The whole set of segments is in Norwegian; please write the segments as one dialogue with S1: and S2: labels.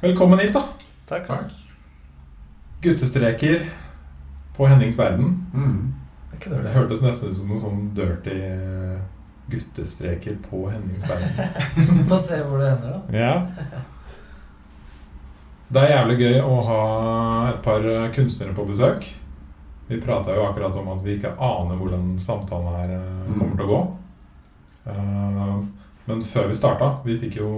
S1: Velkommen hit, da.
S2: Takk.
S1: Guttestreker på Hennings verden.
S2: Mm. Er ikke
S1: Det
S2: dårlig.
S1: hørtes nesten ut som noe sånn dirty eh, guttestreker på Hennings verden.
S2: Vi får se hvor det ender, da.
S1: ja. Det er jævlig gøy å ha et par eh, kunstnere på besøk. Vi prata jo akkurat om at vi ikke aner hvordan samtalen her eh, kommer til å gå. Eh, Men før vi starta Vi fikk jo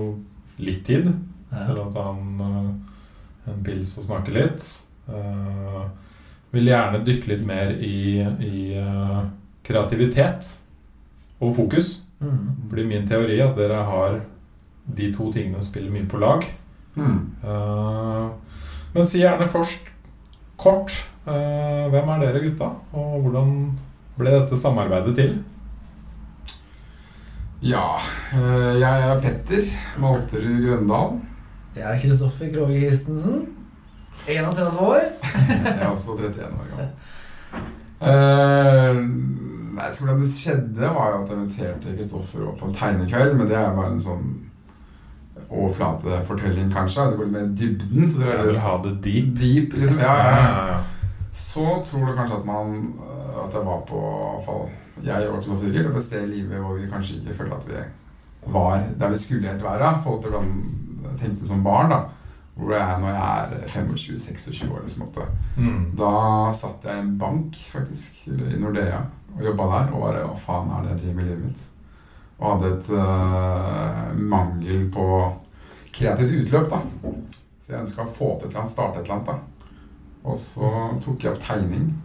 S1: litt tid til
S2: Ja.
S1: å ta en, eh, en pils og snakke litt. Eh, vil gjerne dykke litt mer i, i eh, kreativitet og fokus.
S2: Mm.
S1: Fordi min teori er at dere har de to tingene spiller mye på lag.
S3: Mm.
S1: Eh, men si gjerne først kort eh, hvem er dere gutta, og hvordan ble dette samarbeidet til?
S3: Ja, eh, jeg er Petter Malterud Grøndal.
S2: Jeg er Kristoffer Krogh Christensen. 31 år.
S3: Jeg er også 31 år gammel. Eh, nei, så hvordan det skjedde, var jo at jeg inviterte Kristoffer opp på en tegnekveld. Men det er bare en sånn overflatefortelling, kanskje. Altså går litt mer i dybden. Så tror
S1: Jeg
S3: jeg
S1: vil
S3: det
S1: ha det deep.
S3: deep, liksom. Ja, ja, ja.
S1: ja.
S3: Så tror du kanskje at man eh, At jeg var på i hvert fall Jeg og Kristoffer Rigel på et sted i livet hvor vi kanskje ikke følte at vi var der vi skulle helt være. i forhold til hvordan jeg tenkte som barn. da Hvor jeg er når jeg er 25-26 år. liksom at det-
S1: Mm.
S3: da satt jeg i en bank, faktisk, eller i Nordea, og jobba der. Og bare Hva faen er det jeg driver med i livet mitt? Og hadde et eh, mangel på kreativt utløp, da. Så jeg ønska å få til et eller annet, starte et eller annet, da. Og så tok jeg opp tegning.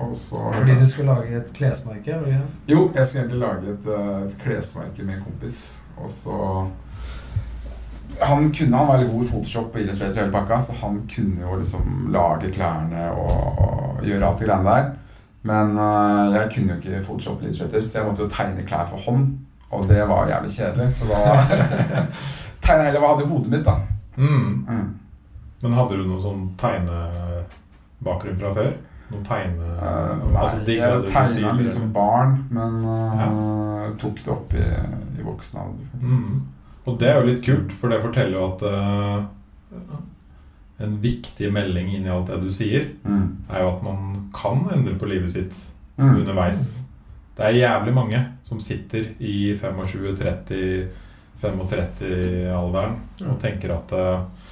S3: Og så
S2: Fordi du skulle lage et klesmerke? var det ikke det?
S3: Jo, jeg skulle egentlig lage et, eh, et klesmerke med en kompis, og så han kunne, han var veldig god i Photoshop og Illustrator, og hele pakka, så han kunne jo liksom lage klærne og, og gjøre alt de greiene der. Men øh, jeg kunne jo ikke Photoshop og Illustrator, så jeg måtte jo tegne klær for hånd. Og det var jævlig kjedelig, så da tegna jeg heller hva jeg hadde i hodet mitt, da.
S1: Mm.
S3: Mm.
S1: Men hadde du noen sånn tegnebakgrunn fra før? Noen tegne...
S3: Eh,
S1: altså,
S3: nei,
S1: digg hadde
S3: jeg
S1: du liksom-
S3: tegna
S1: tidligere?
S3: mye som barn, men øh, tok det opp i, i voksen alder, faktisk.
S1: Mm. Og det er jo litt kult, for det forteller jo at eh, En viktig melding inni alt det du sier,
S3: Mm.
S1: er jo at man kan endre på livet sitt
S3: Mm.
S1: underveis. Det er jævlig mange som sitter i 25-30-35-alderen og tenker at eh,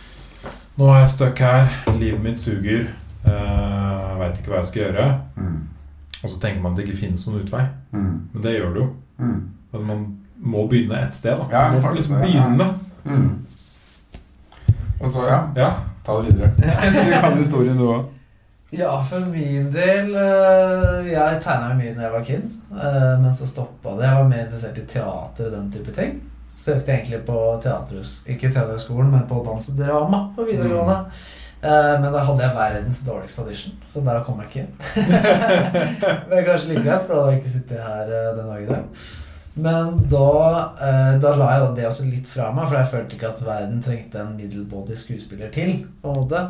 S1: Nå er jeg stuck her, livet mitt suger, uh, veit ikke hva jeg skal gjøre.
S3: Mm.
S1: Og så tenker man at det ikke finnes noen utvei.
S3: Mm.
S1: Men det gjør det jo.
S3: Mm.
S1: Men man må begynne et sted. da.
S3: Ja,
S1: man må
S3: starten,
S1: liksom
S3: ja.
S1: begynne.
S3: Mm. Og så, ja,
S1: Ja.
S3: ta det videre. du kan historien, du òg.
S2: Ja, for min del øh, Jeg tegna mye da jeg var kid, øh, men så stoppa det. Jeg var mer interessert i teater og den type ting. Søkte egentlig på teaterhus, ikke teaterhøgskolen, men på dansedrama på videregående. Eh, Men da hadde jeg verdens dårligste audition, så der kom jeg ikke inn. men kanskje like greit, for da hadde jeg ikke sittet her øh, den dag i dag. Men da, øh, da la jeg da det også litt fra meg, for jeg følte ikke at verden trengte en middelbody skuespiller til. på en måte.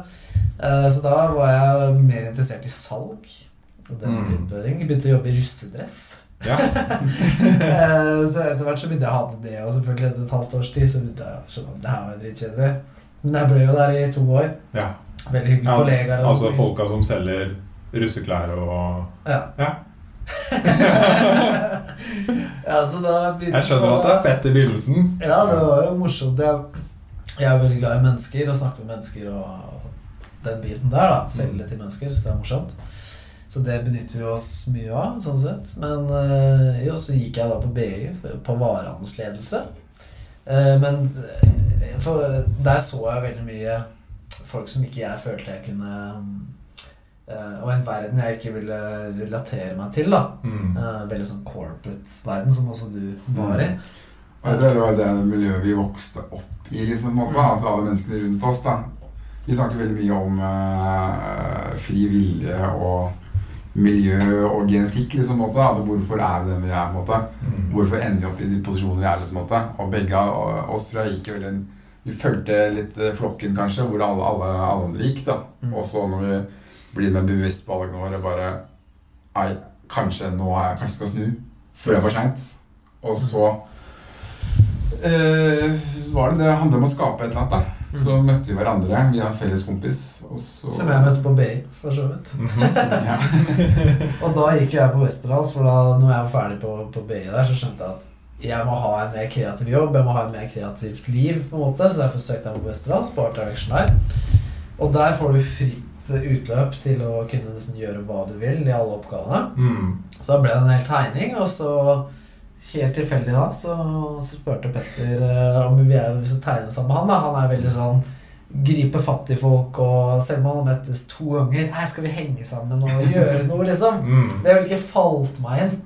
S2: Eh, Så da var jeg mer interessert i salg og den
S1: Mm.
S2: type ting. Begynte å jobbe i russedress.
S1: Ja.
S2: Eh, så etter hvert så begynte jeg å hate det, og selvfølgelig etter et halvt års tid så begynte jeg å skjønne at det her var jo dritkjedelig. Men jeg ble jo der i to år.
S1: ja.
S2: Veldig hyggelige
S1: ja.
S2: kollegaer. og
S1: Altså
S2: sånn.
S1: folka som selger russeklær og
S2: Ja.
S1: Ja.
S2: ja, så da begynte
S1: Jeg skjønner at det er fett i begynnelsen.
S2: Ja, det var jo morsomt. Jeg, jeg er veldig glad i mennesker og snakker med mennesker og den biten der. da Selge til mennesker, så det er morsomt. Så det benytter vi oss mye av, sånn sett. Men eh, jo, så gikk jeg da på BI, på varehandelsledelse. Eh, men eh, for der så jeg veldig mye folk som ikke jeg følte jeg kunne eh, Og en verden jeg ikke ville relatere meg til, da.
S1: Mm.
S2: Eh, veldig sånn corporate verden, som også du var i.
S3: Og jeg tror det var det miljøet vi vokste opp i, liksom, på en måte, da, at alle menneskene rundt oss. da. Vi snakker veldig mye om eh, fri vilje og miljø og genetikk. liksom, på en måte, da, at Hvorfor er vi den vi er? på en måte.
S1: Mm.
S3: Hvorfor ender vi opp i de posisjonene vi er? på en måte. Og begge av oss tror jeg gikk veldig en Vi fulgte litt eh, flokken, kanskje, hvor alle, alle, alle andre gikk. da.
S2: Mm.
S3: Og så når vi blir mer bevisst på alle våre, bare Ei, kanskje nå er jeg kanskje skal snu før det er for seint. Og så eh, var det det handler om å skape et eller annet, da. Så møtte vi hverandre. Vi har en felles kompis. Og så
S2: Mm. Som jeg møtte på BI, for så vidt.
S1: Mhm.
S3: Ja.
S2: Og da gikk jo jeg på Westerdals, for da når jeg var ferdig på, på BI der, så skjønte jeg at jeg må ha en mer kreativ jobb, jeg må ha en mer kreativt liv, på en måte, så derfor søkte jeg meg på Westerdals, på Art Direction der. Og der får du fritt utløp til å kunne nesten gjøre hva du vil i alle oppgavene.
S1: Mm.
S2: Så da ble det en hel tegning, og så helt tilfeldig da, så, så spurte Petter eh, om vi er lyst til å tegne sammen med han. da. Han er veldig sånn gripe fatt i folk, og selv om han har møttes to ganger Her skal vi henge sammen og gjøre noe, liksom.
S1: Mm.
S2: Det ville ikke falt meg inn.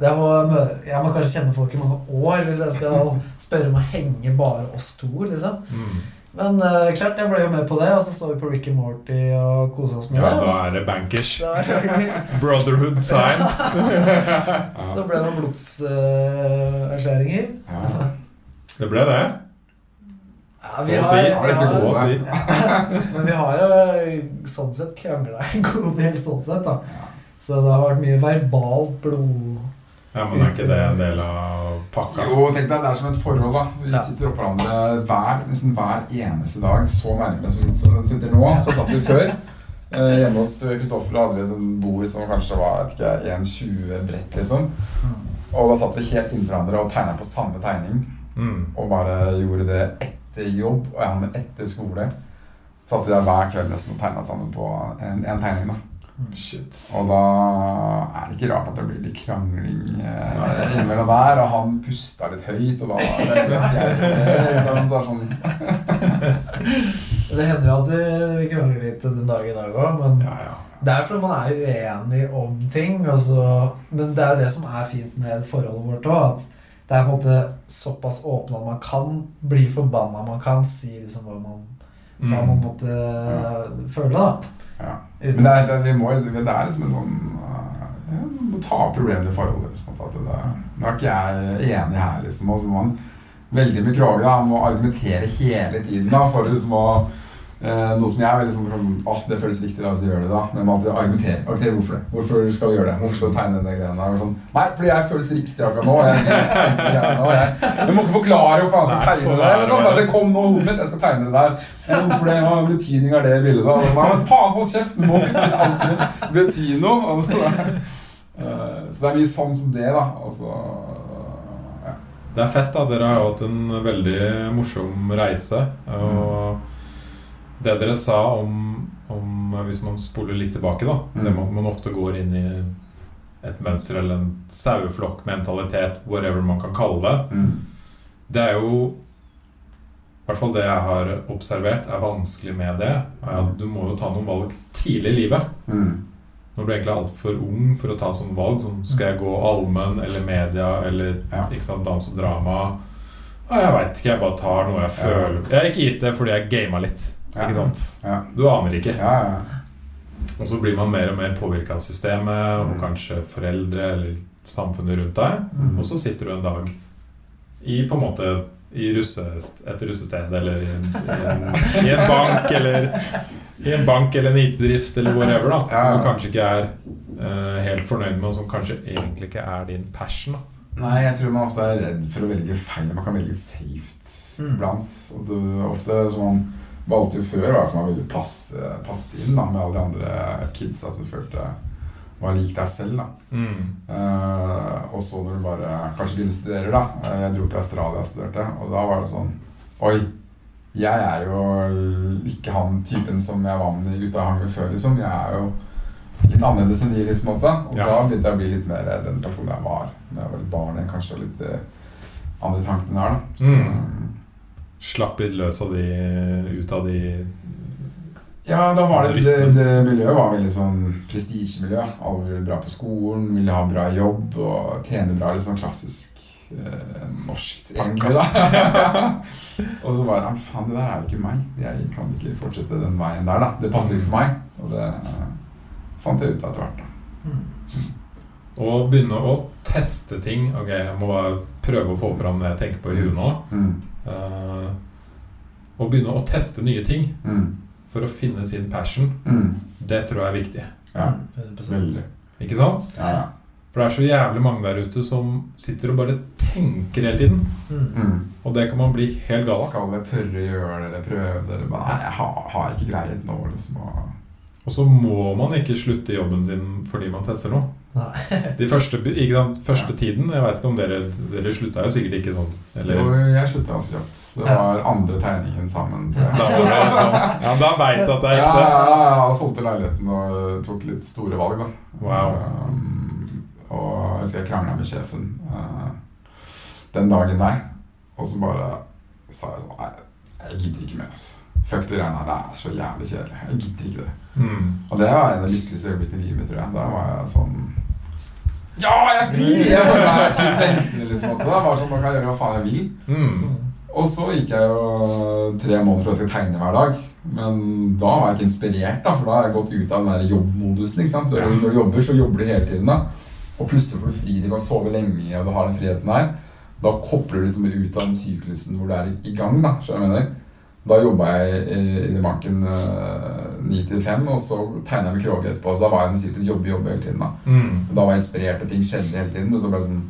S2: Det må, mø- jeg må kanskje kjenne folk i mange år hvis jeg skal spørre om å henge bare oss to, liksom.
S1: Mm.
S2: Men eh, klart, jeg ble jo med på det, og så så vi på Ricky Morty og kosa oss med
S1: Ja,
S2: det.
S1: da
S2: og
S1: er det bankers.
S2: så- Da er det-
S1: Brotherhood signed.
S2: Så ble det noen blodserklæringer.
S3: Ja.
S1: Det ble det.
S2: Ja,
S1: Så
S2: vi
S1: å
S2: har,
S1: si.
S2: vi
S3: det er ikke
S1: Så
S2: har,
S1: å si.
S2: men vi har jo sånn sett krangla en god del, sånn sett, da.
S3: Ja.
S2: Så det har vært mye verbalt blod...
S1: Ja, men er ikke det en del av pakka?
S3: Jo, tenk deg, det er som et forhold, da. Vi
S2: Ja.
S3: sitter oppå hverandre hver, nesten hver eneste dag, så nærme som vi sit- sitter nå. Så satt vi før. Eh, hjemme hos Kristoffer hadde vi et sånt bord som kanskje var vet ikke, 1,20 bredt, liksom. Og da satt vi helt inntil hverandre og tegna på samme tegning.
S1: Mm.
S3: Og bare gjorde det etter jobb, og jeg hadde etter skole. Satt vi der hver kveld nesten og tegna sammen på en, en tegning, da.
S1: Shit.
S3: Og da er det ikke rart at det blir litt krangling eh, innimellom der. Og han pusta litt høyt, og da var det litt fjerde, ikke sant? Det er sånn,
S2: Det hender jo at vi- vi krangler litt den dag i dag òg, men
S1: Ja, ja.
S2: det er fordi man er uenig om ting. Og så, men det er jo det som er fint med forholdet vårt òg, at det er på en måte såpass åpne at man kan bli forbanna, man kan si liksom hva man, hva man
S1: Mm.
S2: måtte føle, da.
S3: ja.
S2: Uten
S3: Men det er,
S2: at-
S3: det, vi må, liksom- det er liksom en sånn eh, ja, Man må ta opp problemene i forholdet. Liksom, at det, nå er ikke jeg enig her, liksom. Og så må han veldig mye krage. da. Han må argumentere hele tiden da, for liksom å eh, noe som jeg er veldig sånn sånn, Åh, det føles riktig, la oss gjøre det, da. Men man alltid argumenterer. argumenterer hvorfor det? Hvorfor skal vi gjøre det? Hvorfor skal vi tegne denne greia der? Og Sånn, Nei, fordi jeg føles riktig akkurat nå. og Jeg, jeg, jeg, og jeg, du må ikke forklare hvorfor han skal
S1: Nei,
S3: tegne
S1: sånn
S3: det
S1: er
S3: der.
S1: det
S3: Liksom.
S1: bare.
S3: Det kom nå i hodet mitt, jeg skal tegne det der. Men Hvorfor det? Hva betydning har det bildet? da? Og så, Nei, men faen, hold kjeft! Nå må ikke alt bety noe. Og så, eh, så det er mye sånn som det, da. Og så, ja.
S1: Det er fett, da. Dere har jo hatt en veldig morsom reise. Og det dere sa om, om eh, Hvis man spoler litt tilbake, da.
S3: Mm.
S1: Det med at man ofte går inn i et mønster eller en saueflokkmentalitet, whatever man kan kalle det.
S3: Mm.
S1: Det er jo I hvert fall det jeg har observert, er vanskelig med det. Er at du må jo ta noen valg tidlig i livet.
S3: Mm.
S1: Når du egentlig er altfor ung for å ta sånne valg som skal jeg gå allmenn eller media eller
S3: Ja.
S1: ikke sant, dans og drama. Ja, jeg veit ikke. Jeg bare tar noe jeg
S3: Ja.
S1: føler Jeg har ikke gitt det fordi jeg gama litt.
S3: Ja.
S1: Ikke sant?
S3: Ja.
S1: Du aner ikke.
S3: Ja, ja.
S1: Og så blir man mer og mer påvirka av systemet og
S3: Mm.
S1: kanskje foreldre eller samfunnet rundt deg.
S3: Mm.
S1: Og så sitter du en dag i på en måte i russe, et russested eller i en, i, en, i en bank eller i en bank eller en IT-bedrift eller whatever, da,
S3: Ja, ja.
S1: som du kanskje ikke er eh, helt fornøyd med, og som kanskje egentlig ikke er din passion. Da.
S3: Nei, jeg tror man ofte er redd for å velge feil. Man kan velge safe
S2: Mm.
S3: blant. Og du, ofte som man valgte jo før, var at man ville passe, passe inn da, med alle de andre kidsa som følte var lik deg selv. da. Eh, og så når du bare kanskje begynner å studere, da. Eh, Jeg dro til Australia og studerte, og da var det sånn Oi, jeg er jo ikke han typen som jeg var med de gutta jeg hang med før, liksom. Jeg er jo litt annerledes enn de, liksom. Ofte. Og så
S1: Ja.
S3: begynte jeg å bli litt mer den personen jeg var da jeg var litt barn. Jeg kanskje var litt eh, andre tankene her, da. Så,
S1: Mm. Slapp litt løs av de ut av de
S3: Ja, da var det, det, det miljøet var veldig sånn prestisjemiljø. Alle ville bra på skolen, ville ha bra jobb og tjene bra. Litt sånn klassisk eh, norsk, egentlig, da. og så bare Men faen, det der er jo ikke meg. Jeg kan ikke fortsette den veien der, da. Det passer ikke for meg. Og det eh, fant jeg ut av etter hvert. da.
S2: Mm.
S1: Og begynne å teste ting. Ok, jeg må bare prøve å få fram det jeg tenker på i huet nå.
S3: Mm.
S1: Eh, og begynne å teste nye ting
S3: Mm.
S1: for å finne sin passion,
S3: Mm.
S2: Mm.
S1: det tror jeg er viktig.
S3: Ja,
S2: 100%.
S3: veldig.
S1: Ikke sant?
S3: Ja, ja.
S1: For det er så jævlig mange der ute som sitter og bare tenker hele tiden.
S2: Mm.
S3: Mm.
S1: Og det kan man bli helt gal av.
S3: Skal jeg tørre å gjøre det, eller prøve det, eller bare Nei, jeg har, har ikke greiet nå, liksom. Og,
S1: Og så må man ikke slutte i jobben sin fordi man tester noe.
S2: Nei.
S1: De første, ikke sant, første
S3: Ja.
S1: tiden Jeg veit ikke om dere Dere slutta jo sikkert ikke sånn. Eller
S3: Jo, jeg slutta ganske kjapt. Det
S2: Ja.
S3: var andre tegningen sammen, tror jeg.
S1: Da, var det, da, ja, da veit jeg at det er
S3: Ja,
S1: ekte.
S3: ja, ja, og solgte leiligheten og eh, tok litt store valg, da.
S1: Wow.
S3: Um, og jeg husker jeg krangla med sjefen eh, den dagen der, og så bare sa jeg sånn Nei, jeg gidder ikke mer, altså. Fuck det regnet her, det er så jævlig kjedelig. Jeg gidder ikke det.
S1: Mm.
S3: Og det var en av de lykkeligste øyeblikkene i livet mitt, tror jeg. Da var jeg sånn Ja, jeg er fri! Jeg følte meg ikke i benkene, liksom. at Det var sånn, Nå kan jeg gjøre hva faen jeg vil.
S1: Mm.
S3: Og så gikk jeg jo tre måneder og jeg skal tegne hver dag. Men da var jeg ikke inspirert, da, for da har jeg gått ut av den der jobbmodusen. ikke sant? Når du- når du jobber, så jobber du hele tiden. da. Og plutselig får du fri, du kan sove lenge, og du har den friheten her. Da kobler du liksom ut av den syklusen hvor du er i- i gang. Da skjønner du hva jeg mener? Da jobba jeg i, i den banken eh, ni til fem, og så tegna jeg med Kroge etterpå. Så da var jeg sånn syklus jobbe, jobbe hele tiden. da.
S1: Mm.
S3: Da var jeg inspirert, og ting skjedde hele tiden. Og så ble jeg sånn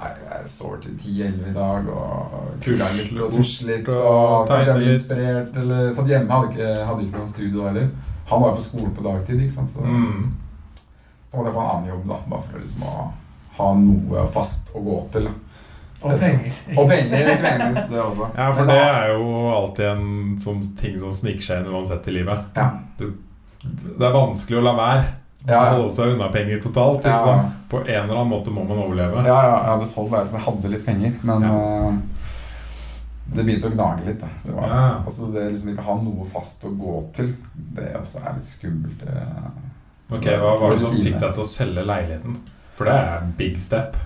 S3: Nei, jeg står til 10-11 i dag og kuler litt og tusjer litt. Og kanskje jeg blir inspirert, eller satt hjemme. Hadde ikke, hadde ikke noen studio heller. Han var jo på skolen på dagtid, ikke sant. Så,
S1: Mm.
S3: så måtte jeg få en annen jobb, da. Bare for å liksom ha, ha noe fast å gå til.
S2: Og penger.
S3: Og penger, ikke minst. Det også.
S1: Ja, for
S3: Men
S1: det
S3: da-
S1: er jo alltid en sånn ting som sniker seg inn uansett i livet.
S3: Ja.
S1: Du, det er vanskelig å la være.
S3: Ja, ja.
S1: Holde seg unna penger totalt.
S3: Ja.
S1: Ikke sant? På en eller annen måte må man overleve.
S3: Ja, ja, jeg hadde solgt leiligheten, jeg hadde litt penger, men eh, det begynte å gnage litt. Da. Det, var,
S1: Ja.
S3: altså, det liksom ikke å ha noe fast å gå til, det også er litt skummelt. eh.
S1: Ok, Hva var det som fikk deg til å selge leiligheten? For det er big step.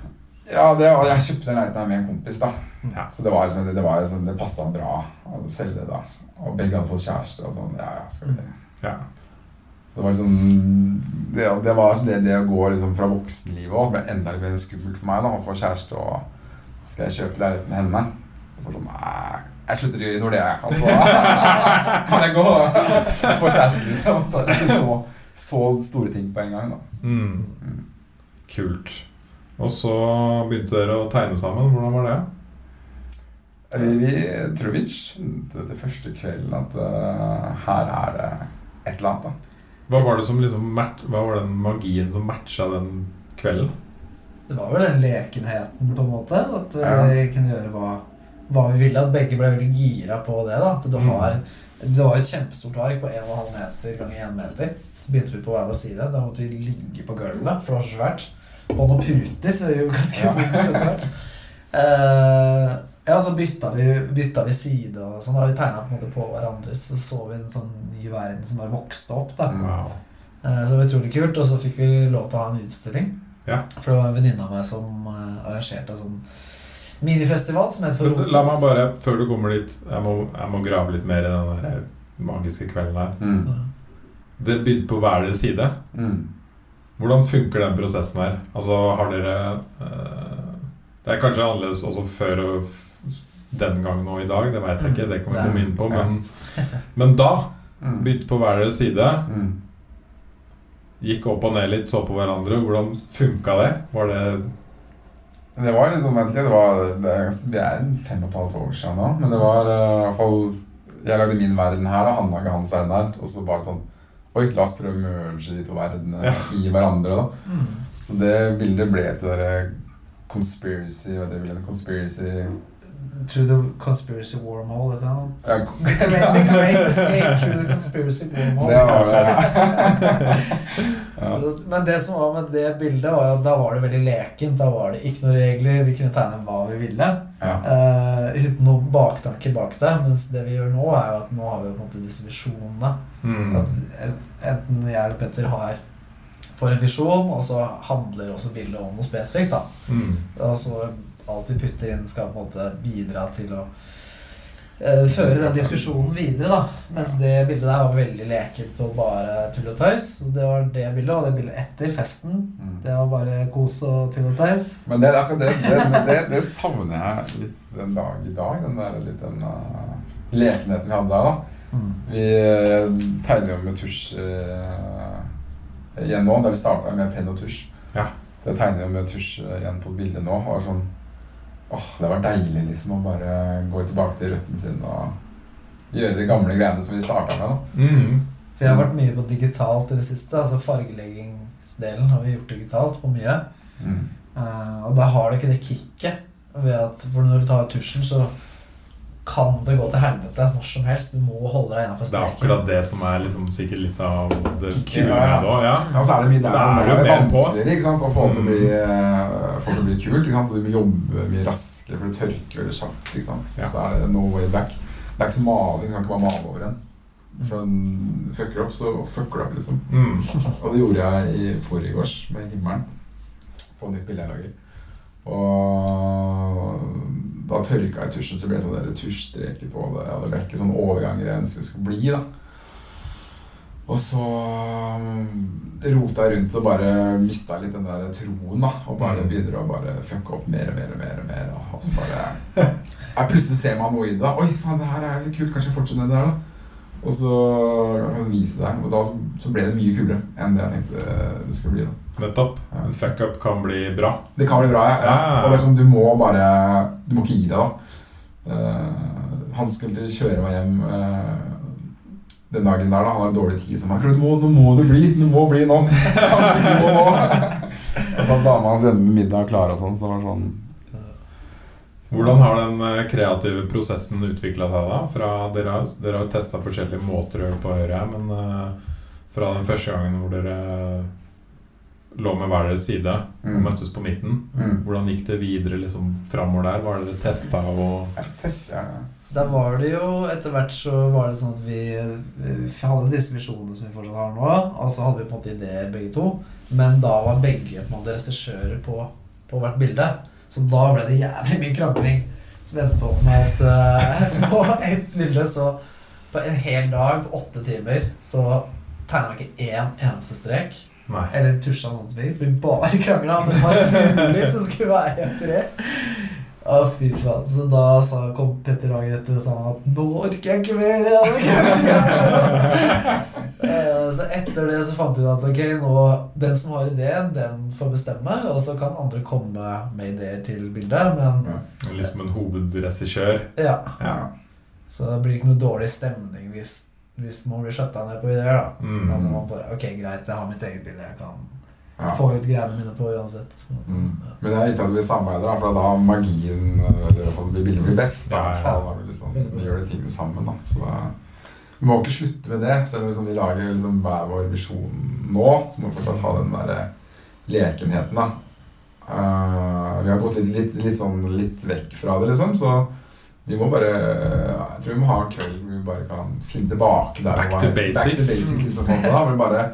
S3: Ja, det, og jeg kjøpte den leiligheten her med en kompis, da.
S1: Ja.
S3: Så det var liksom, det, det, var liksom, det passa bra å selge, da. Og begge hadde fått kjæreste og sånn. Ja, ja, skal vi
S1: Ja.
S3: Så det var liksom Det, det var liksom det, det å gå liksom fra voksenlivet òg ble enda litt mer skummelt for meg. da, Å få kjæreste og Skal jeg kjøpe leiligheten med henne? Og så var det sånn Nei, jeg slutter i Nordea, jeg. Altså, kan jeg gå og få kjæreste, liksom? Så det er ikke så, så store ting på en gang, da.
S1: Mm.
S3: Mm.
S1: Kult. Og så begynte dere å tegne sammen. Hvordan var det?
S3: Vi, vi tror vi skjønte etter første kvelden at eh, her er det et eller annet, da.
S1: Hva var det som liksom mat- Hva var den magien som matcha den kvelden?
S2: Det var vel den lekenheten, på en måte. At vi
S3: Ja.
S2: kunne gjøre hva, hva vi ville. At begge ble veldig gira på det. da. At du
S1: Mm.
S2: har, det var jo et kjempestort ark på 1,5 meter ganger 1 meter. Så begynte vi på hver vår side. Da måtte vi ligge på gulvet, for det var så svært. På noen puter, så det gjorde ganske
S3: Ja.
S2: vondt etter hvert. Eh, ja, så bytta vi, bytta vi side og sånn. Da vi tegna på, en måte på hverandres. Så så vi en sånn ny verden som bare vokste opp.
S3: Mm.
S2: da.
S1: Wow.
S2: Eh, Så det var utrolig kult, og så fikk vi lov til å ha en utstilling.
S1: Ja.
S2: For det var en venninne av meg som eh, arrangerte en sånn minifestival som het for
S1: La meg bare, før du kommer dit Jeg må, jeg må grave litt mer i den der eh, magiske kvelden her.
S3: Mm.
S2: Ja.
S1: Dere begynte på hver deres side.
S3: Mm.
S1: Hvordan funker den prosessen her? Altså, har dere eh, Det er kanskje annerledes også før og f- den gangen og i dag, det veit jeg ikke, det kan vi komme inn på, men, men da
S3: Mm.
S1: begynte på hver deres side,
S3: Mm.
S1: gikk opp og ned litt, så på hverandre. Hvordan funka det? Var det
S3: Det var liksom, vet ikke, det var det er ganske, Vi er fem og et halvt år siden nå, men det var eh, i hvert fall Jeg lagde min verden her, da, han lagde hans verden her. Og så bare sånn Oi, la oss prøve å merge de to verdenene
S1: Ja.
S3: i hverandre, da.
S2: Mm.
S3: Så det bildet ble til det der eh, conspiracy Hva heter det bildet? Conspiracy
S2: Through the conspiracy wormhole, vet du.
S3: ja,
S2: The great escape through the conspiracy wormhole.
S3: Det var det. Ja. ja.
S2: Men det som var med det bildet, var jo at da var det veldig lekent. Da var det ikke noen regler. Vi kunne tegne hva vi ville.
S3: ja.
S2: eh, uten noen baktanke bak det. Mens det vi gjør nå, er jo at nå har vi jo på en måte disse visjonene.
S1: mm,
S2: At enten jeg eller Petter har får en visjon, og så handler også bildet om noe spesifikt. da.
S1: mm,
S2: Og så alt vi putter inn, skal på en måte bidra til å eh, føre den diskusjonen videre. da. Mens det bildet der var veldig lekent og bare tull og tøys. Så Det var det bildet, og det bildet etter festen.
S3: Mm.
S2: Det var bare kos og tull og tøys.
S3: Men det, akkurat det, det, det, det savner jeg litt den dag i dag. Den der litt den eh, lekenheten vi hadde der, da. Vi eh, tegner jo med tusj eh, igjen nå, da vi starta med penn og tusj.
S1: Ja.
S3: Så jeg tegner jo med tusj eh, igjen på et bilde nå. Og er sånn, åh, Det var deilig liksom å bare gå tilbake til røttene sine og gjøre de gamle greiene som vi starta med. da.
S1: Mhm.
S2: For jeg har vært mye på digitalt i det siste. altså Fargeleggingsdelen har vi gjort digitalt på mye.
S3: Mm.
S2: Eh, og da har du ikke det kicket ved at For når du tar tusjen, så kan det gå til helvete når som helst. Du må holde deg innafor
S1: Det er
S2: streken.
S1: akkurat det som er liksom sikkert litt av det kule
S3: Ja, ja.
S1: med det òg. Ja.
S3: Ja, og så er det mye der,
S1: Da er
S3: det
S1: du
S3: er
S1: mer på.
S3: vanskeligere ikke sant? å få det til å
S1: Mm.
S3: bli, eh, få det til å bli kult. Ikke sant? Så du må jobbe mye raskere, for det tørker veldig kjapt. Ikke sant? Så,
S1: Ja.
S3: så er det no way back. Det er ikke som maling. Du kan ikke bare male over en.
S2: Mm.
S3: For den fucker opp, så fucker du opp, liksom.
S1: Mm.
S3: Og det gjorde jeg i forgårs med himmelen på nytt bilde jeg lager. Og da tørka jeg tusjen, så ble det sånn der tusjstreker på det. Ja, det ble ikke sånn overganger jeg ønsket det skulle bli, da. Og så rota jeg rundt og bare mista litt den der troen, da. Og bare
S1: Mm.
S3: begynner å bare fucke opp mer og mer og mer. og mer, og så bare... Jeg plutselig ser man noe i det. da. Oi, faen, det her er litt kult. Kanskje jeg fortsetter med det her, da. Og så kan jeg vise deg. Og da så, så ble det mye kulere enn det jeg tenkte det skulle bli. da.
S1: Nettopp.
S3: Ja.
S1: En fuck-up kan bli bra.
S3: Det kan bli bra. Ja. ja.
S1: Ja.
S3: Og det er sånn, du må bare Du må ikke gi deg, da. Eh, han skulle kjøre meg hjem eh, den dagen der. da, Han hadde dårlig tid. Så han sa nå, nå må det bli! Det må bli nå! Det må nå. Og så hadde dama hans hjemme med middag klar og sånn, så det var sånn
S1: Hvordan har den eh, kreative prosessen utvikla seg da? Fra dere, har- dere har testa forskjellige måter å gjøre det på høyre, men eh, fra den første gangen hvor dere eh, lå med hver deres side og
S3: Mm.
S1: møttes på midten,
S3: Mm.
S1: hvordan gikk det videre liksom framover der? Hva er det dere testa og
S3: Jeg tester, jeg.
S2: Da var det jo Etter hvert så var det sånn at vi, vi hadde disse visjonene som vi fortsatt har nå, og så hadde vi på en måte ideer begge to, men da var begge på en måte regissører på, på hvert bilde. Så da ble det jævlig mye krangling som endte opp med at eh, på ett bilde så På en hel dag, åtte timer, så tegna vi ikke én eneste strek.
S1: Nei.
S2: Eller tusja noen til meg. Vi bare krangla om det var fugler som skulle være et tre. Å, fy faen. Så da sa, kom Petter dagen etter og sa at 'nå orker jeg ikke mer'. Jeg hadde kranglet». Eh, så etter det så fant vi ut at ok, nå, den som har ideen, den får bestemme. Og så kan andre komme med ideer til bildet, men
S1: Liksom en hovedregissør.
S2: ja.
S3: Ja.
S2: Så det blir ikke noe dårlig stemning hvis, hvis man blir skjøtta ned på ideer, da.
S1: Mm.
S2: Da må man bare Ok, greit, jeg har mitt eget bilde jeg kan
S3: Ja.
S2: få ut greiene mine på uansett. Så,
S3: Mm.
S2: ja.
S3: Men det er viktig at vi samarbeider, da, for da er magien Eller i hvert fall det bildet blir best. Da,
S1: Ja, ja, ja.
S3: Da er det liksom, vi gjør de tingene sammen. Da. Så da, vi må ikke slutte med det. Selv om liksom, vi lager liksom, hver vår visjon nå, så må vi fortsatt ha den der eh, lekenheten. Da. Eh, vi har gått litt, litt, litt, sånn, litt vekk fra det, liksom. Så vi må bare Jeg tror vi må ha en kveld hvor vi bare kan finne tilbake der.
S1: Back
S3: hvor-
S1: to
S3: Back to
S1: basics.
S3: basics liksom, på en måte, da, hvor vi bare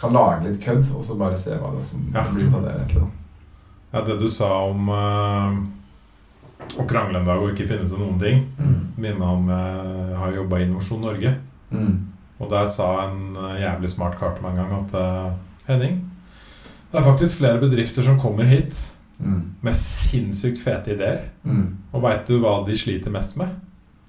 S3: kan lage litt kødd, og så bare se hva det er som
S1: Ja.
S3: blir ut av det. egentlig da.
S1: Ja, det du sa om eh, å krangle en dag og ikke finne ut av noen ting,
S3: Mm.
S1: minner om eh, jeg har jobba i Innovasjon Norge.
S3: Mm.
S1: Og der sa en eh, jævlig smart kar til meg en gang at eh, Henning, det er faktisk flere bedrifter som kommer hit
S3: Mm.
S1: med sinnssykt fete ideer.
S3: Mm.
S1: Og veit du hva de sliter mest med?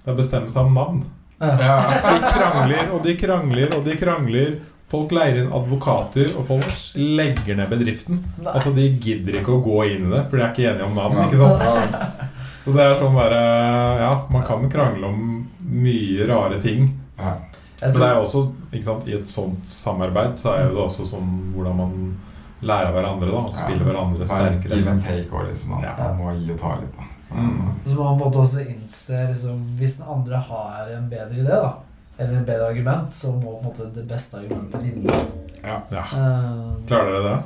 S1: Det er bestemmelse av navn.
S3: Ja.
S1: De krangler og de krangler og de krangler. Folk leier inn advokater, og folk legger ned bedriften.
S2: Nei.
S1: Altså, De gidder ikke å gå inn i det, for de er ikke enige om navn.
S3: Ja.
S1: ikke sant?
S3: Ja.
S1: Så det er sånn der, eh, ja, Man kan krangle om mye rare ting,
S3: Ja.
S2: Jeg
S1: Men det er
S2: tror,
S1: jo også, ikke sant, I et sånt samarbeid så er jo det også sånn hvordan man lærer av hverandre da, og spiller hverandre
S3: Bare Give
S1: sterkere.
S3: and take også, liksom. Da.
S1: Ja.
S3: Man må gi og ta litt, da. Så,
S1: Mm.
S2: så må man på en måte også innse liksom, Hvis den andre har en bedre idé, da, eller et bedre argument, så må på en måte det beste argumentet vinne.
S1: Ja.
S2: Eh,
S1: Klarer dere det?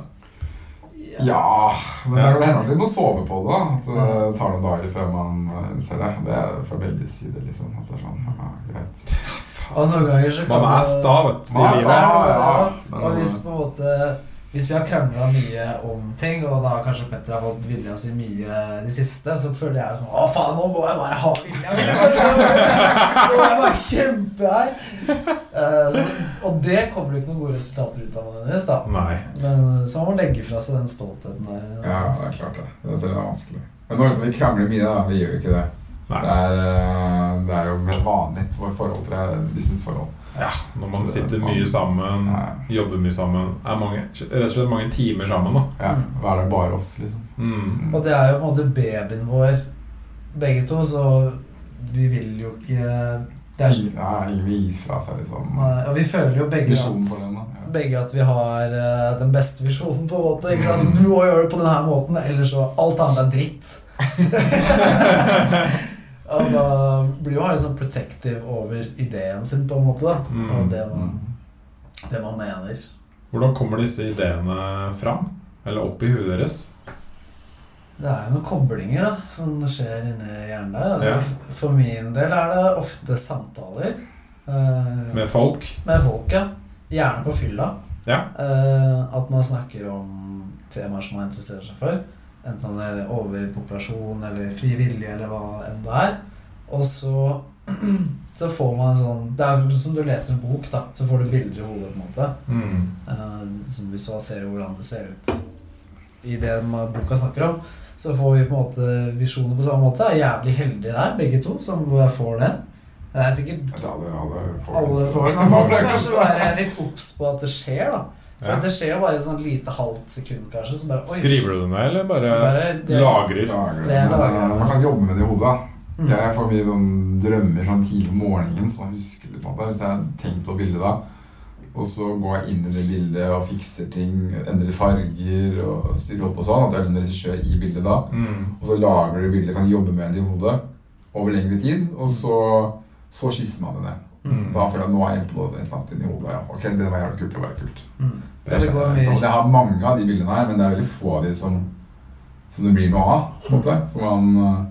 S3: Ja, men det kan hende at vi må sove på det. da. At eh, det tar noen dager før man eh, ser det. Det er fra begge sider, liksom. At det er sånn, ja, greit.
S2: Og noen ganger så kan
S1: Man er
S2: det-
S1: sta, vet du.
S3: Man
S1: i
S3: er
S1: livet.
S3: sta, ja.
S2: Og hvis på en måte hvis vi har krangla mye om ting, og da kanskje Petter har fått vilja si mye de siste, så føler jeg sånn Å, faen, nå må jeg bare ha vilja mi! liksom. Nå må jeg bare kjempe her! Eh, så- og det kommer det ikke noen gode resultater ut av nødvendigvis, da.
S1: Nei.
S2: Men eh, så man må legge fra seg den stoltheten der.
S3: Ja, det er klart det. Det er selvfølgelig vanskelig. Men nå er det liksom, vi krangler mye, da. Vi gjør jo ikke det.
S1: Nei.
S3: Det er, eh, det er jo helt vanlig for forhold til det businessforhold.
S1: Ja, når man
S3: Så det-
S1: sitter mye sammen,
S3: Ja.
S1: jobber mye sammen Er mange, rett og slett mange timer sammen, da.
S3: Ja, hva er det bare oss, liksom?
S1: Mm.
S2: Og det er jo på en måte babyen vår, begge to, så vi vil jo ikke det er,
S3: Ja, ingen vil gi fra seg liksom
S2: Nei, Og vi føler jo begge
S3: visjonen for
S2: at,
S3: den. da. Ja.
S2: begge at vi har eh, den beste visjonen, på en måte. Ikke sant? Du må gjøre det på denne måten, ellers så Alt annet er dritt. og da blir man litt sånn protective over ideen sin, på en måte. da
S1: Mm.
S2: Og det man, det man mener.
S1: Hvordan kommer disse ideene fram? Eller opp i huet deres?
S2: Det er jo noen koblinger da, som skjer inni hjernen der. Altså,
S1: Ja.
S2: f- For min del er det ofte samtaler eh, med.
S1: Med folk?
S2: folk, ja. Gjerne på fylla.
S1: Ja.
S2: Eh, at man snakker om temaer som man interesserer seg for. Enten om det er overpopulasjon eller fri vilje eller hva enn det er. Og så, så får man en sånn Det er jo som du leser en bok, da. Så får du bilder i hodet, på en måte.
S1: Mm.
S2: Eh, som visualiserer hvordan det ser ut i det ma- boka snakker om. Så får vi på en måte visjoner på samme måte. Er jævlig heldige der, begge to, som eh, får det. Det er sikkert
S3: Jeg tror alle, alle får
S2: alle
S3: det.
S2: får det. Man må kanskje være litt obs på at det skjer, da. For
S1: Ja.
S2: at det skjer jo bare et sånt lite halvt sekund, kanskje. Som bare, oi,
S1: Skriver du det ned, eller bare
S2: bare, det,
S1: lagrer?
S3: Lager
S2: Det er
S3: det.
S2: lager.
S3: Men eh, Man kan ikke jobbe med det i hodet. da.
S2: Mm.
S3: Jeg får mye sånn drømmer sånn tidlig om morgenen som jeg husker litt. på en måte. Hvis jeg har tenkt på bildet da, og så går jeg inn i det bildet og fikser ting, endrer farger og styrer opp og sånn, at jeg er liksom regissør i bildet da.
S1: Mm.
S3: Og så lager du bildet, kan jobbe med det i hodet over lengre tid, og så, så skisser man det ned.
S1: Mm.
S3: Da føler jeg at nå er jeg inne på noe- et eller annet inni hodet. Ja. Ok, det var jævlig kult. Det var jævlig kult.
S2: Mm.
S3: Det
S2: Det går
S3: kjennes
S2: mye
S3: sånn. Jeg har mange av de bildene her, men det er veldig få av de som, som det blir noe av. på en måte. For man øh,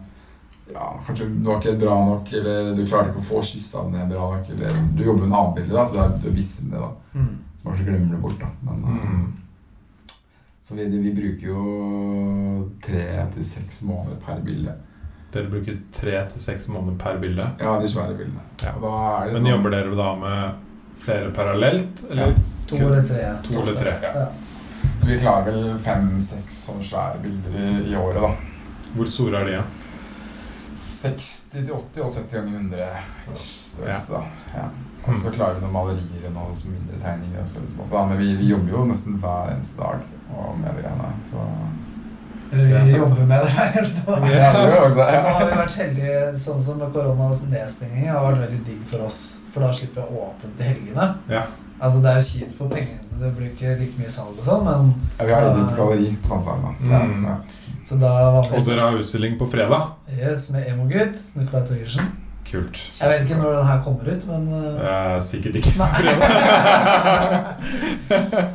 S3: ja, Kanskje du var ikke bra nok, eller du klarte ikke å få skissa ned bra nok. Eller du jobber med en annen bilde, da, så det er- du er viss med det. da.
S2: Mm.
S3: Så man kanskje glemmer det bort. da. Men, øh,
S1: Mm.
S3: Så vi, vi bruker jo tre til seks måneder per bilde.
S1: Dere bruker tre til seks måneder per bilde.
S3: Ja, de svære bildene.
S1: Ja.
S3: Og da er det
S1: Men
S3: sånn,
S1: jobber dere da med flere parallelt, eller
S3: Ja.
S2: To eller tre.
S1: to eller tre?
S2: Ja.
S3: Så vi klarer vel fem-seks sånne svære bilder i, i året, da.
S1: Hvor store er de? igjen?
S3: 60 til 80 og 70 ganger 100 ish størrelse, da. Ja. Og så klarer vi noen malerier og noen sånne mindre tegninger. Også, litt på en måte, da. Men vi, vi jobber jo nesten hver eneste dag og med de greiene. Så
S2: Eller Vi jobber med det hver eneste dag.
S3: ja, det gjør vi også,
S2: Nå har
S3: ja.
S2: vi vært heldige, sånn som med koronas nedstenging har vært veldig digg for oss. For da slipper vi åpent i helgene.
S1: Ja.
S2: Altså Det er jo kjipt for pengene, det blir ikke like mye salg og sånn, men
S3: Ja, Vi har eget galleri på Sandsheim, da. Så det er-
S1: Mm.
S3: ja.
S2: så da
S1: Og
S2: vanligvis
S1: dere har utstilling på fredag.
S2: Yes, med Emogutt, Nicolai Torgersen.
S1: Kult.
S2: Jeg vet ikke når den her kommer ut, men uh,
S1: Eh, sikkert ikke på
S2: Nei.
S1: fredag.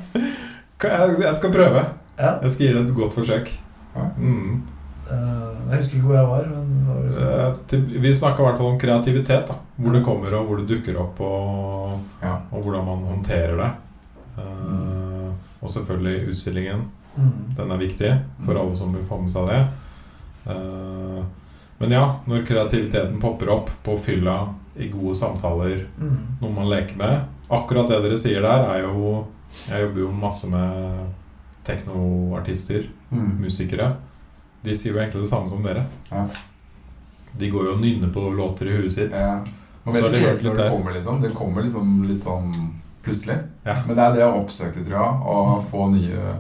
S1: Kan jeg- Jeg skal prøve.
S2: ja.
S1: Jeg skal gi det et godt forsøk.
S3: Ja.
S1: Mm.
S2: uh, Jeg husker ikke hvor jeg var, men det var vel sånn.
S1: Eh, til- Vi snakka i hvert fall om kreativitet. da Hvor det kommer, og hvor det dukker opp, og,
S3: Ja.
S1: og hvordan man håndterer det. Eh, og selvfølgelig utstillingen.
S2: Mm.
S1: Den er viktig for
S3: Mm.
S1: alle som vil få med seg det. Eh, Men ja, når kreativiteten popper opp på fylla, i gode samtaler,
S2: Mm.
S1: noe man leker med Akkurat det dere sier der, er jo Jeg jobber jo masse med teknoartister,
S3: Mm.
S1: musikere. De sier jo egentlig det samme som dere.
S3: Ja.
S1: De går jo og nynner på låter i huet sitt.
S3: Ja.
S1: Så
S3: Man vet
S1: har de
S3: ikke
S1: hørt
S3: helt
S1: litt
S3: når det
S1: der.
S3: kommer, liksom. Det kommer liksom litt sånn plutselig.
S1: Ja. Mm.
S3: Men det er det å oppsøke, tror jeg. Å få nye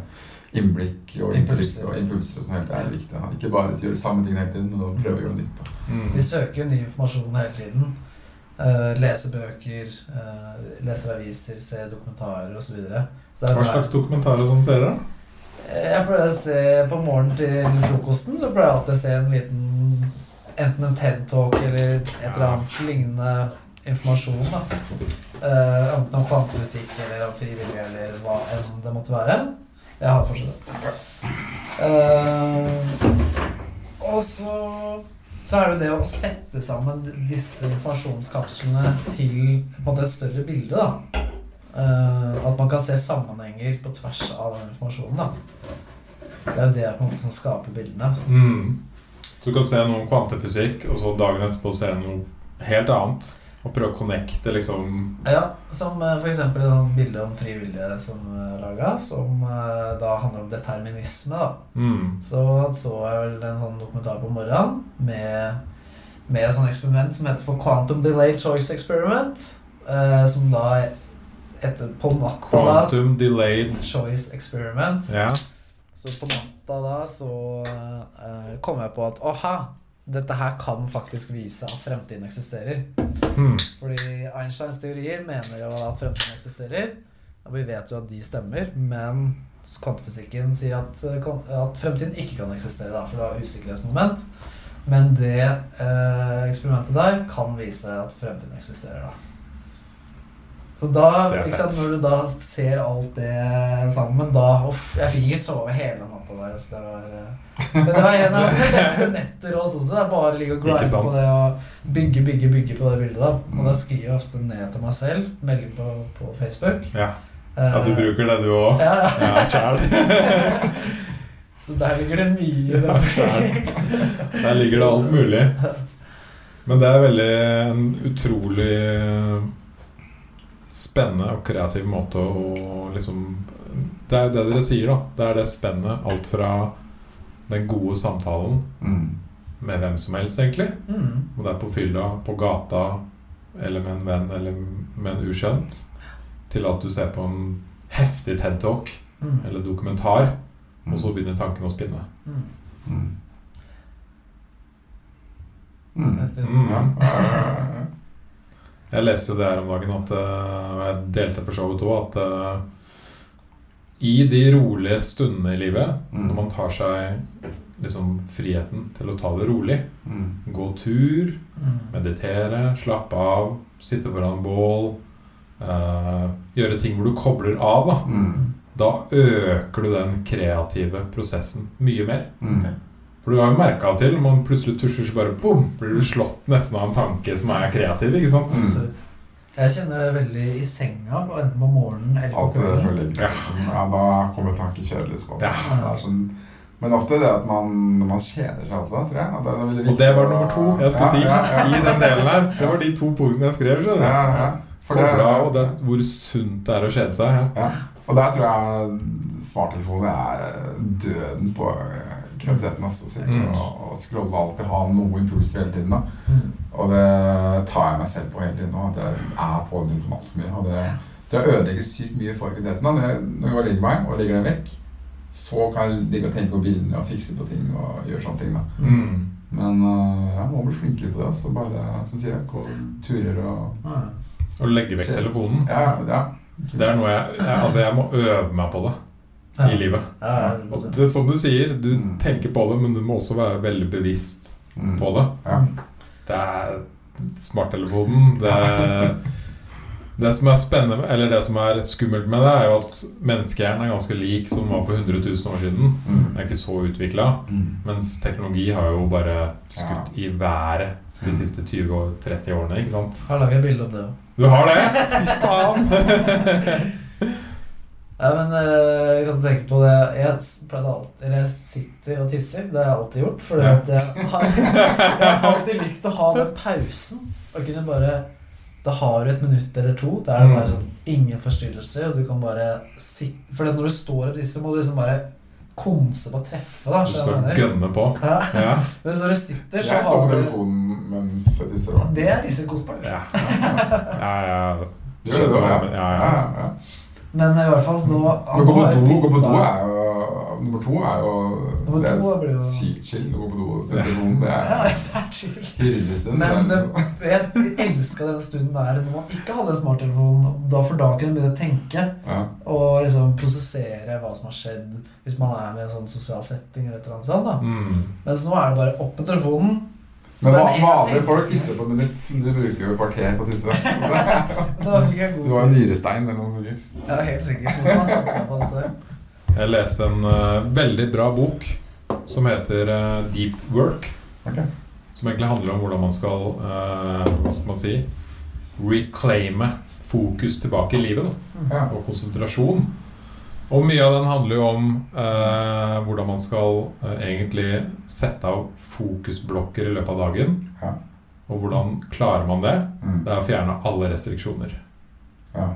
S3: implikk og
S2: Impulser.
S3: impulser og, impulser og sånn helt er viktig. Da. Ikke bare gjøre samme ting hele tiden, men å prøve å gjøre noe nytt. da.
S1: Mm.
S2: Vi søker jo ny informasjon hele tiden. Eh, lese bøker, eh, leser aviser, se dokumentarer osv. Så videre. så det er
S1: Hva
S2: der-
S1: slags dokumentarer som ser dere?
S2: Eh, Jeg pleier å se på morgenen til frokosten Så pleier jeg alltid å se en liten Enten en TED-talk eller et eller annet lignende informasjon da Eh, Enten om kvantefysikk eller om frivillig eller hva enn det måtte være Jeg har fortsatt det Eh, Og så så er det jo det å sette sammen disse informasjonskapslene til på en måte et større bilde da Eh, at man kan se sammenhenger på tvers av den informasjonen. da. Det er jo det på en måte som skaper bildene.
S1: Mm. Så du kan se noe om kvantefysikk, og så dagen etterpå se noe helt annet. Og prøve å connecte, liksom.
S2: Ja, Som eh, for eksempel et sånt bilde om fri vilje som er laga, som eh, da handler om determinisme. da.
S1: Mm.
S2: Så så jeg vel en sånn dokumentar på morgenen med, med et sånt eksperiment som heter for Quantum Delayed Choice Experiment. eh, som da etter på natta da,
S1: Quantum delayed.
S2: Choice Experiment.
S1: Ja.
S2: Så på natta da så eh, kom jeg på at åha, dette her kan faktisk vise at fremtiden eksisterer.
S1: Hmm.
S2: Fordi Einsteins teorier mener jo at fremtiden eksisterer. Og vi vet jo at de stemmer, men kvantefysikken sier at, eh, kan- at fremtiden ikke kan eksistere, da, for det har usikkerhetsmoment. Men det eh, eksperimentet der kan vise at fremtiden eksisterer, da. Så da,
S1: Det er
S2: ikke sant,
S1: fett.
S2: når du da ser alt det sammen, da Uff, jeg fikk ikke sove hele natta der. Så det var, eh, men det var en av de beste netter også, så det er bare å ligge og
S1: Ikke
S2: grinde
S1: sant?
S2: på det og bygge, bygge, bygge på det bildet. da Og
S1: Mm.
S2: da skriver jeg ofte ned til meg selv, melding på, på Facebook. Eh,
S1: Ja. ja, du bruker det, du òg.
S2: Ja, ja.
S1: Ja, sjæl.
S2: Så der ligger det mye.
S1: Ja,
S2: Ja,
S1: Der ligger det alt mulig. Men det er veldig en utrolig spennende og kreativ måte å liksom Det er jo det dere sier, da. Det er det spennet. Alt fra den gode samtalen
S3: Mm.
S1: med hvem som helst, egentlig.
S2: mm.
S1: Om det er på fylla, på gata, eller med en venn, eller med en ukjent. Til at du ser på en heftig TED Talk
S2: Mm.
S1: eller dokumentar, og så begynner tankene å spinne.
S2: Mm.
S3: Mm. Mm.
S2: Etter-
S1: Mm.
S3: Ja. eh,
S1: Jeg leste jo det her om dagen, at, eh, og jeg delte for så vidt òg, at eh, i de rolige stundene i livet,
S3: Mm.
S1: når man tar seg liksom friheten til å ta det rolig,
S3: Mm.
S1: gå tur,
S2: Mm.
S1: meditere, slappe av, sitte foran bål, eh, gjøre ting hvor du kobler av, da,
S3: Mm.
S1: da øker du den kreative prosessen mye mer.
S3: Mm.
S1: For du har jo merka til, når man plutselig tusjer, så bare bom, blir du slått nesten av en tanke som er kreativ, ikke sant?
S2: Absolutt. Jeg kjenner det veldig i senga, og enten på morgenen eller på
S3: Alt det der
S2: kvelden.
S3: følger.
S1: Ja.
S3: Ja, da kommer tankekjøret litt på.
S1: Ja.
S3: Det er sånn, men ofte det at man, når man kjeder seg også, tror jeg. At det er veldig
S1: Og det
S3: viktig
S1: var
S3: å-
S1: nummer to jeg skulle
S3: Ja,
S1: si
S3: ja, ja.
S1: i den delen her. Det var de to punktene jeg skrev. skjønner
S3: Ja,
S1: du?
S3: ja. For det,
S1: Kobla og det, hvor sunt det er å kjede seg. Ja.
S3: ja. Og der tror jeg smarttelefonen er døden på eh, kvaliteten. Altså, sitte
S1: Mm.
S3: og, og scrolle og alltid ha noe impuls hele tiden. Da.
S2: Mm.
S3: Og det tar jeg meg selv på hele tiden nå, at jeg er på den for altfor mye. Og det, det ødelegger sykt mye for kvaliteten. da. Når jeg, når jeg legger meg og legger den vekk, så kan jeg ligge og tenke på bildene og fikse på ting og gjøre sånne ting. da.
S1: Mm.
S3: Men øh, jeg må bli flinkere på det. Så bare, som sier jeg, gå turer og
S2: Ja.
S1: Å legge vekk telefonen.
S3: Ja, ja.
S1: Det er noe jeg, jeg Altså, jeg må øve meg på det
S2: Ja.
S1: i livet.
S2: Ja, ja,
S1: Og
S2: 100%.
S1: det, som du sier, du
S3: Mm.
S1: tenker på det, men du må også være veldig bevisst
S3: Mm.
S1: på det.
S3: Ja.
S1: Det er smarttelefonen. Det, det som er spennende, eller det som er skummelt med det, er jo at menneskehjernen er ganske lik som den var for 100 000 år siden.
S3: Mm.
S1: Den er ikke så utvikla.
S3: Mm.
S1: Mens teknologi har jo bare skutt i været
S3: Mm.
S1: de siste 20-30 årene, ikke sant?
S2: Har laget et bilde om det òg.
S1: Du har det! Fy faen!
S2: Ja, men eh, jeg kan tenke på det Jeg s- pleide alltid Eller jeg sitter og tisser. Det har jeg alltid gjort. For
S1: Ja.
S2: jeg, har- jeg har alltid likt å ha den pausen. Og kunne bare Da har du et minutt eller to. Det er det bare
S1: Mm.
S2: sånn ingen forstyrrelser, og du kan bare sitte For når du står og tisser, må du liksom bare konse på å treffe, da.
S1: Du
S2: skjønner
S1: skal
S2: du hva jeg mener?
S1: gønne på.
S2: Ja.
S1: Ja.
S2: Men når du sitter, så
S3: Jeg står på
S2: har du
S3: telefonen mens jeg tisser òg.
S2: Det er risikosport.
S1: Ja, ja, ja.
S3: Gjør du det?
S1: Ja,
S3: Ja,
S1: men-
S3: ja,
S1: ja, ja.
S3: ja.
S2: Men i hvert fall nå
S3: Å gå på
S2: har jeg
S3: do, gå på
S2: byttet-
S3: do er jo Nummer to er jo
S2: Nummer
S3: Det
S2: to blir
S3: er
S2: jo-
S3: sykt chill å gå på do og se telefonen. Det
S2: Ja,
S3: er
S2: det er chill.
S3: hyllestund.
S2: Men
S3: det
S2: det,
S3: er-
S2: jeg elska den stunden der når man ikke hadde en smarttelefon. Da for da kunne man begynne å tenke
S3: Ja.
S2: og liksom prosessere hva som har skjedd. Hvis man er med i en sånn sosial setting eller et eller annet sånt. da
S1: Mm.
S2: Mens nå er det bare opp med telefonen. Men
S3: Men va-
S2: jeg
S3: vanlige
S2: tenker-
S3: folk tisser på et minutt. men Du bruker jo et kvarter på å tisse.
S2: Da fikk jeg
S3: Du
S2: god
S3: har jo
S2: tid.
S3: nyrestein eller noe sikkert.
S2: Ja, helt sikkert. Noen som har satt seg fast der.
S1: Jeg leste en eh, veldig bra bok som heter eh, Deep Work.
S3: Ok.
S1: Som egentlig handler om hvordan man skal eh, Hva skal man si reclaime fokus tilbake i livet. Da.
S3: Ja.
S1: og konsentrasjon. Og mye av den handler jo om eh, hvordan man skal eh, egentlig sette av fokusblokker i løpet av dagen.
S3: Ja.
S1: Og hvordan klarer man det?
S3: Mm.
S1: Det er å fjerne alle restriksjoner.
S3: Ja.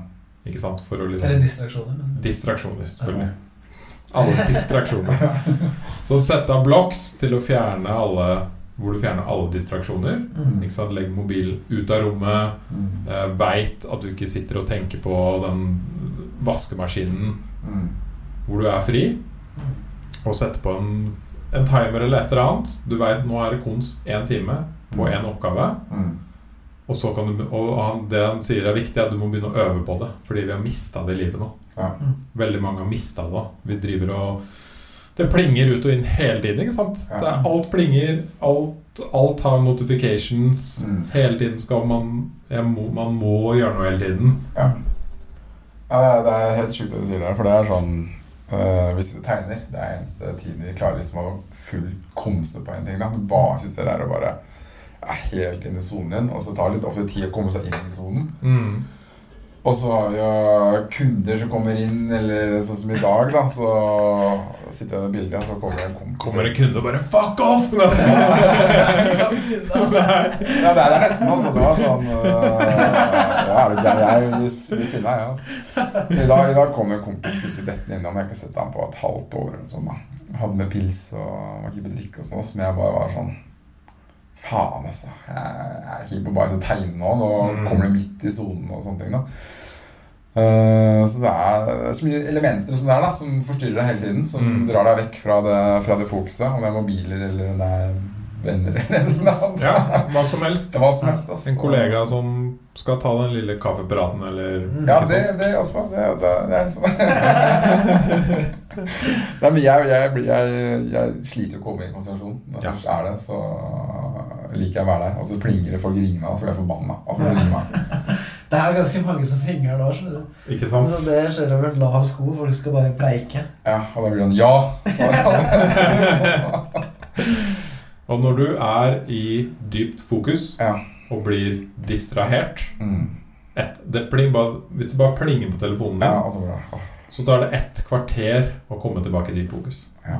S1: Ikke sant? For å
S2: Eller
S1: liksom
S2: distraksjoner. Men.
S1: Distraksjoner, selvfølgelig. Alle distraksjoner. Så sette av blocks til å fjerne alle hvor du fjerner alle distraksjoner.
S2: Mm.
S1: Ikke sant? Legg mobilen ut av rommet.
S3: Mm.
S1: Eh, Veit at du ikke sitter og tenker på den vaskemaskinen
S3: Mm.
S1: hvor du er fri,
S2: Mm.
S1: og setter på en, en timer eller et eller annet. Du veit nå er det konst én time på én oppgave.
S3: Mm.
S1: Og, så kan du, og han, det han sier er viktig, er at du må begynne å øve på det. Fordi vi har mista det i livet nå.
S3: Ja.
S2: Mm.
S1: Veldig mange har mista det. da. Vi driver og Det plinger ut og inn hele tiden. ikke sant?
S3: Ja.
S1: Det er Alt plinger. Alt, alt har notifications.
S3: Mm.
S1: Hele tiden skal man jeg må, Man må gjøre noe hele tiden.
S3: Ja. ja det er- det er helt sjukt det du sier der, for det er sånn øh, Hvis du tegner, det er eneste tiden vi klarer liksom å full komse på en ting. da. Du bare sitter der og bare er helt inne i sonen din, og så tar det litt ofte tid å komme seg inn i sonen.
S1: Mm.
S3: Og så har vi jo kunder som kommer inn, eller sånn som i dag, da, så sitter jeg med bildet, og så kommer det en kompis
S1: Kommer en kunde og bare 'fuck off'! Nei. Nei.
S3: Ja, det er nesten altså. Det var sånn øh, ja, Jeg jeg- jeg blir s- blir sinna, jeg. Altså. I dag, i dag kom en kompis plutselig dettende innom. Jeg har ikke sett ham på et halvt år. eller noe sånt da. Han Hadde med pils og var ikke på drikke og sånn. Som jeg bare var sånn Faen, altså. Jeg jeg er keen på bare å tegne nå. Nå kommer det midt i sonen og sånne ting. da. Eh, så det er så mye elementer som, det er, da, som forstyrrer deg hele tiden. Som
S1: Mm.
S3: drar deg vekk fra det, fra det fokuset. Om det er mobiler eller om det er venner eller noe annet.
S1: Ja, hva som helst.
S3: Det var som helst, ass.
S1: En kollega som skal ta den lille kaffepraten, eller
S3: Ja,
S1: ikke
S3: det,
S1: sant?
S3: det også. Det, det, det er liksom Nei, men jeg, jeg, blir- jeg, jeg sliter jo ikke over i konsentrasjon. Når det
S1: Ja.
S3: først er det, så liker jeg å være der. Og så plinger det, folk ringer meg, og så blir jeg forbanna. at folk ringer meg.
S2: Det er jo ganske mange som henger da. skjønner du.
S1: Ikke sant?
S2: Så det skjer over en lav sko. Folk skal bare pleike.
S3: Ja, og da blir han ja! Så,
S1: Og når du er i dypt fokus
S3: ja.
S1: og blir distrahert
S3: Mm.
S1: et, det pling, bare, Hvis du bare plinger på telefonen
S3: ja
S1: din,
S3: altså bra. Åh,
S1: så tar det ett kvarter å komme tilbake i dypt fokus.
S3: Ja.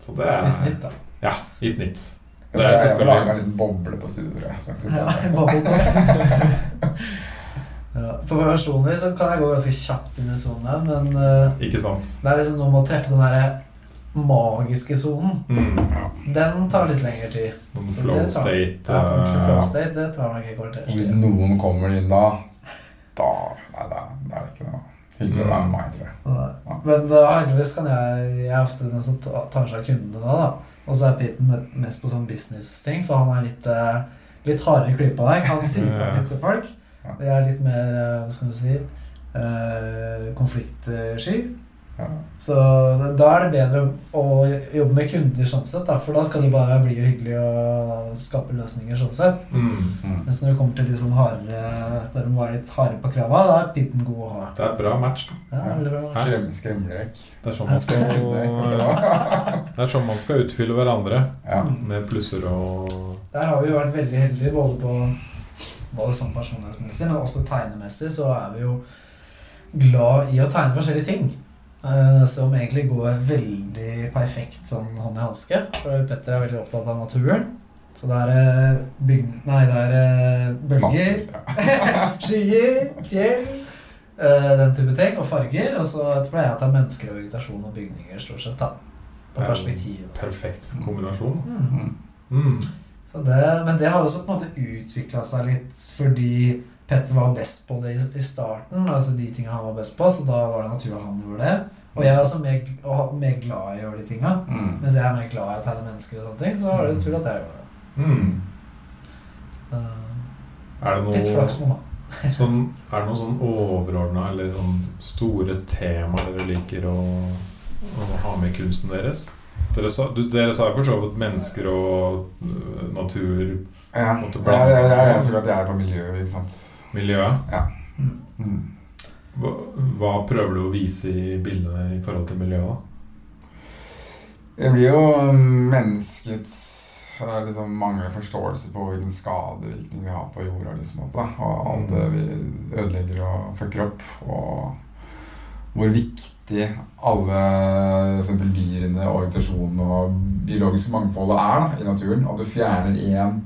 S1: Så det er
S2: I snitt, da.
S1: Ja, i snitt.
S3: Jeg
S1: Det
S3: tror
S1: er
S3: jeg må lage meg
S1: selvfølgelig
S3: en liten boble på studio. tror jeg, som jeg ikke
S2: Ja,
S3: sitter
S2: i
S3: på.
S2: boblen. ja, for meg personlig så kan jeg gå ganske kjapt inn i sonen, her, men eh,
S1: Ikke sant?
S2: det er liksom noe med å treffe den derre magiske sonen.
S1: Mm.
S2: Den tar litt lengre tid.
S1: Noen
S2: Så
S1: flow
S2: det tar-
S1: state
S2: Ja, ordentlig flow
S1: eh,
S2: state, det tar nok et kvarters
S3: Og hvis
S2: tid.
S3: noen kommer inn da, da Nei, da, da er det ikke noe hyggelig å være med meg, tror jeg.
S2: Nei. Men da heldigvis kan jeg Jeg er ofte den som ta- tar seg av kundene da, da. Og så er Pete me- mest på sånn business-ting, for han er litt, eh, litt hardere i klypa der. Kan si fra litt til folk.
S3: Ja.
S2: Det er litt mer, eh, hva skal du si, eh, konfliktsky.
S3: Ja.
S2: Så da er det bedre å jobbe med kunder sånn sett, da, for da skal det bare bli hyggelig og skape løsninger sånn sett.
S1: mm.
S3: Mm.
S2: Mens når det kommer til litt sånn hardere, der de var litt harde på krava, da er pitten god å ha.
S1: Det er et bra match. da.
S2: Ja,
S3: Ja.
S2: veldig bra.
S3: Skrem, skremlek.
S1: Det er sånn man skal, det er sånn man skal utfylle hverandre.
S3: Ja. Mm.
S1: Med plusser og
S2: Der har vi jo vært veldig heldige både på både sånn personlighetsmessig, men også tegnemessig, så er vi jo glad i å tegne forskjellige ting. eh, som egentlig går veldig perfekt sånn hånd i hanske. For Petter er veldig opptatt av naturen. Så det er eh, bygn... Nei, det er eh, bølger, skyer, fjell eh, Den type ting. Og farger. Og så pleier jeg å ta mennesker og vegetasjon og bygninger, stort sett. da
S1: Ja.
S2: Og perspektiv. og sånn.
S1: perfekt kombinasjon.
S2: Mm.
S3: Mm.
S1: Mm.
S2: Så det, men det har også på en måte utvikla seg litt fordi Petter var best på det i, i starten. altså de tingene han var best på, Så da var det naturlig at han gjorde det. Og jeg er også mer, og ha- mer glad i å gjøre de tinga.
S3: Mm.
S2: Mens jeg er mer glad i å tegne mennesker, og sånne ting, så da var det naturlig at jeg gjorde det.
S1: Mm.
S2: Uh,
S1: Er det
S2: litt
S1: noe
S2: flaks med meg.
S1: Sånn, er det noen sånn overordna eller sånn store temaer dere liker å, å ha med i kunsten deres? Dere sa, du, dere sa jo for så vidt mennesker og øh, natur,
S3: Ja.
S1: Måtte
S3: Ja,
S1: blande
S3: ja,
S1: seg.
S3: ja, ja, så klart jeg er på miljøet, ikke sant.
S1: miljø.
S3: Mm.
S1: Hva, hva prøver du å vise i bildene i forhold til miljøet?
S3: Det blir jo menneskets eh, liksom, mangler forståelse på hvilken skadevirkning vi har på jorda. Liksom, også, og alt det vi ødelegger og, for kropp, og hvor viktig alle for eksempel dyrene, organisasjonene og biologiske mangfoldet er da, i naturen. At du fjerner én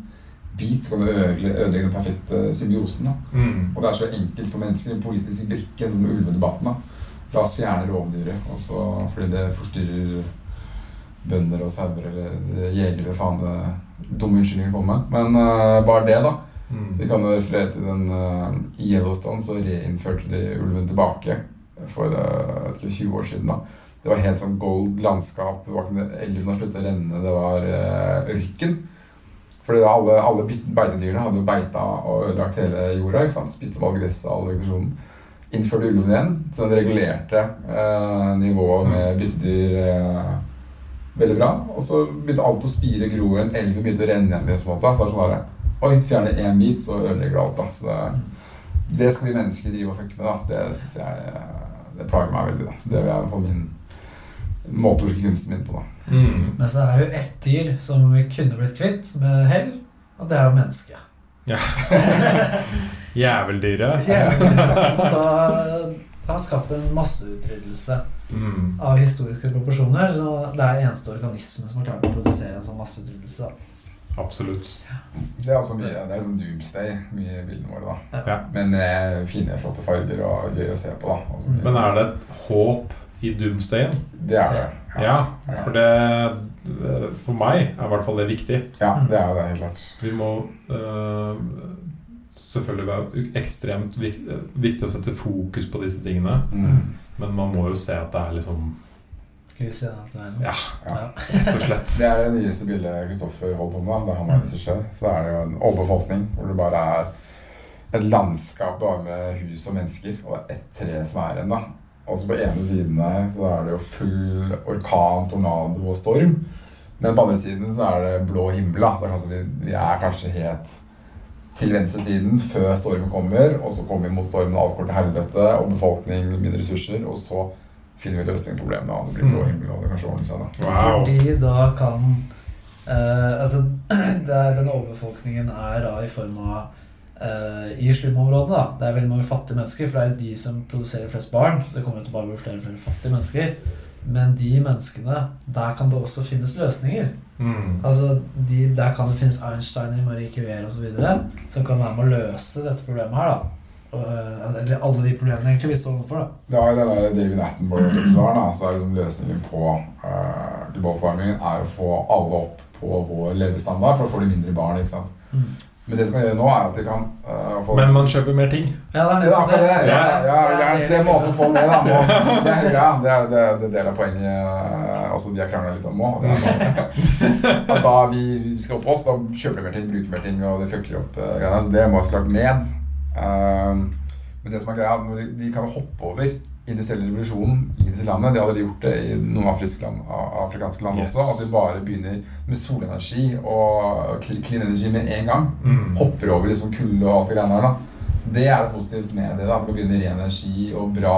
S3: bit, så kan du ødelegge, ødelegge den perfekte symbiosen. Da.
S1: da? Mm.
S3: Og det er så enkelt for mennesker, en sånn politisk brikke som ulvedebatten. da. La oss fjerne rovdyret, og så- fordi det forstyrrer bønder og sauer eller jegere, faen det dumme unnskyldninger kommer med. Men eh, bare det, da. Vi
S1: Mm.
S3: kan jo referere til den eh, i Yellowstone, så reinnførte de ulven tilbake for eh, jeg vet ikke, 20 år siden. da. Det var helt sånn gold landskap. det var ikke- Elven har sluttet å renne, det var eh, ørken. Fordi da alle, alle byt- beitedyrene hadde jo beita og ødelagt hele jorda. ikke sant? Spiste opp all gresset og all vegetasjonen. Innførte ulven igjen, så den regulerte eh, nivået med byttedyr eh, veldig bra. Og så begynte alt å spire, gro igjen. Elven begynte å renne igjen. i en måte. Det var sånn der, Oi, fjerne én bit, så ødelegger du alt. Da. Så det, det skal vi mennesker drive og fucke med. Da. Det synes jeg eh, det plager meg veldig. Da. Så det vil jeg få min måte å bruke kunsten min på. Da.
S1: Mm.
S2: Men så er det jo ett dyr som vi kunne blitt kvitt med hell, og det er jo mennesket.
S1: Jæveldyret.
S2: Som da har skapt en masseutryddelse
S1: Mm.
S2: av historiske proporsjoner. Så det er eneste organisme som har klart å produsere en sånn masseutryddelse. da.
S1: Absolutt.
S3: Det er altså mye, det er liksom doomsday mye i bildene våre. da.
S1: Ja.
S3: Men eh, fine, flotte farger og gøy å se på. da. Altså,
S1: Men er det et håp i doomsdayen?
S3: det er det.
S1: Ja, for det For meg er i hvert fall det viktig.
S3: ja, det er det helt klart.
S1: Vi må øh, selvfølgelig være u- ekstremt vik viktig å sette fokus på disse tingene,
S3: Mm.
S1: men man må jo se at det er liksom
S2: Lys i den tunnelen.
S1: Ja.
S2: Ja.
S1: rett og slett
S3: Det er det nyeste bildet Kristoffer holdt på med. Da han var regissør, så er det jo en overbefolkning hvor det bare er et landskap bare med hus og mennesker, og det er ett tre som er igjen, da. Og så på ene siden der så er det jo full orkan, tornado og storm. Men på andre siden så er det blå himmel, da. Så det er kanskje, vi, vi er kanskje helt til venstresiden før stormen kommer, og så kommer vi mot stormen og alt går til helvete, og befolkning mindre ressurser, og så finner vi løsning på problemene, og det blir blå himmel, og det kanskje ordner seg, da.
S1: Wow.
S2: Fordi da kan eh, Altså, det er, denne overbefolkningen er da i form av eh, I slumområdene, da. Det er veldig mange fattige mennesker, for det er jo de som produserer flest barn. Så det kommer jo til å bare bli flere og flere fattige mennesker. Men de menneskene, der kan det også finnes løsninger.
S1: Mm.
S2: Altså, de, Der kan det finnes Einsteiner, Marie Curie osv. som kan være med å løse dette problemet her. da. Og, eh, eller alle de problemene egentlig vi står overfor. da.
S3: Det er jo den der David Attenborough-dokumentaren. da, så er liksom løsningen på eh, global oppvarming er å få alle opp på vår levestandard, for da får de mindre barn. ikke sant?
S2: Mm.
S3: Men det som kan gjøre nå, er at de kan eh, få
S1: Men man kjøper mer ting.
S2: Ja, det er
S3: ja,
S2: nettopp
S3: akkurat det. Ja, ja,
S2: Det
S3: ja,
S2: er
S3: det må også få med, da. Må,
S2: det.
S3: det er ja, det er det, det er del av poenget eh, altså, vi har krangla litt om nå. det er sånn At da vi vi skal opp oss, da kjøper de mer ting, bruker mer ting, og det fucker opp eh, greiene. Så det må så klart ned. Ehm, men det som er greia, er at når de, de kan hoppe over industrielle revolusjonen i disse landene. Det hadde de gjort det i noen afrikanske land, a- afrikanske land også.
S1: Yes.
S3: At de bare begynner med solenergi og cl- clean energy med en gang
S1: Mm.
S3: hopper over liksom kulde og alt det greiene der. da. Det er det positivt med det. da, At vi begynner ren energi og bra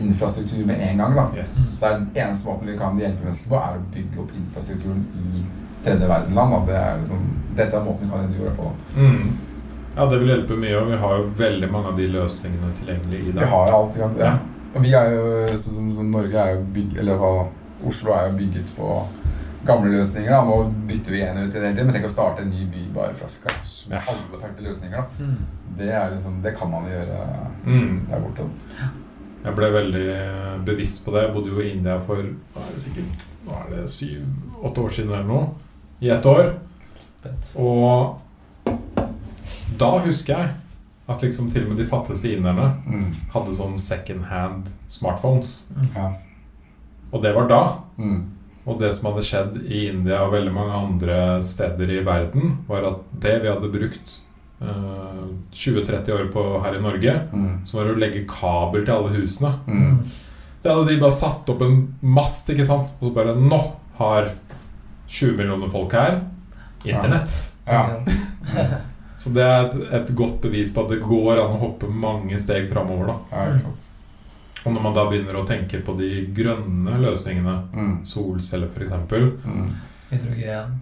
S3: infrastruktur med en gang. da.
S1: Yes.
S3: Så er den eneste måten vi kan hjelpe mennesker på, er å bygge opp infrastrukturen i tredje verden-land. da. Det er liksom, dette er måten vi kan redde jorda på. da.
S1: Mm. Ja, det vil hjelpe mye, og vi har jo veldig mange av de løsningene tilgjengelig i
S3: Vi
S1: dag.
S3: har jo alt. ikke sant?
S1: Ja.
S3: Ja. Og vi er jo, sånn som, som Norge er jo bygg, eller hva, Oslo er jo bygget på gamle løsninger. da. Nå bytter vi en ut i det hele tiden, men tenk å starte en ny by bare fra scratch. Med
S1: Ja.
S3: alle perfekte løsninger. da.
S2: Mm.
S3: Det, er liksom, det kan man jo gjøre
S1: Mm.
S3: der borte. da.
S1: Jeg ble veldig eh, bevisst på det. Jeg bodde jo i India for hva er det sikkert hva er det, syv-åtte år siden eller noe. I ett år.
S2: Fett.
S1: Og da husker jeg at liksom til og med de fattigste inderne
S3: Mm.
S1: hadde sånn second hand smartphones.
S3: Ja.
S1: Og det var da.
S3: Mm.
S1: Og det som hadde skjedd i India og veldig mange andre steder i verden, var at det vi hadde brukt eh, 20-30 år på her i Norge,
S3: Mm.
S1: så var det å legge kabel til alle husene.
S3: Mm.
S1: Det hadde de bare satt opp en mast, ikke sant? Og så bare Nå har 20 millioner folk her Internett.
S3: Ja.
S1: Så det er et, et godt bevis på at det går an å hoppe mange steg framover. da.
S3: ja, ikke sant.
S1: Og når man da begynner å tenke på de grønne løsningene,
S3: Mm.
S1: solceller f.eks.,
S3: Mm.
S2: Hydrogen.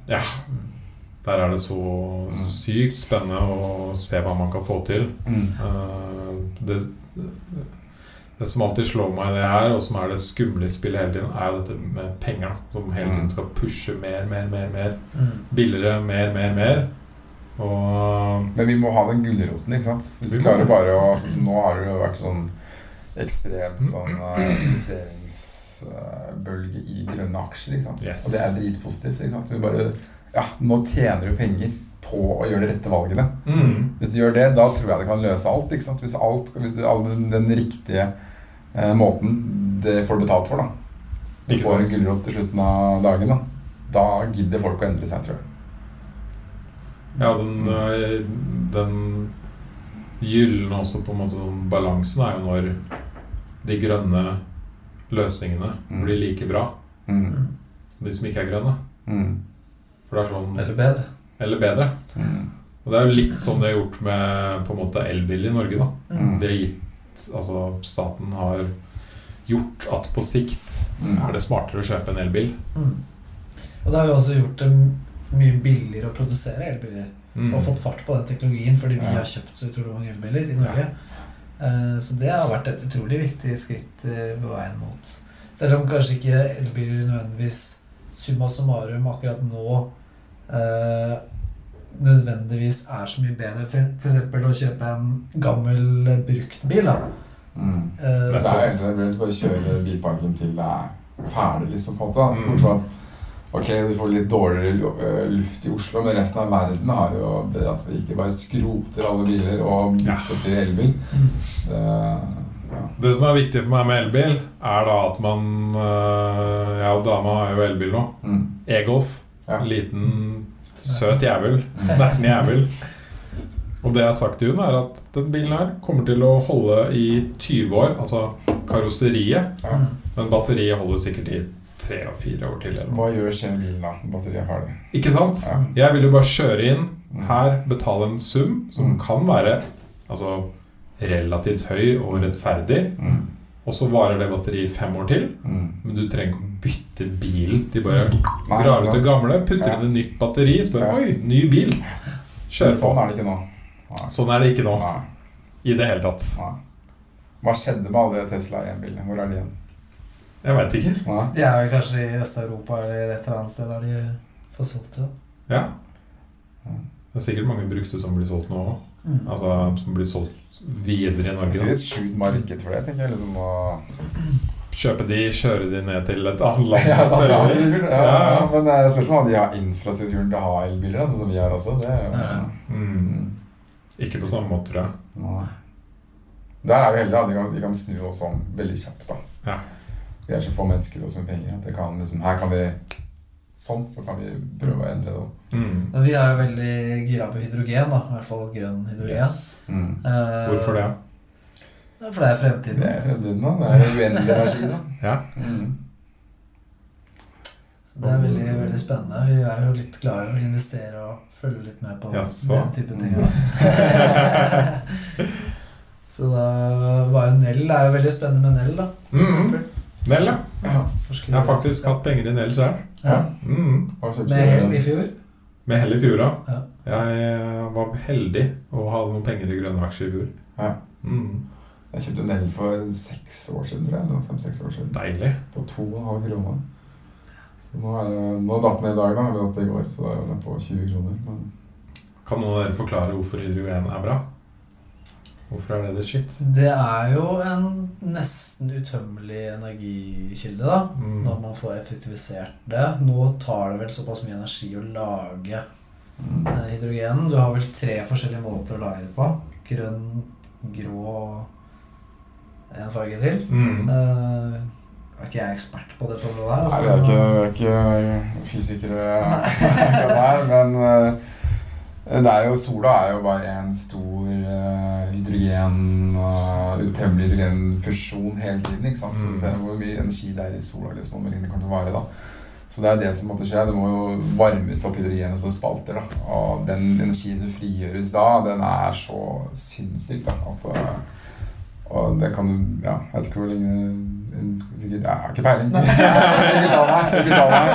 S1: der er det så sykt spennende å se hva man kan få til.
S3: Mm.
S1: Eh, det, det som alltid slår meg i det her, og som er det skumle i spillet hele tiden, er jo dette med penger. da, Som hele tiden skal pushe mer, mer, mer. mer
S2: Mm.
S1: Billigere, mer, mer, mer. Og
S3: Mm. Men vi må ha den gulroten, ikke sant? Hvis vi klarer bare å altså, Nå har det jo vært sånn ekstrem sånn eh, investeringsbølge i grønne aksjer. ikke sant?
S1: Yes.
S3: Og det er dritpositivt. ikke sant? Vi bare, ja, Nå tjener du penger på å gjøre de rette valgene.
S1: Mm.
S3: Hvis du gjør det, da tror jeg det kan løse alt. ikke sant? Hvis, alt, hvis det, all den, den riktige eh, måten det får du betalt for, da. Du
S1: Ikke
S3: får en
S1: sant.
S3: gulrot til slutten av dagen. Da Da gidder folk å endre seg, tror jeg.
S1: Ja, den, eh, den gylne også på en måte sånn balansen er jo når de grønne løsningene
S3: Mm.
S1: blir like bra
S3: Mm.
S1: som de som ikke er grønne.
S3: Mm.
S1: For det er sånn
S2: Eller bedre.
S1: Eller bedre.
S3: Mm.
S1: Og det er jo litt sånn det er gjort med på en måte elbil i Norge, da.
S3: Mm.
S1: Det er gitt Altså, staten har gjort at på sikt
S3: Mm.
S1: er det smartere å kjøpe en elbil.
S2: Mm. Og da har vi også gjort det m- mye billigere å produsere elbiler.
S1: Mm.
S2: Og fått fart på den teknologien fordi vi
S3: Ja.
S2: har kjøpt så utrolig mange elbiler i Norge. Eh, Så det har vært et utrolig viktig skritt eh, på veien mot Selv om kanskje ikke elbiler nødvendigvis summa summarum akkurat nå eh, nødvendigvis er så mye bedre for for eksempel å kjøpe en gammel eh, bruktbil. da.
S3: Mm.
S2: Eh,
S3: Men det
S2: så-
S3: er jo egentlig selvfølgelig bare å kjøre bilparken til det er ferdig, liksom, på en måte. da.
S1: Mm.
S3: Bortsett fra at ok, du får litt dårligere lu- øh, luft i Oslo, men resten av verden har jo det at vi ikke bare skroter alle biler og bytter til elbil.
S2: Mm.
S3: Det, ja.
S1: Det som er viktig for meg med elbil, er da at man øh, Jeg og dama har jo elbil nå.
S3: Mm.
S1: E-Golf.
S3: Ja.
S1: Liten, søt jævel. Snerten jævel. Og det jeg har sagt til hun, er at den bilen her kommer til å holde i 20 år. Altså karosseriet.
S3: Ja.
S2: Mm.
S1: Men batteriet holder sikkert i tre og fire år til. Eller noe.
S3: Hva gjør skjer bilen da? Batteriet er ferdig.
S1: Ikke sant?
S3: Ja.
S1: Jeg vil jo bare kjøre inn
S3: Mm.
S1: her, betale en sum som
S3: Mm.
S1: kan være altså, relativt høy og rettferdig.
S3: Mm.
S1: Og så varer det batteriet i fem år til.
S3: Mm.
S1: Men du trenger ikke å bytte bilen. De bare
S3: Nei,
S1: drar ut
S3: sant.
S1: det gamle, putter
S3: Ja.
S1: inn et nytt batteri, så bare
S3: Ja.
S1: Oi, ny bil!
S3: Men
S1: Kjør på.
S3: Sånn er det ikke nå. Nei.
S1: Sånn er det ikke nå.
S3: Nei.
S1: I det hele tatt.
S3: Nei. Hva skjedde med alle Tesla 1-bilene? Hvor er de igjen?
S1: Jeg veit ikke.
S3: Nei.
S2: De er vel kanskje i Øst-Europa eller et eller annet sted der de får solgt det.
S1: Ja. Det er sikkert mange brukte som blir solgt nå òg.
S2: Mm.
S1: Altså som blir solgt videre i
S3: Det er
S1: Norge.
S3: et sjukt marked for det, tenker jeg. liksom å...
S1: Da. Kjøpe de, kjøre de ned til et annet land.
S3: Ja, da, ja,
S1: selge de.
S3: elbil, ja,
S1: Ja,
S3: ja.
S1: ja.
S3: Men eh, spørsmålet er om de har infrastrukturen til å ha elbiler, da, sånn som vi har også. Det, er jo-
S2: Ja, ja.
S1: Mm.
S3: Mm.
S1: Ikke på samme måte, tror jeg.
S3: Nei. Der er vi heldige. da. De kan, de kan snu oss om veldig kjapt. da.
S1: Ja.
S3: Vi er så få mennesker og så mye penger. at det kan, liksom, her kan vi sånn, så kan vi prøve å endre det. da.
S1: Mm.
S2: Men vi er jo veldig gira på hydrogen, da. I hvert fall grønn hydrogen.
S1: Yes.
S3: Mm.
S2: Eh,
S1: Hvorfor det?
S2: Ja, For det er fremtiden.
S3: Det er jo den, da. Det er jo uendelig energi, da.
S1: Ja.
S3: Mm.
S2: Så Det er veldig, veldig spennende. Vi er jo litt klare å investere og følge litt med på
S1: Jaså.
S2: den type ting. da. Så da var jo Nell er jo veldig spennende med Nell, da. for
S1: Mm.
S2: eksempel.
S1: Nell, ja.
S3: Ja.
S2: Forsker-
S1: Jeg har faktisk hatt penger i Nell sjøl.
S2: ja.
S1: Mm.
S3: Hva kjøpte
S2: Med Hell i
S3: du?
S2: fjor.
S1: Med hell i fjor, ja.
S2: Ja.
S1: Jeg var heldig og hadde noen penger i grønne aksjer i fjor.
S3: Ja.
S1: Mm.
S3: Jeg kjøpte en el for seks år siden, tror jeg. eller Fem-seks år siden.
S1: Deilig.
S3: på 2,5 kroner. Så nå, er, det- nå datt den i dag, da. Eller datt det i går, så da er den på 20 kroner. Men
S1: Kan noen av dere forklare hvorfor hydrogen er bra? Hvorfor er det det shit?
S2: Det er jo en nesten utømmelig energikilde, da.
S1: Mm.
S2: Når man får effektivisert det. Nå tar det vel såpass mye energi å lage
S3: mm,
S2: eh, hydrogenen. Du har vel tre forskjellige måter å lage det på. Grønn, grå og en farge til.
S1: Mm.
S2: Eh, er ikke jeg ekspert på dette området her.
S3: Nei, vi
S2: altså.
S3: er ikke, vi er ikke fysikere akkurat her, men eh, det er jo, sola er jo bare en stor eh, hydrogen eh, utemmelig hydrogenfusjon hele tiden. ikke sant? Så
S1: Mm.
S3: vi ser hvor mye energi det er i sola liksom, og hvor lenge det kommer til å vare. da. Så det er det som måtte skje. Det må jo varmes opp hydrogenet så det spalter. da. Og den energien som frigjøres da, den er så sinnssyk da, at eh, og det kan du Ja, jeg vet ikke hvor lenge en- Sikkert Jeg har ikke peiling. Jeg vil ikke ta meg, jeg vil ikke ta meg.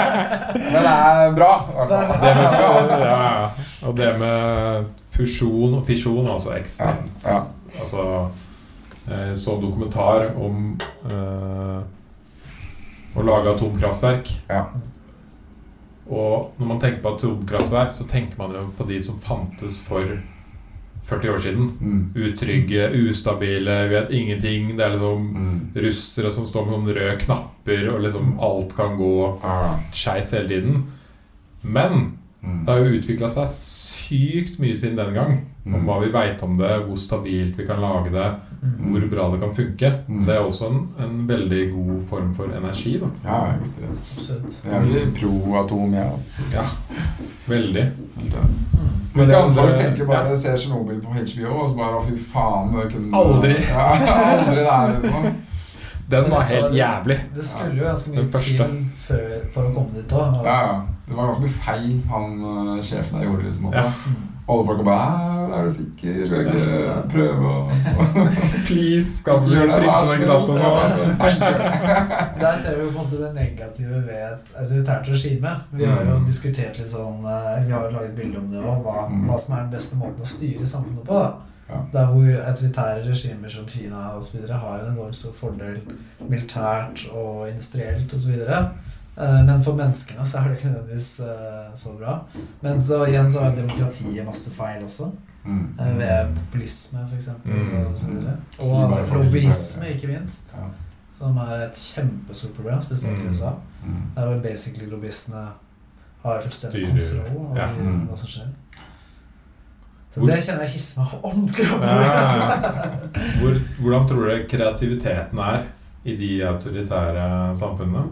S3: Men det er bra. i hvert
S1: Det
S3: fall.
S1: med, ja, ja. Og det med fusjon og fisjon, altså ekstremt
S3: Ja, ja.
S1: Altså eh, Jeg så dokumentar om eh, å lage atomkraftverk.
S3: Ja.
S1: Og når man tenker på atomkraftverk, så tenker man jo på de som fantes for 40 år siden.
S3: Mm.
S1: Utrygge, ustabile, vet ingenting. Det er liksom
S3: Mm.
S1: russere som står med noen røde knapper, og liksom alt kan gå
S3: Ah,
S1: skeis hele tiden. Men
S3: mm.
S1: det har jo utvikla seg sykt mye siden den gang. Om
S3: Mm.
S1: hva vi veit om det, hvor stabilt vi kan lage det,
S2: Mm,
S1: hvor bra det kan funke.
S3: Mm.
S1: Det er også en, en veldig god form for energi. Da.
S3: Ja, ekstremt.
S2: Absolutt.
S3: Jeg er veldig pro-atom, jeg. Altså.
S1: Veldig.
S3: Helt enig.
S2: Mm.
S3: Men det, folk tenker bare ser Tsjernobyl på HBO og så bare å, fy faen det kunne
S1: Aldri.
S3: Mm. Ja, aldri det er liksom.
S1: Den var
S2: Men
S1: helt
S2: så-
S1: jævlig.
S2: Det skulle jo ganske mye
S1: Den første.
S2: til før, for å komme dit òg.
S3: Ja, ja. Det var ganske mye feil han eh, sjefen der gjorde. liksom.
S1: Ja.
S3: Ja.
S2: Mm.
S3: Alle folk bare «Æ, Er du sikker? Skal jeg ikke prøve å
S1: Please, skal du
S3: Gjør det,
S1: trykke på
S3: vær så
S1: den
S3: god.
S1: knappen nå?
S2: Der ser vi jo på en måte det negative ved et autoritært regime. Vi har jo
S3: Mm.
S2: diskutert litt sånn eh, Vi har jo laget bilde om det òg, hva,
S3: Mm.
S2: hva som er den beste måten å styre samfunnet på. da.
S3: Ja.
S2: Der hvor autoritære regimer som Kina og så videre har jo en enorm stor fordel militært og industrielt osv. Men for menneskene så er det ikke nødvendigvis eh, så bra. Men så igjen så har demokratiet masse feil også.
S3: Mm.
S2: Eh, Ved populisme, f.eks.
S1: Mm.
S2: Og, så videre.
S3: Så de bare
S2: og
S3: får
S2: lobbyisme,
S3: litt-
S2: ikke minst.
S3: Ja.
S2: Som er et kjempestort problem, spesielt i
S1: Mm.
S2: USA.
S3: Mm.
S2: Det er vel basically lobbyistene har fullstendig
S1: Styrer.
S2: kontroll over
S1: Ja.
S3: Mm.
S2: hva som skjer. Så
S1: Hvor- Ah.
S2: det kjenner jeg hisser meg ordentlig opp over. altså.
S1: Ja. Hvor, hvordan tror dere kreativiteten er i de autoritære samfunnene?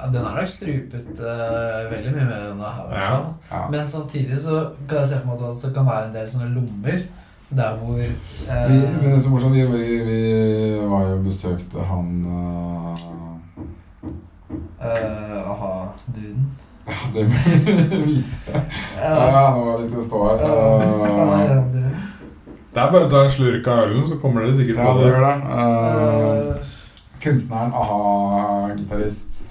S2: Ja, den har nok strupet eh, veldig mye mer enn det her. i hvert
S1: Ja.
S2: fall.
S3: Ja.
S2: Men samtidig så kan jeg se for meg at det kan være en del sånne lommer der hvor eh,
S3: Vi, men det er så morsomt, vi, vi, vi var jo og besøkte han eh,
S2: eh, Aha, duden.
S3: Ja, det blir lite Ja,
S2: Ja,
S3: ja, nå var det litt å stå her.
S2: hva er
S3: Eh,
S2: den duden?
S1: Det er bare å ta en slurk av ølen, så kommer dere sikkert
S3: ja,
S1: på
S3: det
S1: det.
S3: gjør det.
S2: Eh,
S3: Eh, kunstneren a-ha-gitarist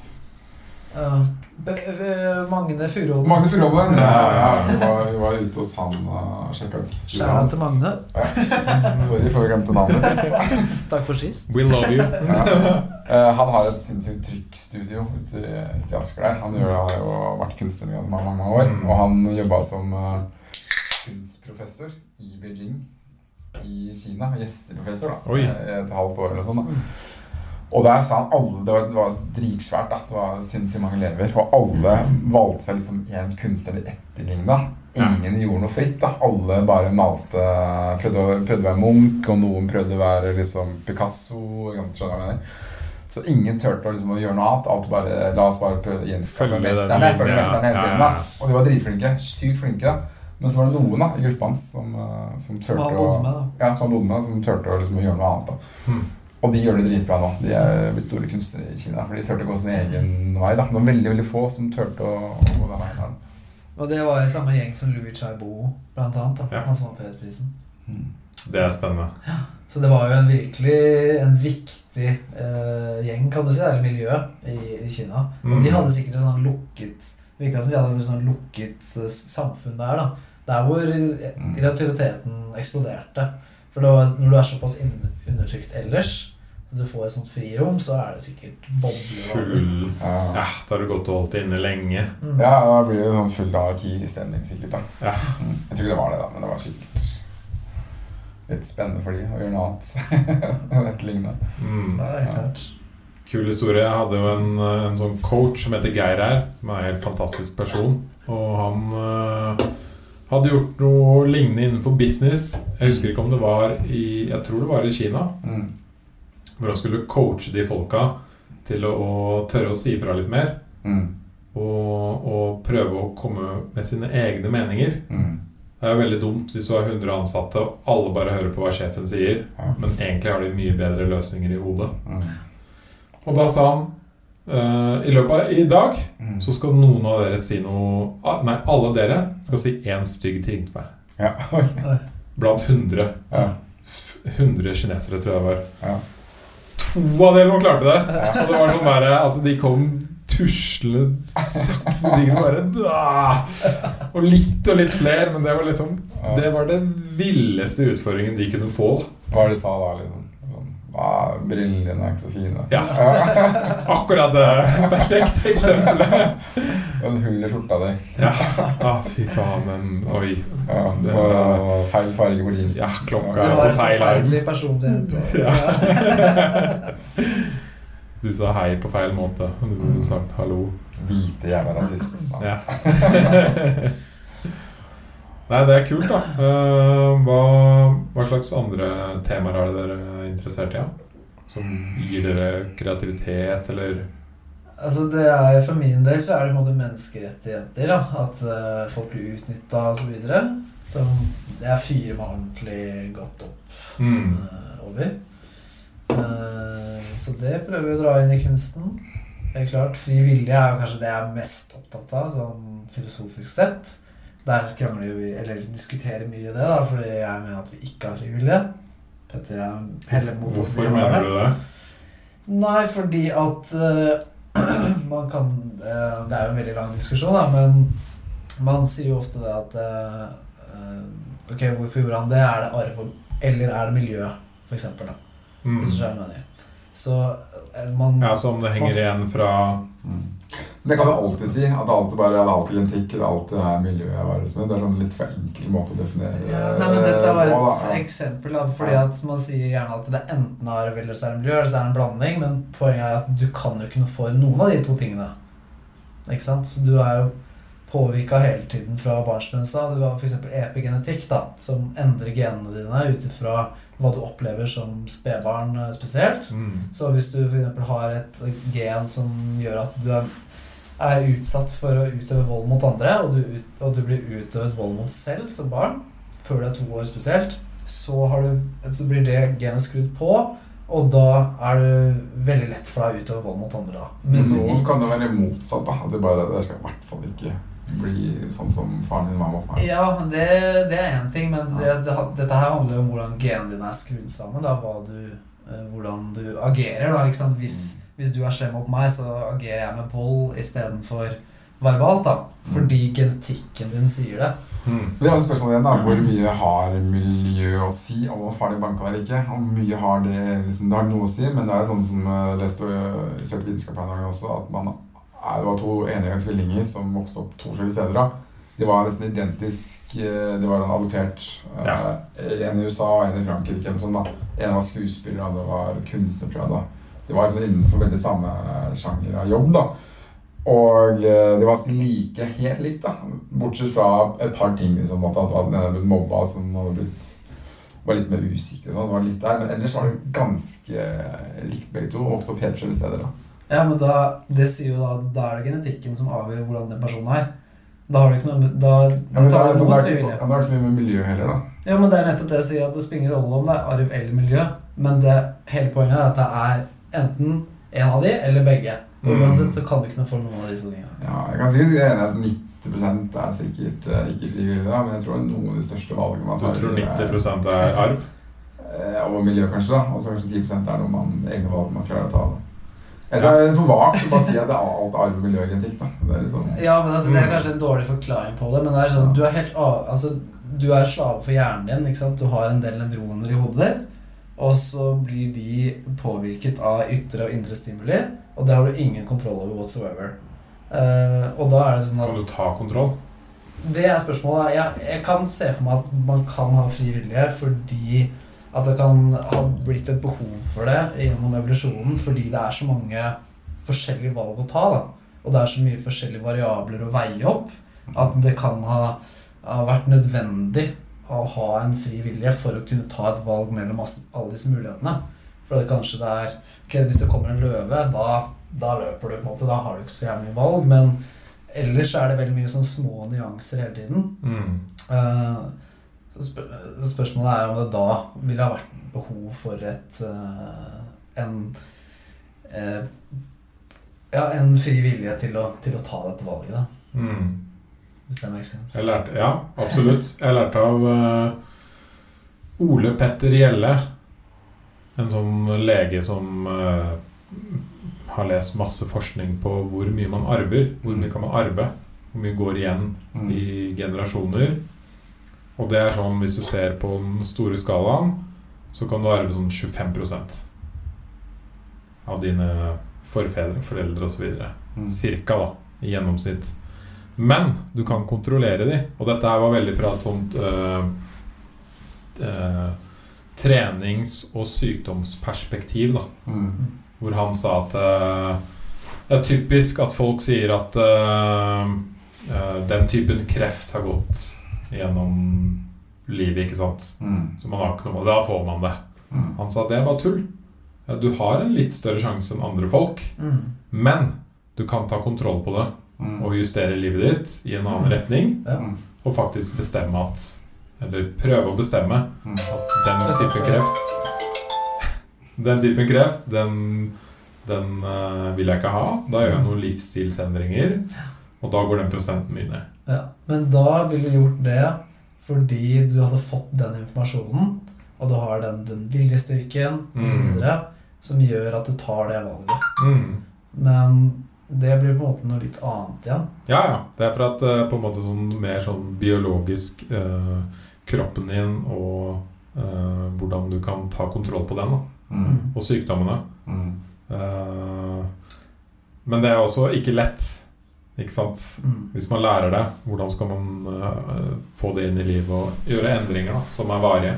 S2: ja. Be- be- Magne Furuholm.
S3: Magne Furuholme.
S1: Ja.
S3: Ja, ja, vi, var- vi var ute hos han eh, og sjekka ut studioet
S2: Skjæra
S3: hans.
S2: til Magne.
S3: Sorry for å glemte navnet.
S2: Takk for sist.
S1: We love you.
S3: Ja. Eh, Han har et sinnssykt trykkstudio ute i ute i Asker der. Han gjør, har jo vært kunstner i mange, mange år,
S1: Mm.
S3: og han jobba som eh, kunstprofessor i Beijing i Kina. Gjesteprofessor, da.
S1: Oi.
S3: eh, Et halvt år eller sånn, da. Og der sa han alle Det var, det var dritsvært, da. Det var sinnssykt mange elever. Og alle valgte seg liksom én kunstner de etterligna. Ingen gjorde noe fritt. da Alle bare malte Prøvde å, prøvde å være Munch, og noen prøvde å være liksom Picasso. ikke sant, skjønner du hva jeg mener? Så ingen turte å, liksom, å gjøre noe annet. Alt bare, la oss bare prøve å gjenskape
S1: Følge
S3: mesteren.
S1: den
S3: jeg følger
S1: linja.
S3: mesteren hele
S1: Ja,
S3: tiden,
S1: ja, ja.
S3: da. Og de var dritflinke. Sykt flinke. da Men så var det noen da, i gruppa hans som, eh, som
S2: Som
S3: turte
S2: han
S3: å
S2: bodde med, da.
S3: ja, som han bodde med, som turte å liksom, gjøre noe annet. da
S1: Hmm.
S3: Og de gjør det dritbra nå. De er blitt store kunstnere i Kina. For de turte å gå sin egen vei. da Men veldig veldig få som turte å, å gå den veien. da.
S2: Og det var i samme gjeng som Louis Chaibo, blant annet. Da.
S1: Ja.
S2: Han som vant fredsprisen.
S3: Mm.
S1: Det er spennende.
S2: Så det var jo en virkelig en viktig eh, gjeng, kan du si, eller miljø, i, i Kina. Og de
S1: Mm.
S2: hadde sikkert et sånn lukket Virka som de hadde et sånn lukket eh, samfunn der, da. Der hvor eh,
S3: Mm.
S2: kreativiteten eksploderte. For det var, når du er såpass inn- undertrykt ellers, og du får et sånt frirom, så er det sikkert bobler. og-
S1: Full
S3: Ja.
S1: Ja, da har du gått og holdt det inne lenge.
S2: Mm.
S3: Ja, da blir det sånn full anarkistemning sikkert. da
S1: Ja.
S3: Mm. Jeg tror ikke det var det, da, men det var sikkert litt spennende for de å gjøre noe annet. enn dette lignende.
S1: Mm.
S2: Det er helt klart.
S1: Kul historie. Jeg hadde jo en, eh, en sånn coach som heter Geir her, som er en helt fantastisk person. Og han eh, hadde gjort noe lignende innenfor business. Jeg husker ikke om det var i Jeg tror det var i Kina.
S3: Mm.
S1: Hvor han skulle coache de folka til å, å tørre å si fra litt mer.
S3: Mm.
S1: Og, og prøve å komme med sine egne meninger.
S3: Mm.
S1: Det er jo veldig dumt hvis du har 100 ansatte og alle bare hører på hva sjefen sier,
S3: Ja.
S1: men egentlig har de mye bedre løsninger i hodet.
S3: Mm.
S1: Og da sa han eh, i løpet av i dag
S3: Mm.
S1: så skal noen av dere si noe ah, Nei, alle dere skal si én stygg ting til meg.
S3: Ja. Oi.
S1: Blant 100.
S3: Ja.
S1: f- 100 kinesere, tror jeg det var.
S3: Ja.
S1: To av dem som klarte det!
S3: Ja.
S1: Og det var sånn der, altså De kom tuslende sakte, men sikkert bare da. Og litt og litt flere, men det var liksom
S3: Ja.
S1: Det var den villeste utfordringen de kunne få.
S3: Hva var det de sa da, liksom? Sånn, Ah, brillene dine er ikke så fine.
S1: Ja. Akkurat eh, det perfekte eksempelet.
S3: Og en Sånn hull i skjorta di.
S1: Ja. Ah, fy faen, men oi.
S3: Ja,
S1: Det-
S3: og feil farge på jeansen.
S1: Ja, klokka
S2: Du
S1: er
S2: har
S1: på
S2: en
S1: feil arm.
S2: forferdelig personlighet.
S1: Ja. Du sa hei på feil måte. Du
S2: Mm.
S1: burde sagt hallo.
S3: Hvite jævla rasist.
S1: Ja. Nei, det er kult, da. Eh, Hva, hva slags andre temaer er det dere er interessert i? da? Som
S3: Sånn.
S1: gir dere kreativitet, eller
S2: Altså det er, For min del så er det på en måte menneskerettigheter. Da. At eh, folk blir utnytta osv. Som jeg fyrer meg ordentlig godt opp
S1: mm.
S2: eh, over. Eh, så det prøver vi å dra inn i kunsten. Det er klart, Fri vilje er jo kanskje det jeg er mest opptatt av, sånn filosofisk sett. Der krangler jo vi, eller diskuterer mye det, da, fordi jeg mener at vi ikke har fri vilje. Petter er heller mot at vi
S1: Hvorfor
S2: har det.
S1: mener du det?
S2: Nei, fordi at eh, man kan eh, Det er jo en veldig lang diskusjon, da, men man sier jo ofte det at eh, eh, Ok, hvorfor gjorde han det? Er det arv eller er det miljø, for eksempel, da?
S1: Mm.
S2: Hvis du skjønner hva jeg mener. Så eh, man
S1: Ja, så om det henger igjen fra
S3: Mm. Det kan du alltid si. At det alltid bare det er alltid lentikk, det er alltid er miljøet jeg var ute med. Det er sånn litt for enkel måte å definere
S2: ja, nei, men Dette var
S3: det på,
S2: et
S3: da.
S2: eksempel. Da, fordi
S3: Ja.
S2: at Man sier gjerne at det er enten arv eller så er det miljø, eller så er det en blanding. Men poenget er at du kan jo ikke noe for noen av de to tingene. Ikke sant? Så Du er jo påvirka hele tiden fra barnsbensa. Du har f.eks. epigenetikk, da, som endrer genene dine ut ifra hva du opplever som spedbarn eh, spesielt.
S1: mm.
S2: Så hvis du f.eks. har et gen som gjør at du er, er utsatt for å utøve vold mot andre, og du, ut, og du blir utøvet vold mot selv som barn, før du er to år spesielt, så, har du, så blir det genet skrudd på, og da er det veldig lett for deg å utøve vold mot andre. da.
S3: Men
S2: Mens du
S3: noen
S2: ikke-
S3: kan det være motsatt. da. At det bare det skal i hvert fall ikke bli sånn som faren din var mot meg.
S2: Ja, det, det er én ting, men det, det, dette her handler jo om hvordan genene dine er skrudd sammen. Da, hva du, eh, hvordan du agerer. Da, ikke sant? Hvis,
S3: Mm.
S2: hvis du er slem mot meg, så agerer jeg med vold istedenfor verbalt.
S3: Mm.
S2: Da. Fordi genetikken din sier det.
S1: Mm.
S3: Men det er jo spørsmålet igjen da, Hvor mye har miljø å si? Om man ferdig banka eller ikke? Hvor mye har det liksom, Det har noe å si, men det er jo sånn som eh, jeg leste og research vitenskap her en gang også, at man er, det var to enige tvillinger som vokste opp to forskjellige steder. da. De var nesten identisk, eh, de var sånn adoptert. eh,
S1: Ja.
S3: En i USA og en i Frankrike. eller sånn da. En var skuespiller, og det var kunstner, tror jeg. da. Så de var liksom innenfor veldig samme sjanger av jobb. da. Og eh, de var ganske like, helt likt, da. Bortsett fra et par ting. Liksom, at at den ene hadde blitt mobba, som hadde blitt var litt mer usikker. og Sånn, så var det litt der, Men ellers var det ganske likt begge to. og Også på helt forskjellige steder. da.
S2: Ja, men da, det sier jo da at da er det genetikken som avgjør hvordan den personen er. Da har du ikke noe med- Da
S3: Ja, men det,
S2: tar
S3: er,
S2: du
S3: det,
S2: noe
S3: er ikke så,
S2: styring.
S3: ja, det er ikke så mye med miljø heller, da.
S2: Ja, men det er nettopp det jeg sier, at det spiller ingen rolle om det er arv eller miljø. Men det, hele poenget er at det er enten en av de, eller begge. Og
S1: Mm.
S2: uansett så kan du ikke noe for noen av de to tingene.
S3: Ja, jeg kan sikkert være enig i at 90 er sikkert eh, ikke frivillig, da, men jeg tror noen av de største valgene man
S1: Du
S3: tar i
S1: tror
S3: livet er-
S1: 90 er arv?
S3: Eh, og miljø, kanskje. da, Og så kanskje 10 er noe man egne valg man klarer å ta. da. Jeg synes det er for vagt å bare si at det er alt arv og miljøgenetikk. da. Det er liksom...
S2: Ja, men altså, Det er
S1: Mm.
S2: kanskje en dårlig forklaring på det, men det er sånn,
S3: Ja.
S2: du er helt av, altså, du er slave for hjernen din. ikke sant? Du har en del nevroner i hodet ditt, og så blir de påvirket av ytre og indre stimuli, og det har du ingen kontroll over whatsoever. Eh, og da er det sånn at
S1: Kan du ta kontroll?
S2: Det er spørsmålet. Jeg, jeg kan se for meg at man kan ha fri vilje fordi at det kan ha blitt et behov for det gjennom evolusjonen fordi det er så mange forskjellige valg å ta. da. Og det er så mye forskjellige variabler å veie opp at det kan ha, ha vært nødvendig å ha en fri vilje for å kunne ta et valg mellom masse, alle disse mulighetene. For det kanskje det er ok, Hvis det kommer en løve, da, da løper du. på en måte, Da har du ikke så jævlig mye valg. Men ellers er det veldig mye sånn små nyanser hele tiden.
S1: Mm.
S2: Eh, så spør så spørsmålet er om det da ville ha vært behov for et eh, en eh, ja, en fri vilje til å, til å ta dette valget, da.
S1: Mm.
S2: Hvis det makes sense.
S1: Jeg lærte, ja, absolutt. Jeg lærte av eh, Ole Petter Gjelle, en sånn lege som eh, har lest masse forskning på hvor mye man arver, hvor mye kan man arve, hvor mye går igjen
S3: Mm.
S1: i generasjoner. Og det er sånn, hvis du ser på den store skalaen, så kan du arve sånn 25 av dine forfedre, foreldre osv.
S3: Mm.
S1: Cirka, da. I gjennomsnitt. Men du kan kontrollere de. Og dette her var veldig fra et sånt eh, eh, trenings- og sykdomsperspektiv, da.
S3: Mm.
S1: Hvor han sa at eh, det er typisk at folk sier at eh, eh, den typen kreft har gått gjennom livet, ikke sant.
S3: Mm.
S1: Så man har ikke noe Da får man det.
S3: Mm.
S1: Han sa det er bare tull. Ja, Du har en litt større sjanse enn andre folk,
S2: Mm.
S1: men du kan ta kontroll på det
S3: Mm.
S1: og justere livet ditt i en annen retning
S2: Ja.
S3: Mm.
S1: og faktisk bestemme at Eller prøve å bestemme
S3: Mm.
S1: at den type kreft Den typen kreft, den, den eh, vil jeg ikke ha. Da gjør jeg noen livsstilsendringer, og da går den prosenten mye ned.
S2: Ja, men da ville du gjort det fordi du hadde fått den informasjonen, og du har den, den viljestyrken og så
S1: Mm.
S2: videre, som gjør at du tar det valget.
S1: Mm.
S2: Men det blir på en måte noe litt annet igjen.
S1: Ja, ja. Det er for at eh, på en måte sånn mer sånn biologisk eh, Kroppen din og eh, hvordan du kan ta kontroll på den, da.
S3: Mm.
S1: Og sykdommene.
S3: Mm.
S1: Eh, men det er også ikke lett, ikke sant?
S2: Mm.
S1: Hvis man lærer det, hvordan skal man eh, få det inn i livet og gjøre endringer da, som er varige?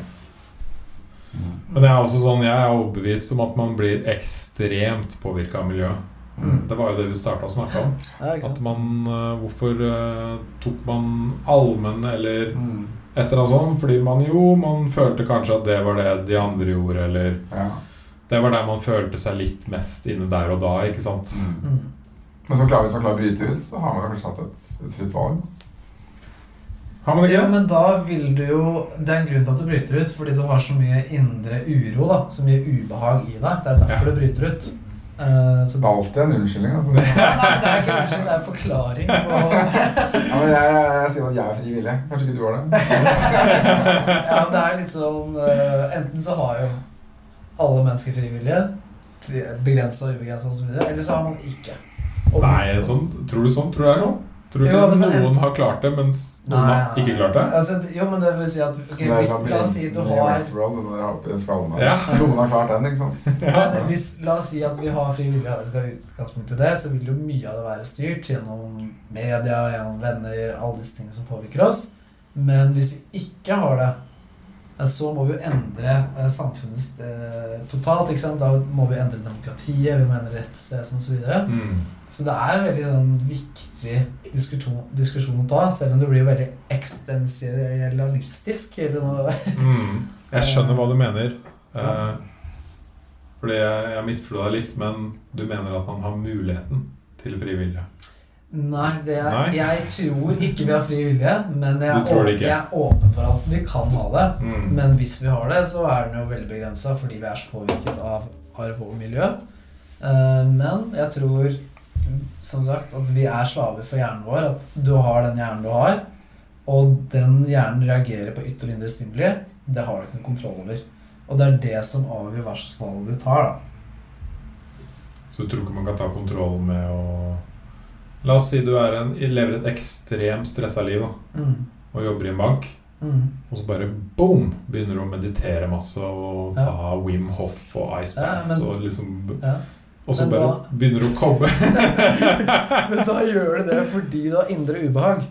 S3: Mm.
S1: Men jeg er også sånn, jeg er overbevist om at man blir ekstremt påvirka av miljøet.
S3: Mm.
S1: Det var jo det vi starta å snakke om.
S2: Ja, ikke
S1: At
S2: sant?
S1: man, eh, Hvorfor eh, tok man allmenn eller
S3: Mm.
S1: et eller annet sånt? Fordi man jo man følte kanskje at det var det de andre gjorde, eller
S3: Ja.
S1: Det var der man følte seg litt mest inne der og da, ikke sant?
S3: Mm.
S2: Mm.
S3: Men så klarer, hvis man klarer å bryte ut, så har man kanskje hatt et, et fritt valg.
S1: Har man
S2: Ja,
S1: ikke?
S2: men da vil du jo Det er en grunn til at du bryter ut, fordi du har så mye indre uro, da. Så mye ubehag i deg. Det er
S1: Ja.
S2: derfor du bryter ut. Eh, så
S3: Det er alltid en unnskyldning. Altså. Det,
S2: Nei, det er ikke unnskyld, det er en forklaring på
S3: ja, men jeg, jeg, jeg sier at jeg er frivillig. Kanskje ikke du var det?
S2: Ja, men det er litt sånn eh, Enten så har jo alle mennesker frivillige, begrensa og ubegrensa osv., eller så har man ikke. Og-
S1: Nei, sånn, tror du sånn? Tror du det er sånn? Tror du
S2: Jo, men
S1: ikke
S2: så er- sånn,
S1: noen har klart det, mens noen
S2: Nei,
S1: har ikke klart det?
S2: Altså, jo, men det vil si at ok,
S3: Det er
S2: hvis,
S3: sånn
S2: La oss si at du
S3: i
S2: har
S3: Westworld, den der oppe i skallen der.
S1: Ja.
S3: Noen har klart den, ikke sant?
S2: Men hvis, la oss si at vi har frivillige arbeidsgivere i utgangspunktet det, så vil jo mye av det være styrt gjennom media, gjennom venner, alle disse tingene som påvirker oss. Men hvis vi ikke har det, eh, så må vi jo endre eh, samfunnet eh, totalt. ikke sant? Da må vi endre demokratiet, vi må endre rettsvesenet osv. Så, videre.
S1: Mm.
S2: så det er en veldig sånn, viktig diskusjon, diskusjon å ta, selv om det blir veldig eksistensialistisk. Eller noe.
S1: Mm. Jeg skjønner hva du mener. Eh, fordi jeg, jeg misforsto deg litt, men du mener at man har muligheten til frivillige.
S2: Nei, det er,
S1: Nei.
S2: jeg tror ikke vi har fri vilje, men jeg,
S1: Du tror det ikke?
S2: jeg er åpen for at vi kan ha det.
S1: Mm.
S2: Men hvis vi har det, så er den jo veldig begrensa fordi vi er så påvirket av arv og miljø. Eh, Men jeg tror, som sagt, at vi er slaver for hjernen vår. At du har den hjernen du har, og den hjernen reagerer på ytre og indre stimuli. Det har du ikke noe kontroll over. Og det er det som avgjør hva slags valg du tar, da.
S1: Så du tror ikke man kan ta kontroll med å La oss si du er en, lever et ekstremt stressa liv da,
S2: Mm.
S1: og jobber i en bank,
S2: Mm.
S1: og så bare boom! Begynner du å meditere masse og
S2: Ja.
S1: ta Wim Hoff og Ice
S2: Ja,
S1: Baths
S2: men-
S1: og liksom
S2: Ja.
S1: Og så
S2: Men
S1: bare
S2: da-
S1: begynner du å komme
S2: Men da gjør du det fordi du har indre ubehag.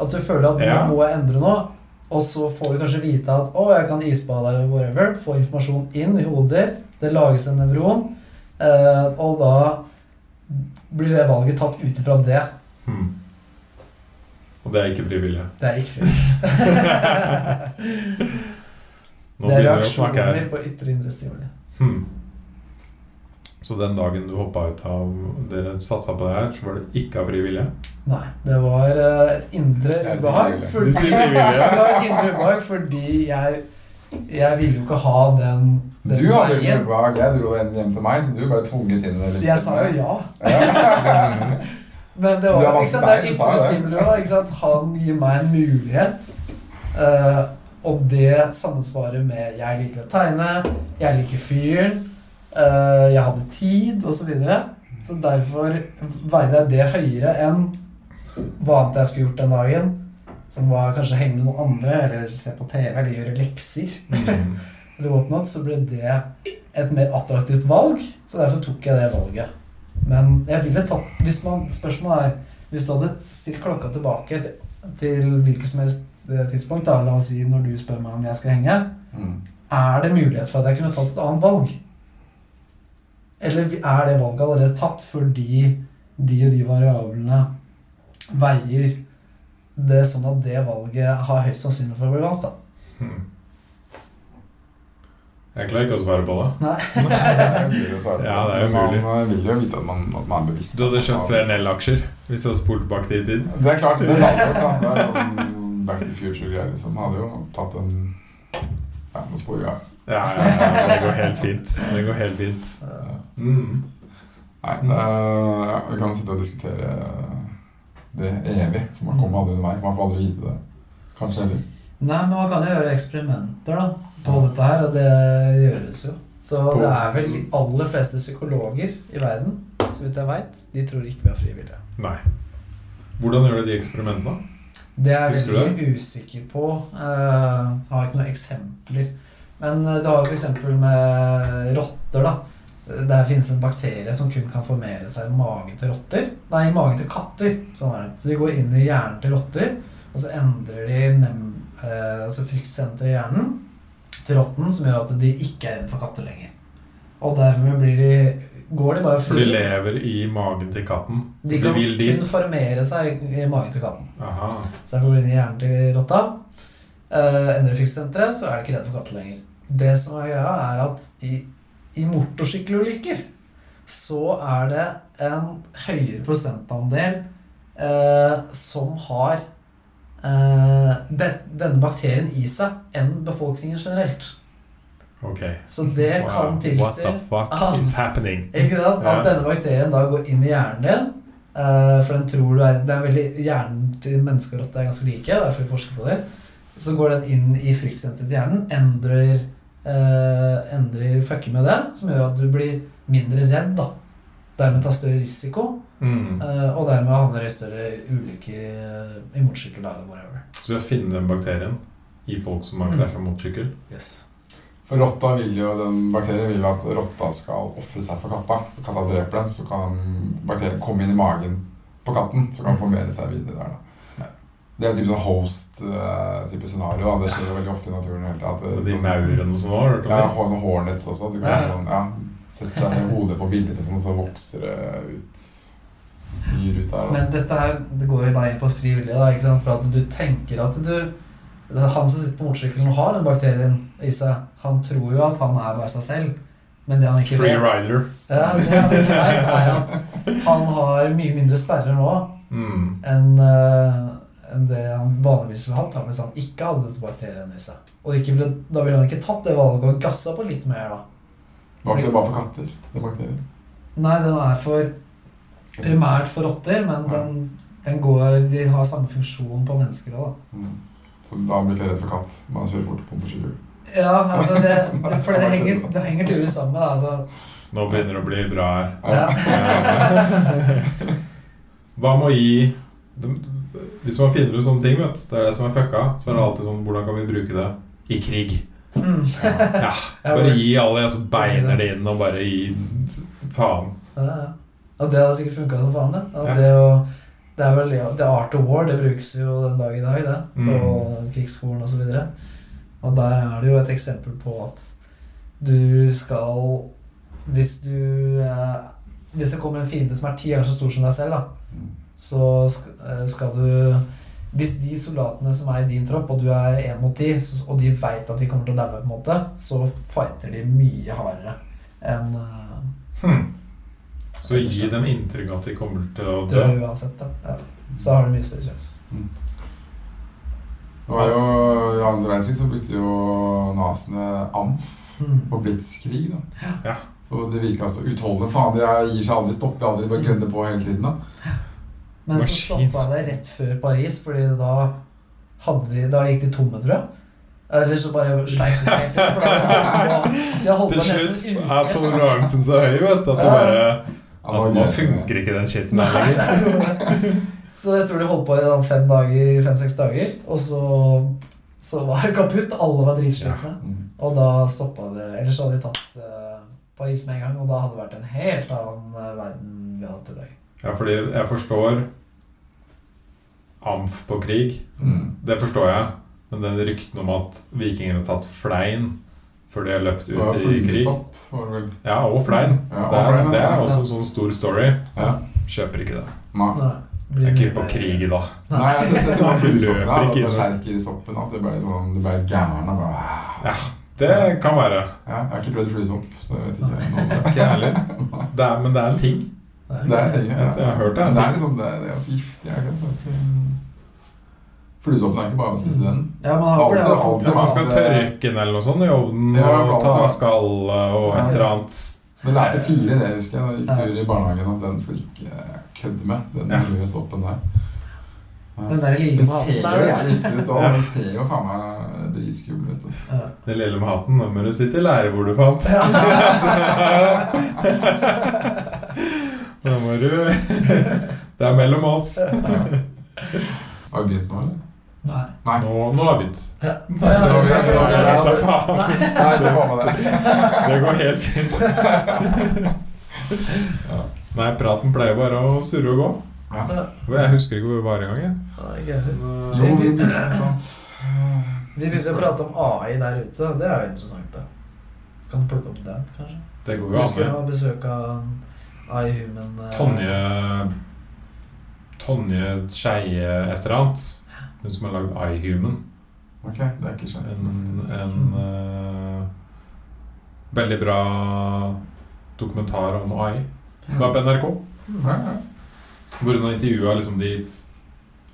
S2: At du føler at
S1: Ja.
S2: nå må jeg endre nå. Og så får du kanskje vite at å, jeg kan isbade eller whatever. Få informasjon inn i hodet ditt. Det lages en nevron. Eh, og da blir det valget tatt ut ifra det.
S1: hmm. Og det er ikke frivillig.
S2: Det er ikke fint.
S1: Nå
S2: Det er
S1: begynner vi å snakke her.
S2: reaksjoner på ytre og indre stimuli.
S1: Hmm. Så den dagen du hoppa ut av Dere satsa på det her, så var det ikke av fri vilje?
S2: Nei. Det var eh, et indre
S3: Jeg sier
S2: ubehag.
S3: frivillig.
S1: Du
S2: fordi-
S1: sier fri
S2: Det
S1: vilje.
S2: var et indre ubehag fordi jeg Jeg ville jo ikke ha den, den
S3: Du hadde jo
S2: veien.
S3: ubehag. Jeg dro en hjem til meg, så du ble tvunget inn i det.
S2: Jeg sa jo ja.
S1: Mm.
S2: Men det
S3: Du er
S2: var ikke
S3: vanskelig
S2: sant, det er
S3: der, du sa
S2: ytre
S3: jo det.
S2: stimuli da, ikke sant? Han gir meg en mulighet. eh, og det sammensvarer med jeg liker å tegne, jeg liker fyren, eh, jeg hadde tid, osv. Så, videre. så derfor veide jeg det høyere enn hva annet jeg skulle gjort den dagen. Som var kanskje henge med noen andre, eller se på TV, eller gjøre lekser.
S1: Mm.
S2: eller whatnot, så ble det et mer attraktivt valg. Så derfor tok jeg det valget. Men jeg ville tatt hvis man, Spørsmålet er Hvis du hadde stilt klokka tilbake til, til hvilket som helst eh, tidspunkt, da, la oss si når du spør meg om jeg skal henge,
S3: Mm.
S2: er det mulighet for at jeg kunne tatt et annet valg? Eller er det valget allerede tatt fordi de og de variablene veier det sånn at det valget har høyst sannsynlighet for å bli valgt, da?
S1: Hmm. Jeg klarer ikke å svare på det.
S3: Nei, det er umulig å svare på.
S1: Ja, det er
S3: man
S1: umulig.
S3: eh, vil jo vite at man, at man er bevisst.
S1: Du hadde kjøpt
S3: Ja,
S1: flere Nell-aksjer hvis du hadde spolt tilbake til i tid.
S3: Det er klart, det er lavt, da. Det er sånn Back to Future-greier, liksom. Hadde jo tatt en Ja, nå sporer jeg.
S1: Ja, ja, ja, det går helt fint. Det går helt fint. Mm.
S3: Nei, det er- vi kan sitte og diskutere det evig, for man kommer aldri under vei. Man får aldri vite det. Kanskje heller.
S2: Nei, men man kan jo gjøre eksperimenter da, på dette her, og det gjøres jo. Så det er vel de aller fleste psykologer i verden, så vidt jeg veit, de tror ikke vi er frivillige.
S1: Nei. Hvordan gjør du de eksperimentene?
S2: Det er
S1: Husker
S2: jeg
S1: du
S2: veldig usikker på. Eh, har ikke noen eksempler. Men eh, du har f.eks. med rotter. da. Der finnes en bakterie som kun kan formere seg i magen til rotter. Nei, i magen til katter. Sånn er det. Så de går inn i hjernen til rotter, og så endrer de nem, eh, altså fryktsenteret i hjernen til rotten, som gjør at de ikke er redd for katter lenger. Og dermed blir de, går de bare
S1: For de
S2: fri.
S1: lever i magen til katten.
S2: De
S1: De
S2: kan
S1: vil
S2: kun
S1: dit.
S2: formere seg i magen til katten.
S1: Aha.
S2: Så jeg får gå inn i hjernen til rotta. Uh, endrer fikssenteret, så er det ikke redd for katter lenger. Det som er greia, er at i, i motorsykkelulykker så er det en høyere prosentandel eh, som har eh, de, denne bakterien i seg enn befolkningen generelt.
S1: Ok.
S2: Så det kan
S1: What
S2: tilsi
S1: the fuck
S2: at-
S1: is happening?
S2: ikke sant? At
S1: Ja.
S2: denne bakterien da går inn i hjernen din. eh, for den tror du er, det er veldig, Hjernen til mennesker og rotter er ganske like. derfor vi forsker på det. Så går den inn i fryktsenteret til hjernen, endrer, eh, endrer fucker med det, som gjør at du blir mindre redd. da. Dermed tar større risiko,
S1: Mm.
S2: eh, og dermed havner du i større ulykker eh, i- i motorsykkel eller whatever.
S1: Så jeg finner den bakterien i folk som har knæsja motorsykkel.
S2: Yes.
S3: For rotta vil jo, den bakterien vil jo at rotta skal ofre seg for katta. Så katta dreper den, så kan bakterien komme inn i magen på katten, så kan den
S1: Mm.
S3: formere seg videre der, da. Det er typ sånn host-type scenario. da. Det skjer jo veldig ofte i naturen. i det hele tatt.
S1: Og De
S3: Sånn-
S1: maurene som var, hørte du
S3: Ja,
S1: om det?
S3: og sånn hornets også. at Du kan
S1: Ja.
S3: sånn, ja, setter deg i hodet på bilder, liksom, og så vokser det ut dyr ut der. Da.
S2: Men dette her det går jo da inn på frivillig, da, ikke sant? for at du tenker at du Han som sitter på motorsykkelen og har den bakterien i seg, han tror jo at han er bare seg selv, men det han ikke
S1: Free
S2: vet,
S1: rider.
S2: ja, det han ikke vet, er at han har mye mindre sperrer nå
S1: Mm.
S2: enn eh, enn det han vanligvis ville hatt da, hvis han ikke hadde dette bakterien i seg. Og ikke, ville- da ville han ikke tatt det valget og gassa på litt mer, da.
S3: Var ikke det bare for katter? Det bakterien?
S2: Nei, den er for primært for rotter, men
S3: Ja.
S2: den, den går, de har samme funksjon på mennesker òg, da.
S3: Mm. Så da blir ikke jeg redd for katt. Man kjører fort på motorsykkel.
S2: Ja, altså det, det, for det henger, det henger tydeligvis sammen. da, Altså.
S1: Nå begynner det å bli bra her.
S2: Ja.
S1: Hva med å gi de- Hvis man finner ut sånne ting, vet du, det er det som er fucka, så er det alltid sånn Hvordan kan vi bruke det i krig?
S2: Mm.
S1: Ja, Bare gi alle, og så beiner det inn, og bare gi faen.
S2: Ja, ja. Og det hadde sikkert funka som faen, det.
S1: Ja.
S2: Ja, det, å, det er vel det art of war, det brukes jo den dag i dag, det.
S1: Mm.
S2: På krigsskolen osv. Og, og der er det jo et eksempel på at du skal Hvis du eh, Hvis det kommer en fiende som er ti ganger så stor som deg selv, da, så sk- eh, skal du Hvis de soldatene som er i din tropp, og du er én mot ti, s- og de veit at de kommer til å daue, på en måte, så fighter de mye hardere enn eh,
S1: Hm. Så gi dem inntrykk av at de kommer til å
S2: dø
S1: dø.
S2: uansett. Da. Ja. Så har du mye større sjanse.
S3: Det var jo, I andre verdenskrig så brukte jo nazene amf
S2: Mm.
S3: på blitskrig. da.
S1: Ja.
S3: Og det virka så utholdende. Faen, de er- gir seg aldri, stopper aldri, bare gønner på hele tiden. da.
S2: Men så
S1: Maskin.
S2: stoppa det rett før Paris, fordi da, hadde de, da gikk de tomme, tror jeg. Eller så bare sleit de seg helt ut. for da- De har holdt
S1: Til
S2: på
S1: slutt
S2: nesten en
S1: er
S2: uke.
S1: toleransen så høy, vet du, at du bare Altså, nå funker ikke den skitten her lenger.
S2: sånn Så jeg tror de holdt på i da fem dager, fem-seks dager, og så så var det kaputt. Alle var dritslitne.
S4: Mm.
S2: Og da stoppa det. Ellers hadde de tatt eh, Paris med en gang, og da hadde det vært en helt annen eh, verden vi har hatt i dag.
S1: Ja, fordi jeg forstår amf på krig.
S4: Mm.
S1: Det forstår jeg. Men den rykten om at vikinger har tatt flein før de har løpt
S3: Det var
S1: ut i krig
S3: fuglesopp, var det vel.
S1: Ja, og flein.
S3: Ja,
S1: det, er,
S3: og flein,
S1: det
S3: ja.
S1: er også en sånn stor story.
S3: Ja.
S1: Kjøper ikke det.
S3: Nei.
S2: Nei, det blir
S1: Jeg er
S2: mye
S1: ikke på
S2: mer-
S1: krig i dag.
S3: Nei, jeg, jeg, jeg tror det var fuglesopp.
S1: Løper ikke
S3: Det
S1: inn.
S3: var skjerk i soppen. At det ble sånn, det ble gæren og bare ah.
S1: Ja, det kan være.
S3: ja, Jeg har ikke prøvd fluesopp, så jeg vet ikke noe om det.
S1: Ikke jeg heller. Det er, men det er en ting.
S3: Det er ting, ja.
S1: Jeg har hørt det.
S3: Men det er liksom det, det er ganske giftig. jeg vet ikke. Fluesoppen er ikke bare å spise den.
S2: Ja, man har
S3: Alt er
S2: opplevd
S3: alt.
S2: alt.
S1: Hvis man skal tørke den eller noe sånt i ovnen
S3: Ja,
S1: og
S3: alt,
S1: ta
S3: ja.
S1: skallet og et eller annet
S3: Vi lærte tidlig det, husker jeg, da vi gikk tur i barnehagen, at den skal ikke eh, kødde med. Den
S1: Ja.
S3: lille soppen der. Ja.
S2: Den der lille
S3: Den
S2: maten
S3: ser jo
S2: der,
S3: jævlig giftig ut òg.
S1: Ja.
S3: Den ser jo faen meg dritskummel ut. altså. da.
S2: Ja.
S1: Det lille med hatten, nå må du sitte i lære hvor du fant. Nå må du Det er mellom oss.
S3: Har vi begynt nå, eller?
S2: Nei.
S3: Nei.
S1: Nå, nå har vi begynt.
S2: Ja.
S3: var vi- det var vi-
S1: Ja, da faen.
S3: Nei, det var med det.
S1: Det går helt fint. Ja. Nei, praten pleier bare å surre og gå.
S3: Ja.
S1: Og Jeg husker ikke hvor vi var engang. jeg.
S2: Ja, ikke heller.
S1: Men,
S3: Jo, vi begynte sant.
S2: Vi begynte å prate om AI der ute. Det er jo interessant, da. Kan du plukke opp den, kanskje?
S1: Det går
S2: Vi
S1: jo an.
S2: skulle
S1: det.
S2: ha besøk av AI Human eh,
S1: Tonje Tonje Skeie et eller annet. Hun som har lagd iHuman.
S3: Ok, det er ikke skjedd.
S1: En, en eh, veldig bra dokumentar om AI. Det var på NRK.
S3: Mm. Ja, ja.
S1: Hvor hun har intervjua liksom de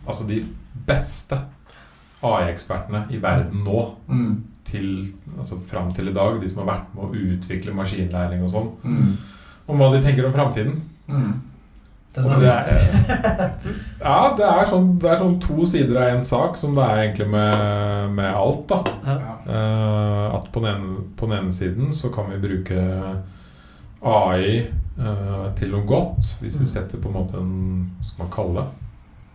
S1: Altså de beste AI-ekspertene i verden nå.
S3: Mm.
S1: Til, altså Fram til i dag. De som har vært med å utvikle maskinlæring og sånn.
S3: Mm.
S1: Om hva de tenker om framtiden.
S3: Mm.
S2: Den
S1: Og
S2: har
S1: det
S2: vist det.
S1: Ja, det er, sånn, det er sånn to sider av én sak, som det er egentlig med, med alt. da.
S3: Ja.
S1: Eh, at på den, ene, på den ene siden så kan vi bruke AI eh, til noe godt, hvis vi
S2: Mm.
S1: setter på en måte en hva skal man kalle det,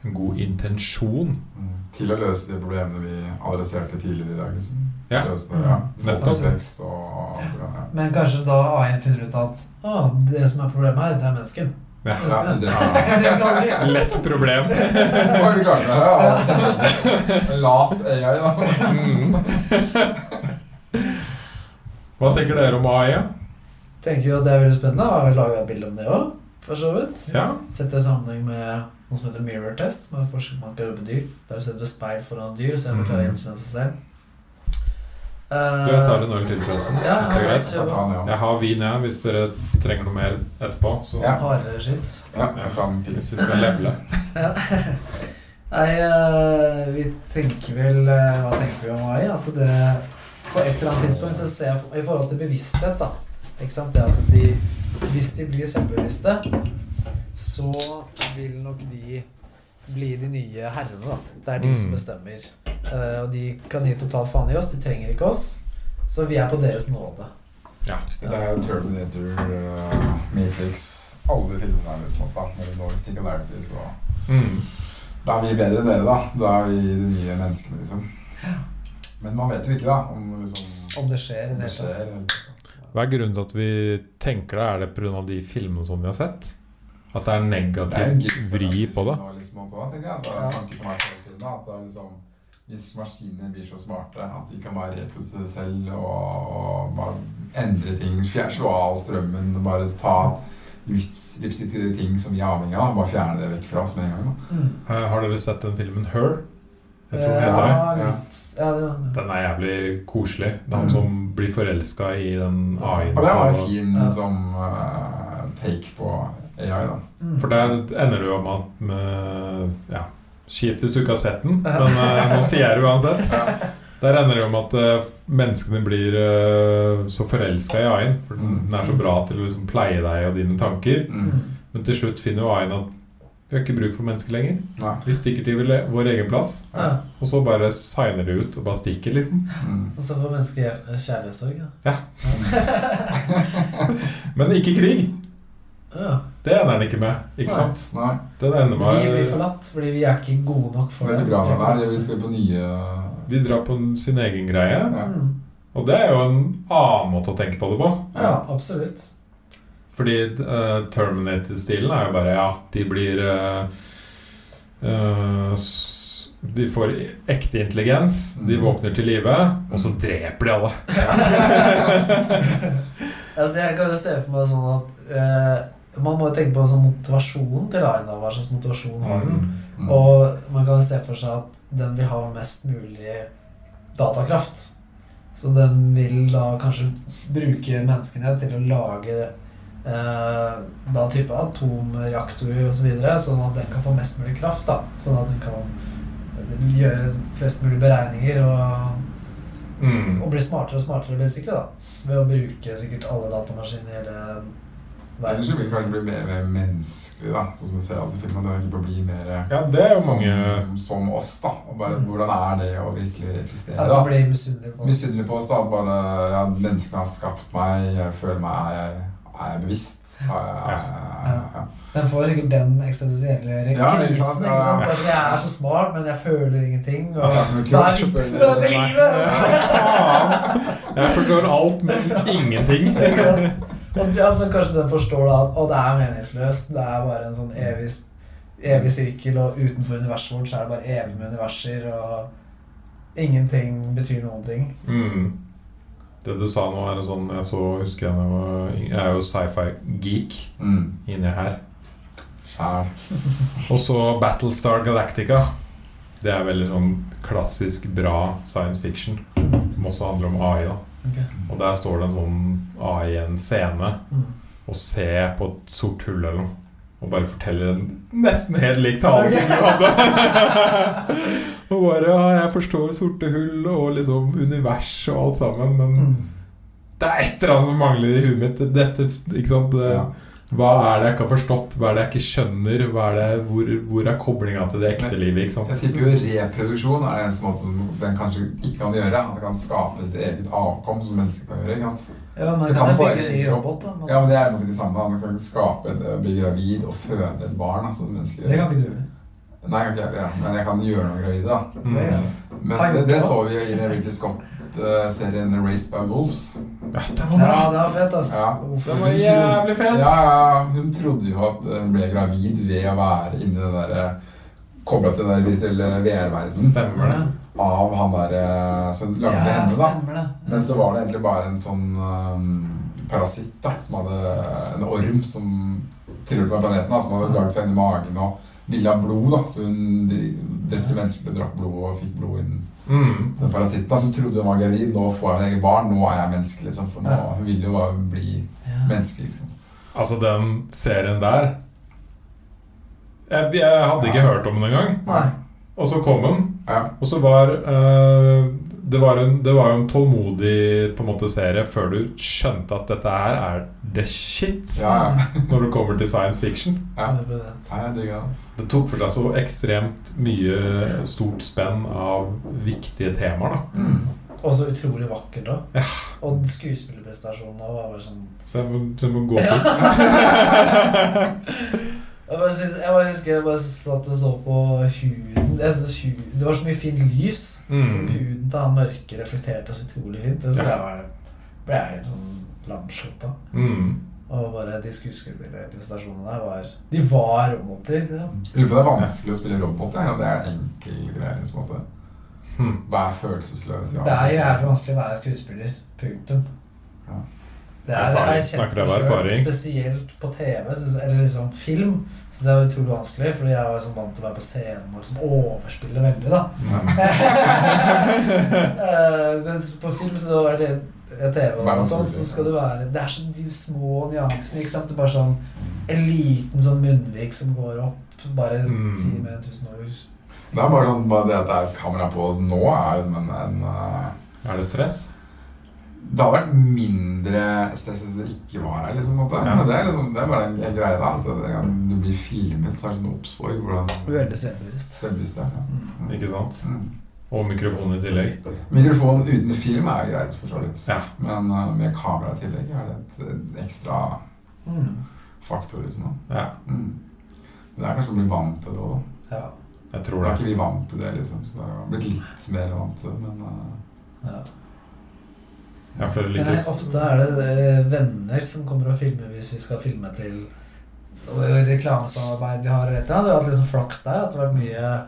S1: en god intensjon.
S3: Mm. Til å løse de problemene vi adresserte tidligere i dag. Liksom.
S1: Ja.
S3: Løse det, ja.
S1: Nettopp.
S3: Folkevekst og alt det der.
S2: Men kanskje da AI-en finner ut at å, det som er problemet her, det er mennesken.
S1: Ja.
S3: Ja,
S2: Mennesken.
S3: det er-
S2: Det klarer vi.
S1: Lett problem.
S3: Oi, vi klarte det. Ja, kjempe- Lat AI, da.
S1: Mm. Hva tenker dere om AI?
S2: Tenker jo at det er veldig spennende. Har jo laga et bilde om det òg, for så vidt.
S1: Ja?
S2: Sett det i sammenheng med noe som heter mirror test, som er forskning man kan gjøre på dyr. Der du setter et speil foran dyr, så man klarer å gjenkjenne seg selv. Eh,
S1: Du, jeg tar en øl til, forresten.
S2: Ja,
S1: Hvis det er
S2: ja,
S1: greit.
S3: Jeg tar den, ja.
S1: Jeg har vin, jeg, hvis dere trenger noe mer etterpå. Så
S3: Ja.
S2: Hardere skits.
S3: Ja, jeg tar en pils.
S1: hvis vi skal levele.
S2: Ja. Nei, eh, vi tenker vel eh, Hva tenker vi om AI? At det på et eller annet tidspunkt så ser jeg for- i forhold til bevissthet, da ikke sant? Det at de, Hvis de blir selvbevisste, så vil nok de bli de nye herrene, da. Det er de
S1: Mm.
S2: som bestemmer. Eh, og de kan gi totalt faen i oss. De trenger ikke oss. Så vi er på deres nåde.
S3: Det er jo Terminator, uh, Matrix Alle filmene er litt sånn, da. Når det når singularities og
S1: Mm.
S3: Da er vi bedre enn dere, da. Da er vi de nye menneskene, liksom. Men man vet jo ikke, da, om liksom
S2: Om det skjer i
S3: om
S2: det
S3: det
S2: hele tatt.
S3: skjer.
S1: Hva er grunnen til at vi tenker det? Er det pga. de filmene som vi har sett? At det er negativ vri på det?
S3: liksom
S2: Ja.
S3: det. liksom, Hvis maskiner blir så smarte at de kan bare reprodusere seg selv og, og bare endre ting, fjer- slå av strømmen og bare ta livs, livsviktige ting som vi er avhengig av, bare fjerne det vekk fra oss med en gang. Da.
S2: Mm. Eh,
S1: Eh, Har dere sett den filmen Her? Jeg tror den heter det.
S2: Ja,
S3: det.
S2: litt. Ja, det var
S1: Den er jævlig koselig. Det er
S3: Mm.
S1: han som blir forelska i den
S3: Og det var jo
S1: AI-en.
S3: fin
S2: Ja.
S3: som eh, take på AI, da.
S2: mm.
S1: For der ender det jo med at med, Ja, kjipt hvis du ikke har sett den, men eh, nå sier jeg det uansett. Der ender det jo med at eh, menneskene blir eh, så forelska i AI-en. For den den er så bra til å liksom pleie deg og dine tanker.
S3: Mm.
S2: Mm.
S1: Men til slutt finner jo AI-en at vi har ikke bruk for mennesker lenger.
S3: Nei.
S1: Vi stikker til vel- vår egen plass,
S2: Ja.
S1: og så bare signer det ut og bare stikker, liksom.
S3: Mm.
S2: Og så får mennesker gjerne kjærlighetssorg, da.
S1: Men ikke krig.
S2: Ja.
S1: Det ender den ikke med. ikke sant?
S3: Nei.
S1: Den ender
S2: Vi blir
S1: med
S2: forlatt fordi vi er ikke gode nok for
S3: Veldig bra med det. Vi skal på nye
S1: De drar på sin egen greie.
S3: Ja.
S2: Mm.
S1: Og det er jo en annen måte å tenke på det på.
S2: Ja, absolutt.
S1: Fordi eh, Terminator-stilen er jo bare ja, de blir eh, eh, s- De får e-, ekte intelligens, de
S3: Mm.
S1: våkner til live, og så dreper de alle.
S2: Altså, jeg kan jo se for meg sånn at eh, man må jo tenke på sånn motivasjon til AI. da. Hva slags motivasjon har den?
S3: Mm.
S2: Og man kan jo se for seg at den vil ha mest mulig datakraft. Så den vil da kanskje bruke menneskene til å lage eh, da type atomreaktorer osv., så videre, sånn at den kan få mest mulig kraft. da Sånn at den kan gjøre flest mulig beregninger og
S1: Mm.
S2: og blir smartere og smartere basically, da. Ved å bruke sikkert alle datamaskiner eh, i hele verden.
S3: Ellers så vil det kanskje bli mer, mer menneskelig, da. Sånn som vi ser altså, filmen, det er egentlig å bli mer
S1: Ja, det er jo
S3: som,
S1: mange
S3: som oss, da. Og bare,
S2: Mm.
S3: hvordan er det å virkelig
S2: Ja,
S3: eksistere,
S2: da
S3: da?
S2: blir jeg misunnelig på
S3: Misunnelig på oss, da. at Bare ja, menneskene har skapt meg, jeg føler meg Er jeg, er jeg bevisst? Er jeg, er jeg, ja.
S2: Den får sikkert den eksistensielle krisen.
S3: Ja, ikke sant?
S2: ikke sant?
S3: Ja, ja.
S2: At jeg er så smart, men jeg føler ingenting.
S3: Ja,
S2: Og
S3: men
S2: hva er vitsen
S3: kult,
S2: med
S3: selvfølgelig.
S2: dette livet? altså.
S3: Faen!
S1: Jeg forstår alt, men ingenting.
S2: Og ja, men kanskje den forstår da at å, det er meningsløst. Det er bare en sånn evig, evig sirkel, og utenfor universet vårt så er det bare evig med universer, og ingenting betyr noen ting.
S1: Mm. Det du sa nå, er en sånn Jeg så, husker jeg da jeg var yng- Jeg er jo sci-fi-geek
S3: Mm.
S1: inni her.
S3: Skjær.
S1: Og så Battlestar Galactica. Det er veldig sånn klassisk bra science fiction. Som også handler om AI. da
S2: Ok.
S1: Og der står det en sånn AI i en scene
S2: Mm.
S1: og ser på et sort hull eller noe. Og bare forteller en nesten helt lik tale som du hadde. og bare ja, 'Jeg forstår sorte hull og liksom univers og alt sammen', men
S2: Mm.
S1: det er et eller annet som mangler i huet mitt. Dette, ikke sant? Det,
S3: Ja.
S1: Hva er det jeg ikke har forstått? Hva er det jeg ikke skjønner? Hva er det, hvor, hvor er koblinga til det ekte livet? ikke sant?
S3: Jeg tipper jo reproduksjon er den eneste måten som den kanskje ikke kan gjøre. At det kan skape sitt eget avkom som mennesker kan gjøre. ikke sant?
S2: Ja, men
S3: Du
S2: kan
S3: kan
S2: jeg
S3: få
S2: bygge en ny
S3: en-
S2: robot, da? Man-
S3: Ja, men Det er på en måte det samme. da. Man kan ikke skape et, eh, bli gravid og føde et barn. da, som mennesker
S2: Det
S3: gjør.
S2: kan ikke du gjøre.
S3: Nei, jeg kan ikke gjøre det, men jeg kan gjøre noen gravide. da.
S1: Mm.
S2: Det-
S3: Men så det, det så vi jo i den Ridley Scott-serien eh, 'Raised by Wolves'.
S1: Ja, det var bra!
S2: Ja, det var fett, ass.
S3: Ja.
S1: Det var jævlig
S3: Ja,
S1: fett!
S3: ja, Hun trodde jo at eh, hun ble gravid ved å være inni den derre Kobla til den der virtuelle VR-verdenen
S1: Stemmer det.
S3: av han derre som lagde
S2: Ja,
S3: henne, da.
S2: stemmer det.
S3: Men så var det egentlig bare en sånn ehm, parasitt da, som hadde en orm som tilhørte på planeten, da, som hadde laget seg inn i magen og ville ha blod. da, Så hun dri- drepte mennesker, drakk blod og fikk blod innen
S1: Mm.
S3: den parasitten da, som trodde hun var gravid. Nå får jeg mitt eget barn, nå er jeg menneske, liksom. For nå hun ville jo bare bli
S2: Ja.
S3: menneske, liksom.
S1: Altså, den serien der Jeg, jeg hadde ikke
S3: Ja.
S1: hørt om den engang.
S2: Nei.
S1: Og så kom den.
S3: Ja.
S1: Og så var eh, det, var en, det var jo en tålmodig på en måte serie før du skjønte at dette her er the shit
S3: Ja, ja.
S1: når det kommer til science fiction.
S3: ja.
S2: 100%.
S3: Nei, jeg digger det. Altså.
S1: Det tok for seg så ekstremt mye stort spenn av viktige temaer. da
S3: Mm.
S2: Og så utrolig vakkert, da.
S1: Ja.
S2: Og skuespillerprestasjonen da var bare sånn
S1: Så jeg må, så jeg må gå ut.
S2: jeg, bare synes, jeg bare husker jeg bare satt og så på huden jeg synes huden, Det var så mye fint lys.
S1: Mm.
S2: Så huden til han mørke reflekterte så utrolig fint. Det
S1: Ja.
S2: synes jeg var, ble jeg helt sånn lamslått av.
S1: Mm.
S2: Og bare de skuespillerprestasjonene der var De var roboter. Ja.
S3: Jeg lurer på om det er vanskelig å spille robot. Ja. Det er enkel greie. liksom, at det-
S1: Hm.
S3: Vær følelsesløs.
S2: Det er
S3: altså.
S2: jævlig vanskelig å være skuespiller. Punktum.
S3: Ja.
S2: Det er, det er
S1: Erfaring.
S2: kjempe-
S1: Snakker av erfaring.
S2: Spesielt på TV, synes, eller liksom film, syns jeg er utrolig vanskelig. Fordi jeg var liksom vant til å være på scenen og liksom overspille veldig, da.
S1: Mm.
S3: Ja.
S2: Eh, Mens på film så er det eh, TV
S3: Bare
S2: og sånt, så
S3: naturlig,
S2: skal du være Det er så de små nyansene, ikke sant. Det er bare sånn en liten sånn munnvik som går opp. Bare
S1: Mm.
S2: si mer enn tusen ord.
S3: Det er bare sånn bare det at det er et kamera på oss nå, er liksom en, en eh,
S1: Er det stress?
S3: Det hadde vært mindre stress hvis det ikke var her. liksom, på en måte.
S1: Ja.
S3: Men det er liksom, det er bare en, en greie da, at det- det kan- du blir filmet, så er det sånn obs på hvordan
S2: Veldig selvbevisst.
S3: selvbevisst det er. Ja. Mm.
S1: Ikke sant?
S3: Mm.
S1: Og mikrofon i tillegg.
S3: Mikrofon uten film er jo greit, for så vidt.
S1: Ja.
S3: Men eh, med kamera i tillegg er det et, et ekstra
S2: Mm.
S3: faktor. liksom. da.
S1: Ja.
S3: Mm. Men det er kanskje å bli vant til det òg.
S2: Ja.
S1: Jeg
S3: Da
S1: tror
S3: er
S1: det.
S3: ikke vi vant til det, liksom. Så det har blitt litt mer vant til det, men eh,
S2: Ja.
S1: Ja, for det
S2: Men nei,
S1: lykkes.
S2: ofte er det eh, venner som kommer og filmer hvis vi skal filme til og reklamesamarbeid vi har. eller et eller annet. Vi har hatt liksom flaks der. At det har vært mye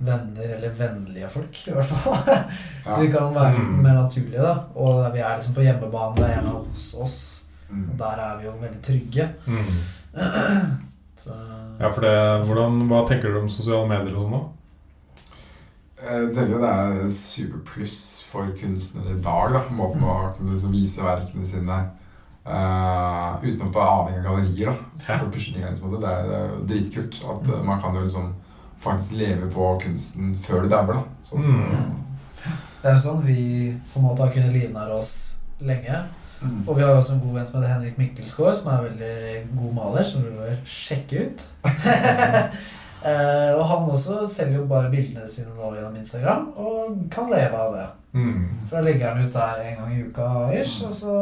S2: venner, eller vennlige folk, i hvert fall. Så vi
S3: ja.
S2: kan være litt
S1: Mm.
S2: mer naturlige, da. Og vi er liksom på hjemmebane, det er gjerne hos oss. Og
S3: Mm.
S2: der er vi jo veldig trygge.
S1: Mm.
S2: Så
S1: Ja, for det, hvordan, Hva tenker dere om sosiale medier og sånn, da?
S3: Eh, Det er jo det er superpluss for kunstnere i dag, da. Måten å kunne liksom vise verkene sine eh, uten å ta avhengig av gallerier, da. Så
S1: Ja.
S3: for å pushe ting her, liksom, det, er, det er jo dritkult at eh, man kan jo liksom faktisk leve på kunsten før du dauer, da. Sånn som
S2: det er jo sånn vi på en måte har kunnet livnære oss lenge.
S3: Mm.
S2: Og vi har jo også en god venn som heter Henrik Mikkelsgaard, som er en veldig god maler, som du bør sjekke ut. Eh, og han også selger jo bare bildene sine nå gjennom Instagram, og kan leve av det.
S1: Mm.
S2: For da legger han ut der en gang i uka ish, og så,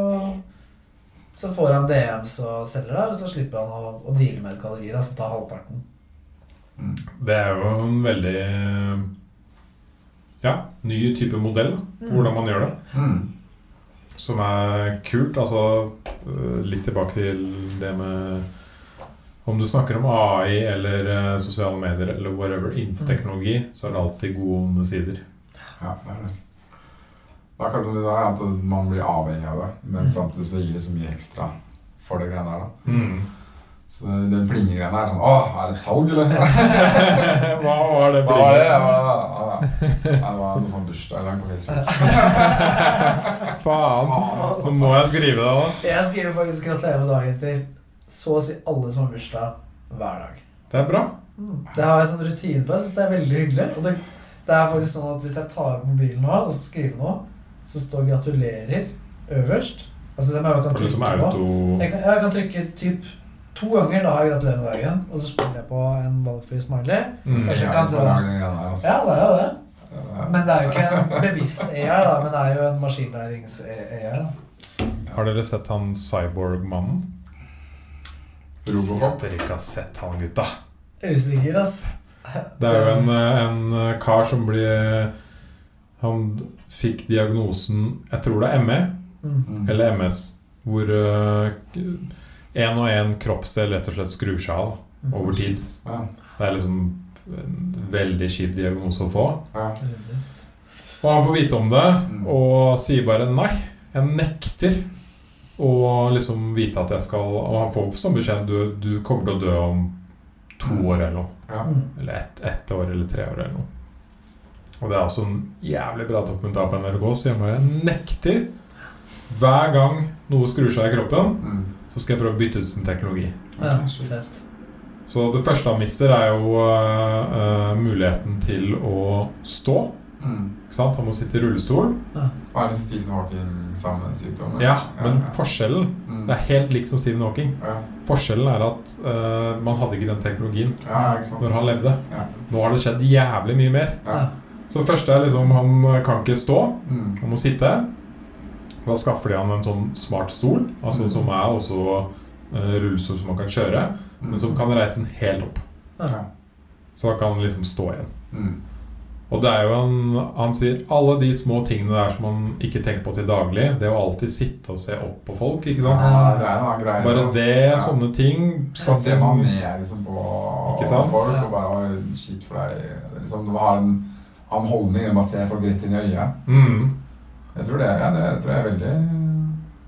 S2: så får han DMs og selger der, og så slipper han å, å deale med et galleri da, som tar halvparten.
S3: Mm.
S1: Det er jo en veldig ja, ny type modell på hvordan man gjør det.
S3: Mm.
S1: Som er kult. Altså øh, litt tilbake til det med Om du snakker om AI eller øh, sosiale medier eller whatever innenfor
S2: Mm.
S1: teknologi, så er det alltid gode og onde sider.
S3: Ja, det er det. Det er akkurat som du sa, at man blir avhengig av det, men
S2: Mm.
S3: samtidig så gir det så mye ekstra for det greiene der, da.
S1: Mm.
S3: Så det- den plingegreiene er sånn Åh, er det salg, eller?
S1: Hva var det?
S3: Hva var det? Ja, ja, ja. Nei, det var noe sånn bursdag på Facebook.
S1: Faen!
S3: altså.
S1: Nå må jeg skrive det òg.
S2: Jeg skriver faktisk 'gratulerer med dagen' til så å si alle som har bursdag hver dag.
S1: Det er bra.
S2: Det har jeg sånn rutine på. Jeg syns det er veldig hyggelig. Og det, det er faktisk sånn at Hvis jeg tar opp mobilen nå og så skriver noe, så står 'gratulerer' øverst. Altså, det må jeg bare kan
S1: For det som er
S2: trykke på.
S1: auto...
S2: Jeg kan, jeg kan trykke typ to ganger da har jeg 'gratulerer med dagen', og så spiller jeg på en valgfri smiley.
S1: Mm.
S2: Kanskje-
S3: Jeg er så lang, den greia der, altså.
S2: Ja, det er jo det.
S3: Ja.
S2: Men det er jo ikke en bevisst AI, da, men det er jo en maskinlærings-AI.
S1: Har dere sett han cyborg-mannen?
S3: Robocop.
S1: Dere ikke har sett han, gutta.
S2: Usikker, ass.
S1: Det er jo en, eh, en eh, kar som blir Han fikk diagnosen Jeg tror det er ME,
S2: Mm.
S3: Mm.
S1: eller MS, hvor én og én kroppsdel rett og slett skrur seg av
S2: Mm.
S1: over tid.
S3: Ja,
S1: Det er liksom en veldig kjip diagnose å få.
S3: ja.
S2: Definitivt.
S1: Og han får vite om det og sier bare nei. Jeg nekter å liksom vite at jeg skal Og han får som beskjed du, du kommer til å dø om to år eller noe.
S3: ja.
S2: Mm.
S1: Eller ett ett år eller tre år eller noe. Og det er også en jævlig bra dokumentar på NRK, så jeg bare nekter. Hver gang noe skrur seg i kroppen,
S3: Mm.
S1: så skal jeg prøve å bytte ut med teknologi.
S2: Ja,
S3: Ok, shit.
S2: fett.
S1: Så det første han mister, er jo øh, øh, muligheten til å stå.
S3: Mm.
S1: Ikke sant? Han må sitte i rullestol.
S3: Og er det Stephen Hawking sammen med sykdommen?
S1: Ja, men
S3: ja.
S1: forskjellen
S3: Mm.
S1: Det er helt lik som Stephen Hawking.
S3: Ja,
S1: Forskjellen er at øh, man hadde ikke den teknologien
S3: ja, ikke sant.
S1: når han levde.
S3: Ja.
S1: Nå har det skjedd jævlig mye mer.
S3: Ja.
S1: Så det første er liksom Han kan ikke stå.
S3: Mm.
S1: Han må sitte. Da skaffer de han en sånn smart stol, altså
S3: Mm.
S1: som er også eh, rullestol som man kan kjøre, men som kan reise den helt opp.
S3: Mm. Ja.
S1: Så da kan han liksom stå igjen.
S3: Mm.
S1: Og det er jo en, Han sier alle de små tingene der som man ikke tenker på til daglig. Det å alltid sitte og se opp på folk. ikke sant?
S3: Ja, det er en annen greie.
S1: Bare
S3: altså.
S1: det,
S3: Ja.
S1: sånne ting.
S3: Så ser man ned liksom, på
S1: Ikke sant?
S3: folk og bare «Oi, Shit for deg. Liksom, du har en annen holdning enn bare ser folk rett inn i øyet.
S1: Mm.
S3: Jeg tror det, ja, det tror jeg er en veldig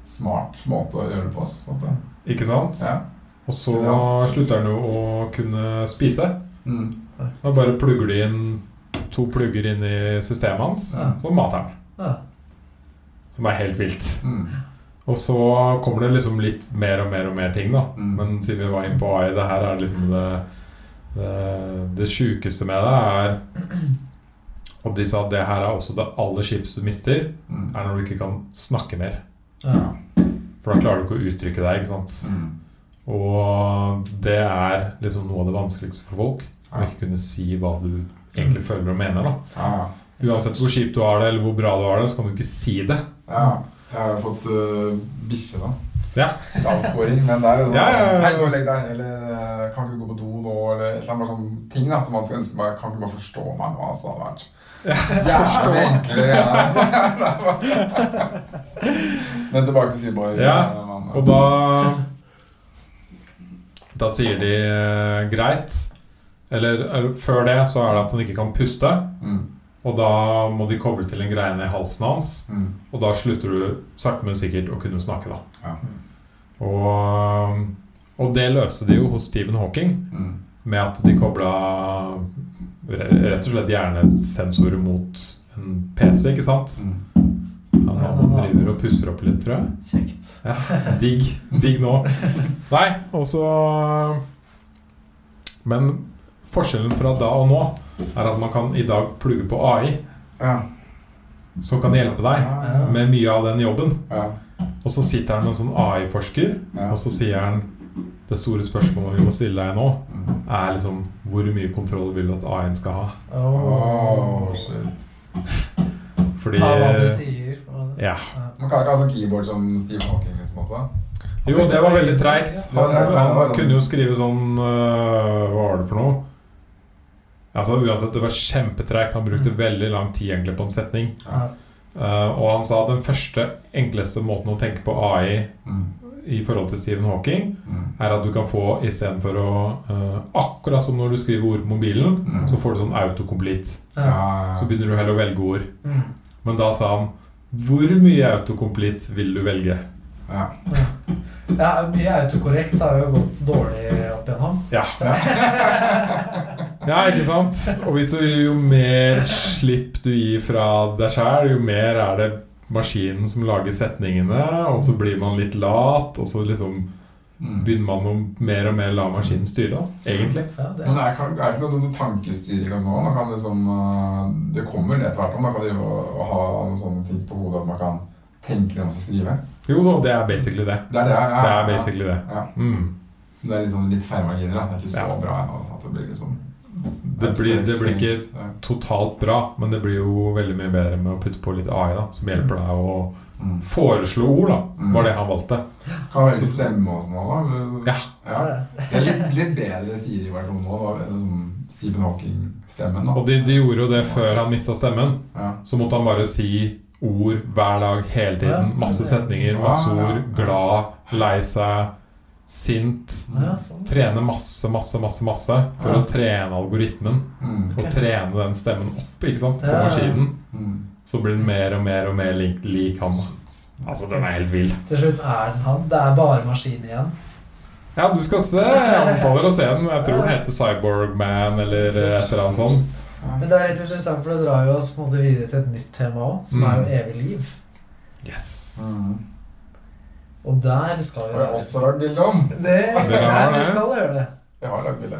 S3: smart måte å gjøre det på. ass, på en måte.
S1: Ikke sant?
S3: Ja.
S1: Og så
S3: Ja.
S1: slutter han jo å kunne spise.
S3: Mm.
S1: Da bare plugger de inn to plugger inn i systemet hans,
S2: Ja.
S1: så mater han.
S2: Ja.
S1: Som er helt vilt.
S3: Mm.
S1: Og så kommer det liksom litt mer og mer og mer ting, da.
S3: Mm.
S1: Men siden vi var inne på AI, det her er liksom det Det, det sjukeste med det er Og de sa at det her er også det aller kjipeste du mister,
S3: Mm.
S1: er når du ikke kan snakke mer.
S2: Ja.
S1: For da klarer du ikke å uttrykke deg, ikke sant.
S3: Mm.
S1: Og det er liksom noe av det vanskeligste for folk. Å ikke kunne si hva du egentlig føler og mener, da.
S3: Ja, ja.
S1: Uansett hvor kjipt du har det, eller hvor bra du har det, så kan du ikke si det.
S3: ja. Jeg har jo fått uh, eh, bikkje, da.
S1: Ja.
S3: Litt avsporing, men det er jo sånn
S1: Ja, ja, ja.
S3: Hei, gå og legg deg, eller eh, Kan ikke du gå på do nå, eller et eller annet bare sånne ting da, som man skulle ønske bare Kan ikke bare forstå meg nå, altså. Det hadde vært jævlig enkle greier, altså. men tilbake til Syborg.
S1: Ja,
S3: eh, man-
S1: Og da Da sier de eh, greit. Eller, eller før det så er det at han ikke kan puste.
S3: mm,
S1: Og da må de koble til en greie ned i halsen hans.
S3: mm,
S1: Og da slutter du sakte, men sikkert å kunne snakke, da.
S3: ja,
S2: Mm.
S1: Og, eh, og det løste de jo hos Stephen Hawking
S3: mm,
S1: med at de kobla re- rett og slett hjernesensorer mot en PC, ikke sant?
S3: mm.
S1: Han, han driver og pusser opp litt, tror jeg.
S2: Kjekt.
S1: Digg. Digg nå. Nei, og så Men forskjellen fra da og nå er at man kan i dag plugge på AI,
S3: ja.
S1: som kan hjelpe deg
S3: Ja, ja.
S1: med mye av den jobben.
S3: ja,
S1: Og så sitter han med en sånn AI-forsker,
S3: ja.
S1: og så sier han det store spørsmålet vi må stille deg nå,
S3: Mm.
S1: er liksom hvor mye kontroll vil du at AI-en skal ha?
S2: Oh.
S3: Åh, shit.
S1: Fordi eh,
S2: Av hva du sier. og-
S1: Ja.
S3: Man kan ikke ha sånn keyboard som Steve Hawking, liksom. Også.
S1: Jo, det var veldig treigt.
S3: Ja,
S1: Han,
S3: det var treigt.
S1: han kunne jo skrive sånn øh, Hva var det for noe? Altså Uansett, det var kjempetreigt. Han brukte
S2: Mm.
S1: veldig lang tid egentlig på en setning.
S3: Ja.
S1: Eh, og han sa den første enkleste måten å tenke på AI
S3: Mm,
S1: i forhold til Stephen Hawking,
S3: mm,
S1: er at du kan få istedenfor å eh, Akkurat som når du skriver ord på mobilen,
S3: mm.
S1: så får du sånn autocomplete.
S3: Ja,
S2: Ja.
S3: ja,
S1: Så begynner du heller å velge ord.
S2: Mm.
S1: Men da sa han Hvor mye autocomplete vil du velge?
S3: ja.
S2: ja, mye autokorrekt har jo gått dårlig opp igjennom.
S1: Ja. Ja, ikke sant? Og hvis du, jo mer slipp du gir fra deg sjæl, jo mer er det maskinen som lager setningene, og så blir man litt lat, og så liksom
S3: Mm.
S1: begynner man å mer og mer la maskinen styre, da, egentlig.
S2: Ja, det
S3: Men det
S2: er
S3: er, ikke- det er ikke noe, noe tankestyring og sånn. Man kan liksom, øh, det kommer det etter hvert. og Man kan drive og, og ha noen sånne ting på hodet at man kan tenke det man skal skrive.
S1: Jo da, det er basically det.
S3: Det er det. Ja,
S1: Det
S3: ja,
S1: er basically det.
S3: Ja.
S1: Mm.
S3: Det er liksom litt færre marginer. Da. Det er ikke så
S1: Ja.
S3: bra ennå. At det blir liksom
S1: Det blir- det blir ikke-
S3: Ja.
S1: Totalt bra, men det blir jo veldig mye bedre med å putte på litt AI, da, som hjelper deg å
S3: Mm.
S1: foreslå ord, da, var det han valgte.
S3: Kan velge stemme og sånn òg, da.
S1: Ja.
S2: Ja, det er-
S3: Det er litt, litt bedre Siri-versjon nå. da, eller Sånn Stephen Hawking-stemmen. da.
S1: Og de, de gjorde jo det før han mista stemmen.
S3: Ja.
S1: så måtte han bare si ord hver dag, hele tiden.
S2: Ja.
S1: Masse setninger, masse ord. Glad, lei seg, sint.
S2: Ja, sånn.
S1: Trene masse, masse, masse masse for
S3: Ja.
S1: å trene algoritmen.
S3: Mm.
S1: Og trene den stemmen opp ikke sant, på
S2: Ja.
S1: maskinen.
S3: Mm.
S1: Så blir den mer og mer og mer lik, lik han. Altså, den er helt vill.
S2: Til slutt er den han. Det er bare maskin igjen.
S1: Ja, du skal se. Jeg anbefaler å se den. Jeg tror den heter Cyborgman eller et eller annet sånt.
S3: Ja.
S2: Men det er litt interessant, for det drar jo oss på en måte videre til et nytt tema òg, som er
S1: Mm.
S2: jo evig liv.
S1: Yes.
S3: Mm.
S2: Og der skal
S3: Og
S2: vi
S3: jeg har også lagd bilde om.
S2: Det, nei,
S1: har
S2: vi
S1: det.
S2: skal gjøre det.
S3: Jeg har lagd bilde.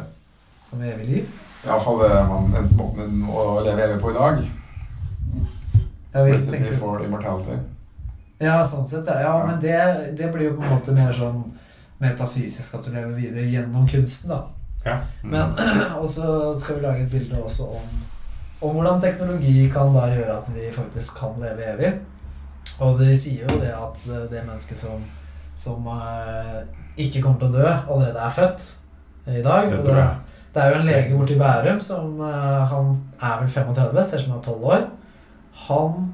S2: Om evig liv.
S3: Iallfall det eh, man eneste måten å leve evig på i dag.
S2: Ja, vi
S3: Rest in
S2: tenker-
S3: peace for immortality.
S2: ja sånn sett. ja. Ja, men det, det blir jo på en måte mer sånn metafysisk at du lever videre gjennom kunsten, da.
S3: Mm.
S2: Men og så skal vi lage et bilde også om, om hvordan teknologi kan da gjøre at vi faktisk kan leve evig. Og de sier jo det at eh, det mennesket som, som eh, ikke kommer til å dø, allerede er født eh, i dag.
S1: Det tror jeg.
S2: Det er jo en lege borte i Bærum som eh, Han er vel 35, ser ut som han er 12 år. Han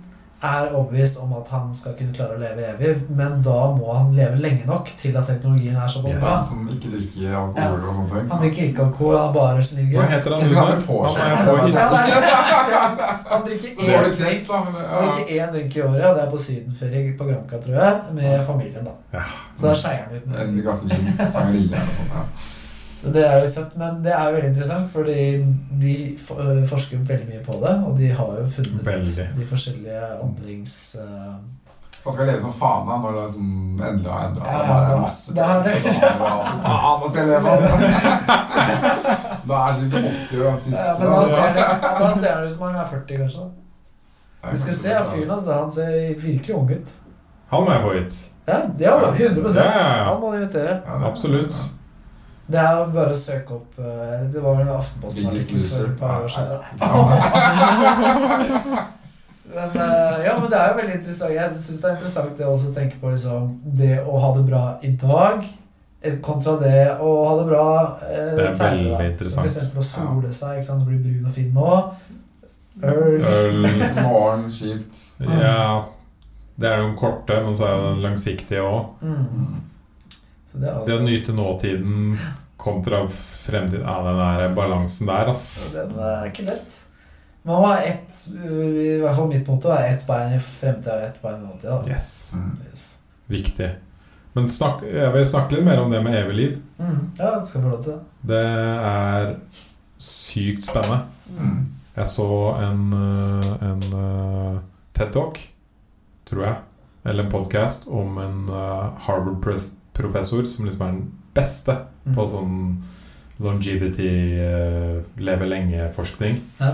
S2: er overbevist om at han skal kunne klare å leve evig, men da må han leve lenge nok til at teknologien er såpass
S1: Yes.
S2: bra.
S3: Som ikke drikker alkohol og sånne ting.
S2: Han drikker ikke alkohol, han er bare snill
S1: Hva
S2: gutt.
S1: heter han
S3: Tenk
S1: nå?
S3: at han blir påkjørt.
S1: Han er
S2: Ja,
S1: på-
S2: nei, Han drikker
S3: Så får
S2: én
S3: du
S2: drink.
S3: kreft, da. men-
S2: Han
S3: ja.
S2: drikker én drink i året, og det er på sydenferie på Granca, tror jeg, med
S1: Ja.
S2: familien, da. Så da skeier han ut med
S3: En glass vin, sangria eller noe sånt. Ja.
S2: Så det er jo søtt, men det er jo veldig interessant, fordi de for- øh, forsker veldig mye på det, og de har jo funnet
S1: Veldig.
S2: de forskjellige åndrings... øh,
S3: Man skal leve som faen da, når det liksom endelig har endret seg.
S2: Ja,
S3: Da er
S2: da-
S3: det masse
S2: da er det-
S3: så da er det alt. Faen, nå skal jeg leve, altså. Da er det sikkert 80 år, han
S2: Ja,
S3: siste.
S2: men da ser jeg- da ser han ut som han er 40, kanskje. Du skal se fyren, altså. Han ser virkelig ung ut.
S1: Han må jeg få hit.
S2: Ja, det har vi. 100
S1: Ja, ja, ja.
S2: Han må du invitere.
S3: Ja, det-
S1: Absolutt.
S2: Det er jo bare å søke opp eh, Det var vel en Aftenposten-artikkel
S3: Biggest
S2: for
S3: loser.
S2: et par år siden.
S3: Ja, ja.
S2: Men, eh, ja, men det er jo veldig interessant. Jeg syns det er interessant det også å tenke på liksom, det å ha det bra i dag eh, kontra det å ha det bra eh,
S1: Det er
S2: senere, da.
S1: veldig interessant.
S2: Som for eksempel å sole seg, ikke sant, så blir brun og fin nå. Øl
S1: Øl
S3: Morgen, kjipt.
S1: Ja. Det er den korte, men så er jo den langsiktige òg.
S2: mm. Så det er altså-
S1: Det å
S2: også
S1: nyte nåtiden kontra fremtiden Ja, den der balansen der, ass.
S2: Den eh, er ikke lett. Man må ha ett eh, I hvert fall mitt motto er ett bein i fremtida og ett bein i nåtida. da.
S1: Yes.
S3: Mm.
S2: Yes.
S1: Viktig. Men snakk, jeg vil snakke litt mer om det med evig liv.
S2: Mm. Ja, det skal jeg få lov til.
S1: Det er sykt spennende.
S2: Mm.
S3: Mm.
S1: Jeg så en, eh, en eh, TED Talk, tror jeg, eller en podkast om en Harvard-professor som liksom er den beste
S2: Mm.
S1: på sånn longevity, eh, leve lenge-forskning.
S2: Ja.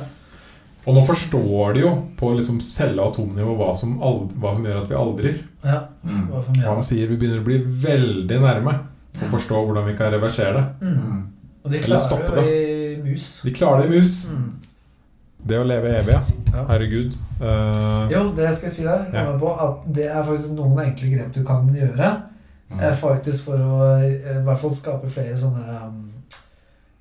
S1: Og nå forstår de jo på liksom celle- og atomnivå hva som, ald hva som gjør at vi aldrer.
S2: Ja,
S3: Mm.
S2: det var for mye.
S1: Han sier vi begynner å bli veldig nærme og forstå hvordan vi kan reversere det.
S2: Mm.
S3: Mm.
S2: Og de
S1: Eller stoppe
S2: klarer jo i mus.
S1: Vi klarer det i mus.
S2: Mm.
S1: Det å leve evig, ja.
S2: Ja.
S1: Herregud. Eh,
S2: Jo, det jeg skal si der, kom jeg på, at det er faktisk noen enkle grep du kan gjøre. eh, Faktisk for å eh, i hvert fall skape flere sånne um,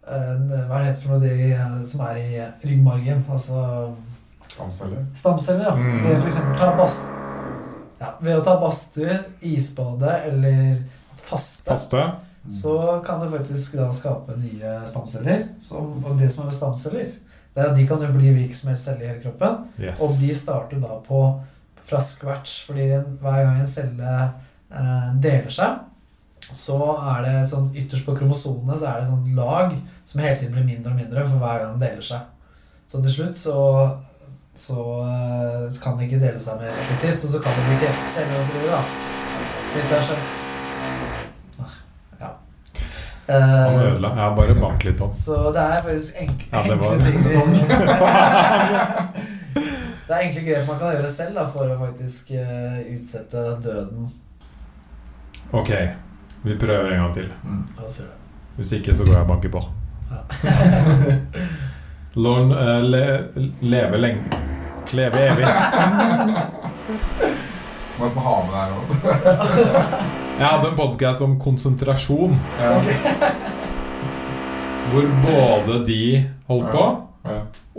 S2: en, Hva er det heter for noe det i- som er i ryggmargen? Altså
S3: Stamceller.
S2: stamceller, da.
S1: Mm.
S2: Ved for eksempel ta bas... Ja, ved å ta badstue, isbade eller faste,
S1: faste.
S3: Mm,
S2: så kan du faktisk da skape nye stamceller. Som, og det som er med stamceller, det er at de kan jo bli hvilken som helst celle i hele kroppen.
S1: Yes.
S2: Og de starter da på fra scratch, fordi en- hver gang en celle eh, deler seg, så er det sånn ytterst på kromosonene så er det sånn lag som hele tiden blir mindre og mindre for hver gang den deler seg. Så til slutt så, så, eh, så kan det ikke dele seg mer effektivt, og så kan det bli kreftceller og så videre, da. Så vidt jeg har skjønt. Ah, Ja.
S1: Han
S2: Eh,
S1: ødela. Jeg bare bank litt på han.
S2: så det er faktisk enk
S1: Ja, det var-
S2: enkle ting vi- Det er enkle grep man kan gjøre selv da, for å faktisk eh, utsette døden.
S1: Ok, vi prøver en gang til.
S3: Mm.
S2: Hva sier du?
S1: Hvis ikke, så går jeg og banker på.
S2: Ja.
S1: Lorn, eh, le, leve lenge. Leve evig.
S3: Hva skal man ha med der nå?
S1: Jeg hadde en podcast om konsentrasjon, hvor både de holdt på,
S3: Ja.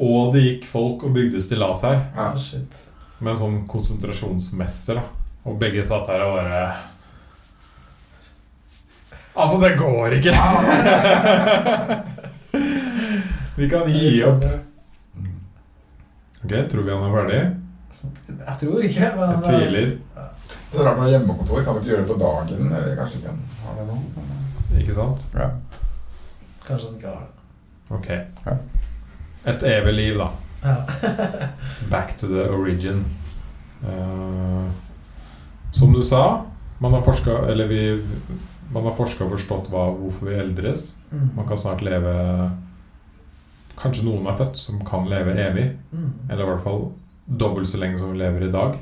S1: og det gikk folk og bygde stillas her,
S3: Ja.
S2: Å, Ah, shit.
S1: med en sånn konsentrasjonsmester, da. Og begge satt her og bare... Altså, det går ikke! Vi kan gi opp.
S3: Mm.
S1: Ok, tror vi han er ferdig?
S2: Jeg tror ikke, men eh,
S1: Jeg tviler.
S3: Det er rart med hjemmekontor. Kan du ikke gjøre det på dagen? Eller kanskje ikke en har det nå? men-
S1: Ikke sant?
S3: Ja.
S2: eh, kanskje den ikke har det.
S1: Ok.
S3: Ja.
S1: Et evig liv, da.
S2: Ja.
S1: Back to the origin. Eh, som du sa, man har forska Eller vi Man har forska og forstått hva, hvorfor vi eldres. Man
S2: Mm.
S1: kan snart leve Kanskje noen er født som kan leve evig.
S2: Mm.
S1: Eller i hvert fall dobbelt så lenge som vi lever i dag.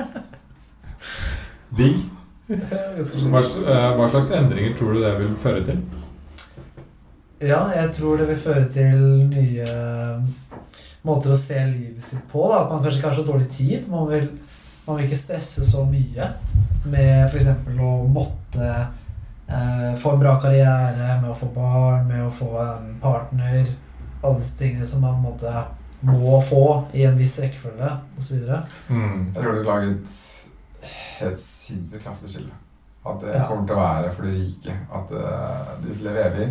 S1: Digg.
S2: Ganske
S1: Hva,
S2: sjukt.
S1: eh, hva slags endringer tror du det vil føre til?
S2: Ja, jeg tror det vil føre til nye um, måter å se livet sitt på. Da. At man kanskje ikke har så dårlig tid. Man vil, man vil ikke stresse så mye med f.eks. å måtte eh, få en bra karriere, med å få barn, med å få en partner. Alle disse tingene som man på en måte må få i en viss rekkefølge osv.
S1: Mm.
S3: Jeg tror det er laget helt sinnssykt klasseskille. At det
S2: Ja.
S3: kommer til å være for de rike. At eh, de lever evig.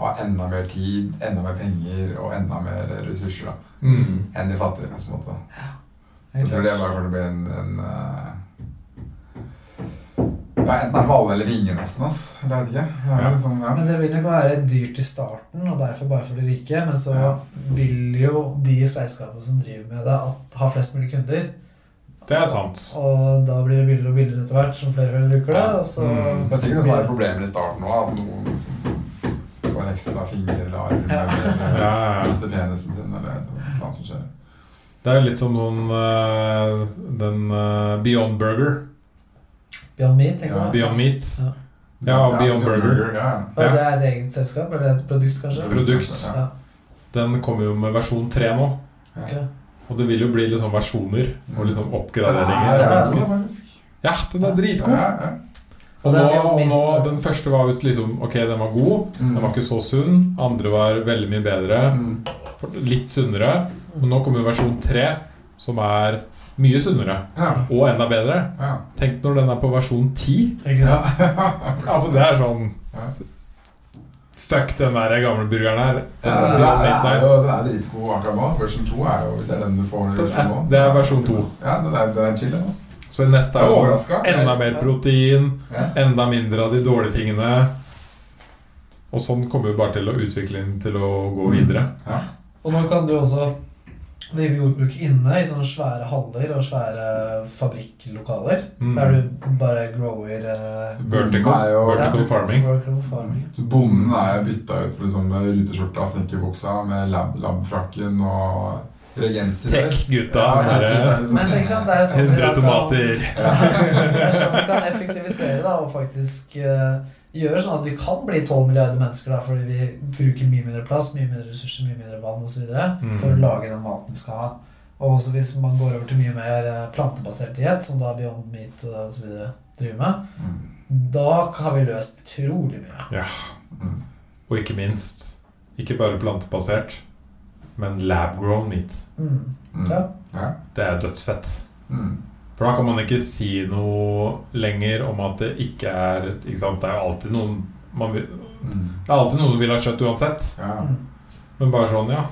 S3: Har enda mer tid, enda mer penger og enda mer ressurser da,
S1: Mm.
S3: enn de fattige. på en måte. Jeg tror det bare kommer til å bli en, en eh, ja, Enten er det vale eller vinge, nesten. ass. Jeg vet ikke. Det er
S1: Ja.
S3: liksom, ja.
S2: Men det vil nok være dyrt i starten, og derfor bare for de rike. Men så
S3: Ja.
S2: vil jo de selskapene som driver med det, at, ha flest mulig kunder.
S1: Det er sant.
S2: Og da blir det billigere og billigere etter hvert som flere bruker det.
S3: Ja.
S2: Og så
S1: Mm.
S3: Det er sikkert noen sånne problemer i starten òg. At noen liksom får en ekstra finger eller arm
S2: Ja.
S1: Ja,
S3: eller
S1: ja, ja.
S3: mister penisen sin eller et eller annet som skjer.
S1: Det er jo litt som sånn eh, den eh, Beyond Burger.
S2: Beyond Meat, tenker
S3: Ja,
S2: jeg.
S1: Beyond Meat.
S2: Ja.
S1: Ja, Beyond Burger.
S3: ja, ja.
S2: Og det er et eget selskap, eller et produkt, kanskje.
S1: Produkt.
S2: Ja.
S1: Den kommer jo med versjon 3 nå.
S3: Ja.
S2: Ok.
S1: Og det vil jo bli liksom versjoner og liksom oppgraderinger.
S3: Det
S1: av
S2: ja.
S3: er
S1: mennesker.
S3: bra, faktisk.
S1: Ja, den er dritgod!
S3: Ja, ja.
S1: Og nå,
S2: Og det er det
S1: og nå,
S2: minste.
S1: Den første var visst liksom Ok, den var god,
S3: Mm.
S1: den var ikke så sunn. Andre var veldig mye bedre.
S3: Mm.
S1: for- Litt sunnere. Og nå kommer versjon 3, som er mye sunnere.
S3: Ja,
S1: Og enda bedre.
S3: ja.
S1: Tenk når den er på versjon 10.
S2: Ikke
S3: Ja.
S2: sant?
S1: Altså, det er sånn
S3: Ja.
S1: Fuck den der gamle burgeren her. Den
S3: Ja,
S1: er
S3: det, er,
S1: helt
S3: det er
S1: der.
S3: jo det er dritgod akkurat nå. Version 2 er jo hvis det er den du får i
S1: Det
S3: versjon
S1: er-
S3: nå.
S1: det er versjon 2.
S3: Ja, det er, det er chill, altså.
S1: Så neste
S3: Jeg
S1: er
S3: er
S1: jo
S3: overrasket.
S1: enda mer protein,
S3: Ja.
S1: enda mindre av de dårlige tingene. Og sånn kommer vi bare til å utvikle den til å
S3: Mm.
S1: gå videre.
S3: Ja.
S2: Og nå kan du også drive jordbruk inne i sånne svære haller og svære fabrikklokaler.
S1: Mm.
S2: Der du bare grower eh,
S1: Vertical,
S3: Det er jo-
S1: vertical
S2: Ja.
S1: farming.
S2: Vertical farming.
S3: Så bonden er bytta ut på liksom, med ruteskjorta, snekkerbuksa, med lab labfrakken og regenser.
S1: Tech-gutta.
S3: Ja,
S1: den derre-
S3: det er-
S2: Men ikke sant, det er sånn vi da
S1: 100
S2: kan-
S1: tomater.
S2: Det er sånn vi kan effektivisere da, og faktisk eh, gjøre sånn at vi kan bli 12 milliarder mennesker da, fordi vi bruker mye mindre plass, mye mindre ressurser, mye mindre vann osv.
S1: Mm.
S2: videre for å lage den maten vi skal ha. Og også hvis man går over til mye mer eh, plantebasert diett, som da Beyond Meat eh, og så videre driver med,
S3: Mm.
S2: da har vi løst utrolig mye.
S3: Mm.
S1: Og ikke minst, ikke bare plantebasert, men lab-grown meat.
S2: Mm.
S3: Mm.
S2: Ja.
S3: Ja.
S1: Det er dødsfett.
S3: Mm.
S1: For da kan man ikke si noe lenger om at det ikke er ikke sant? Det er jo alltid noen man vil,
S3: Mm.
S1: Det er alltid noen som vil ha kjøtt uansett.
S3: ja.
S2: Mm.
S1: Men bare sånn, ja.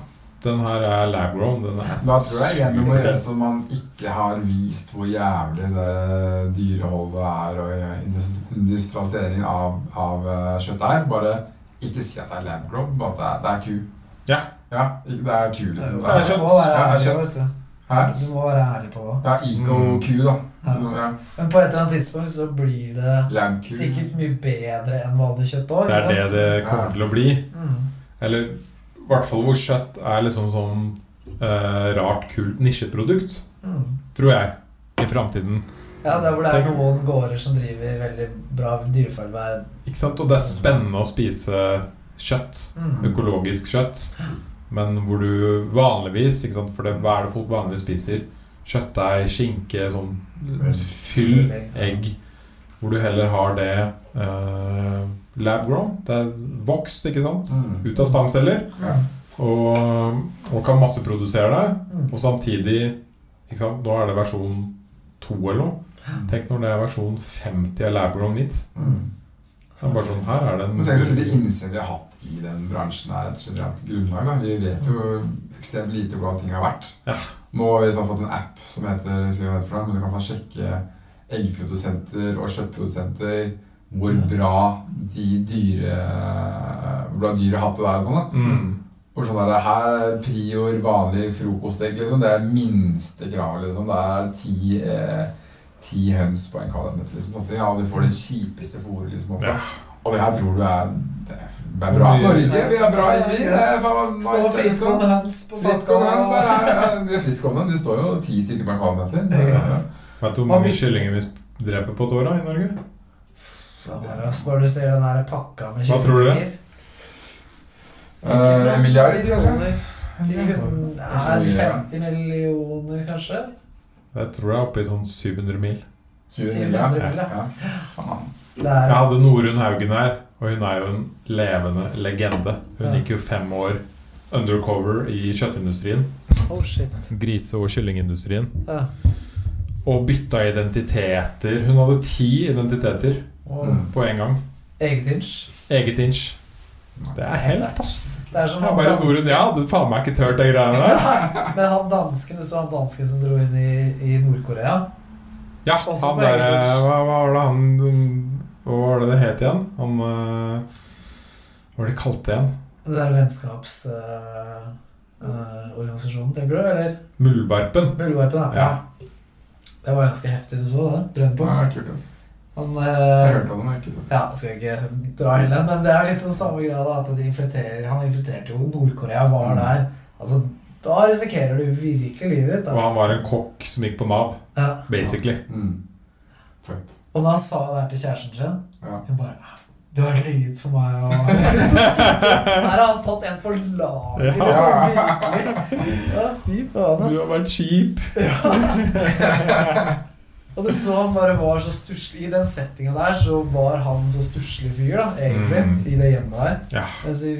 S1: Den her er lab-grown. Den er
S3: Da tror jeg igjen du må
S1: supergodt.
S3: gjøre så man ikke har vist hvor jævlig det dyreholdet er og indus- industrialiseringen av, av eh, kjøtt er. Bare ikke si at det er lamgrown, bare at det er, det er ku.
S1: Ja.
S3: ja. Ikke det er ku, liksom.
S1: Det er
S2: sånn- Du
S1: kjøtt.
S2: må være
S3: Ja, det er
S2: ærlig,
S3: kjøtt.
S2: vet du.
S3: Her.
S2: Du må være ærlig på det.
S3: Ja, eco-ku, da.
S2: Ja.
S3: Ja.
S2: Men på et eller annet tidspunkt så blir det
S3: Lamku.
S2: sikkert mye bedre enn vanlig kjøtt òg.
S1: Det er det det kommer
S3: Ja.
S1: til å bli.
S2: Mm.
S1: Eller i hvert fall hvor kjøtt er liksom sånn eh, rart, kult nisjeprodukt.
S2: Mm.
S1: Tror jeg. I framtiden.
S2: Ja, der hvor det er
S1: Tenk-
S2: noen gårder som driver veldig bra dyrevelferd.
S1: Ikke sant? Og det er spennende å spise kjøtt.
S2: Mm.
S1: Økologisk kjøtt. Men hvor du vanligvis ikke sant? For det, hva er det folk vanligvis spiser? Kjøttdeig, skinke, sånn
S2: Mm,
S1: fyll, egg. Hvor du heller har det eh, lab grown. Det er vokst, ikke sant?
S3: Mm.
S1: Ut av stamceller.
S3: Ja.
S1: Og, og kan masseprodusere det.
S2: Mm.
S1: Og samtidig ikke sant? Nå er det versjon 2 eller noe. Tenk når det er versjon 50 av lab grown mitt.
S3: Mm.
S1: Det er bare sånn, her er det
S3: Men tenk så
S1: en
S3: lite innsyn vi har hatt i den bransjen her generelt grunnlag. da. Vi vet jo ekstremt lite hvordan ting har vært.
S1: Ja.
S3: Nå har vi sånn fått en app som heter jeg husker ikke hva den heter for noe, men du kan få sjekke eggprodusenter og kjøttprodusenter hvor
S2: Ja.
S3: bra de dyre hvor bra dyret har hatt det der og sånn. da.
S1: mm.
S3: Og sånn der, her er prior vanlig frokostegg, liksom. Det er minste kravet, liksom. Det er ti, eh, ti høns på en kvadratmeter, liksom. sånne ting. Ja, og du får det kjipeste fôret, liksom. Også.
S1: Ja.
S3: Og det her tror du er Det er, det er bra. Norge, vi er bra i vi. Det er faen meg
S2: Stå
S3: nice, liksom.
S2: frittgående høns på
S3: Frittgående høns her.
S2: bakken.
S3: er- er- det er Frittgående. Det står jo ti stykker per kvadratmeter. Det er-
S2: Ja.
S1: Vet du hvor
S2: Har
S1: mange
S2: vi-
S1: kyllinger vi dreper på et år da, i Norge?
S2: Bare du ser den der pakka med
S1: Hva tror dere?
S2: Sikkert
S3: Eh, en milliard,
S2: millioner. Ti-
S3: Ja.
S2: Nei, 50 millioner, kanskje?
S1: Jeg tror jeg er oppe i sånn 700 mil.
S2: 700 mil, ja.
S3: Ja. Faen.
S2: Det er
S1: Jeg hadde Norunn Haugen her, og hun er jo en levende legende. Hun
S2: Ja.
S1: gikk jo fem år undercover i kjøttindustrien,
S2: Oh, shit.
S1: grise- og kyllingindustrien,
S2: Ja.
S1: og bytta identiteter. Hun hadde ti identiteter
S2: Og
S3: Mm.
S1: på en gang.
S2: eget inch.
S1: Eget inch. Det er helt, ass.
S2: Det er som
S1: Det er
S2: han
S1: bare
S2: danske-
S1: Norunn. Jeg hadde faen meg ikke tørt de greiene der.
S2: Men han dansken, du så han dansken som dro inn i, i Nord-Korea?
S1: Ja,
S2: Også
S1: han
S2: på
S1: der,
S2: eget inch.
S1: hva, hva var det han Hva var det det het igjen? Han eh, Hva var det de kalte igjen?
S2: Det der vennskapsorganisasjonen, tenker du? Eller
S1: Muldvarpen.
S2: Bullvarpen, da.
S1: Ja.
S2: Det var ganske heftig du så det.
S3: Ja,
S2: Brennpunkt.
S3: kult, ass.
S2: Han
S3: Jeg
S2: eh,
S3: hørte om det, men ikke sant.
S2: Ja, skal jeg ikke dra hele, men det er litt sånn samme greia, da. At de infiltrerer Han infiltrerte jo Nord-Korea, var
S3: Mm.
S2: der. Altså, da risikerer du virkelig livet ditt.
S1: Og han
S2: Altså.
S1: var en kokk som gikk på Nav,
S2: Ja.
S1: basically.
S3: Mm. Fett.
S2: Og da han sa det her til kjæresten sin,
S3: Ja.
S2: hun bare "Ah, Du har løyet for meg og Her har han tatt en for laget, liksom. Virkelig. Ja, fy faen,
S1: Du
S2: ass.
S1: har vært kjip.
S2: Og du så han bare var så stusslig I den settinga der så var han så stusslig fyr, da, egentlig,
S1: Mm.
S2: i det hjemmet der.
S1: Ja.
S2: Mens i,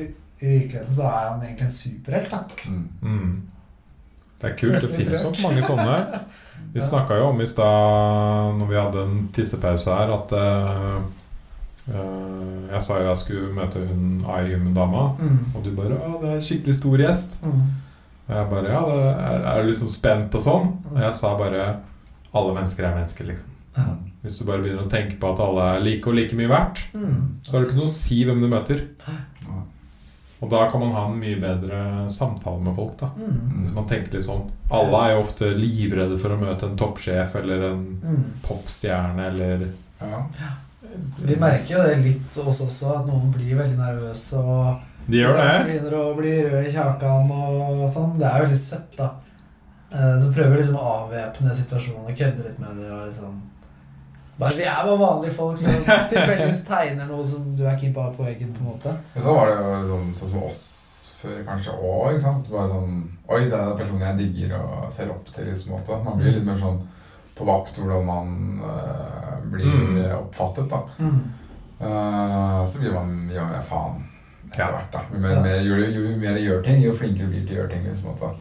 S2: i virkeligheten så er han egentlig en superhelt, da.
S1: Mm. Det er kult.
S2: Nesten
S1: Det
S2: litt
S1: finnes
S2: rørt.
S1: nok mange sånne. Vi
S2: Ja.
S1: snakka jo om i stad, når vi hadde en tissepause her, at eh, eh, Jeg sa jo jeg skulle møte hun I Human-dama,
S2: Mm.
S1: og du bare 'Å, det er en skikkelig stor gjest'.
S2: Mm.
S1: Og jeg bare 'Ja, det er, er du liksom spent og sånn?' Og jeg sa bare 'Alle mennesker er mennesker', liksom.
S2: Ja.
S1: Hvis du bare begynner å tenke på at alle er like og like mye verdt,
S2: Mm.
S1: så er det ikke noe å si hvem du møter.
S3: Nei.
S1: Og da kan man ha en mye bedre samtale med folk, da.
S2: Mm.
S1: Hvis man tenker litt sånn Alle er jo ofte livredde for å møte en toppsjef eller en
S2: Mm.
S1: popstjerne eller
S3: Ja.
S2: Vi merker jo det litt hos oss også, at noen blir veldig nervøse og
S1: De gjør
S2: så
S1: det.
S2: begynner å bli rød i kjakan og sånn. Det er jo litt søtt, da. Eh, Så prøver vi liksom å avvæpne situasjonen og kødde litt med det og liksom bare, Vi er bare vanlige folk som tilfeldigvis tegner noe som du er keen på å ha på veggen, på en måte.
S3: Og så var det jo liksom, sånn som oss før, kanskje, òg, ikke sant? Bare sånn Oi, det er den personen jeg digger og ser opp til, i liksom, måte. Man blir litt mer sånn på vakt hvordan man eh, blir
S1: Mm.
S3: oppfattet, da.
S2: Mm.
S3: Eh, så blir man jo mer faen etter
S1: Ja.
S3: hvert, da. Jo mer,
S2: Ja.
S3: mer, jo, jo mer jeg gjør ting, jo flinkere blir du til å gjøre ting, liksom, måte.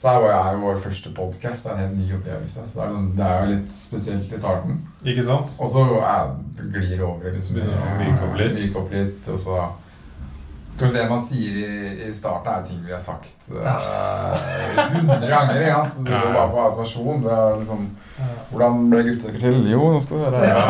S3: Så her var jeg vår første podkast. Det er en helt ny opplevelse. Så det er, sånn- det er jo litt spesielt i starten.
S1: Ikke sant?
S3: Og så er- glir over liksom,
S1: Begynner å myke opp litt.
S3: myke opp litt, og så Kanskje det man sier i, i starten, er ting vi har sagt eh, hundre ganger. Ja. Så det går
S1: Ja.
S3: bare på automasjon. Det er liksom
S2: Ja.
S3: Hvordan ble guttestykker til? Jo, nå skal du høre.
S1: Ja.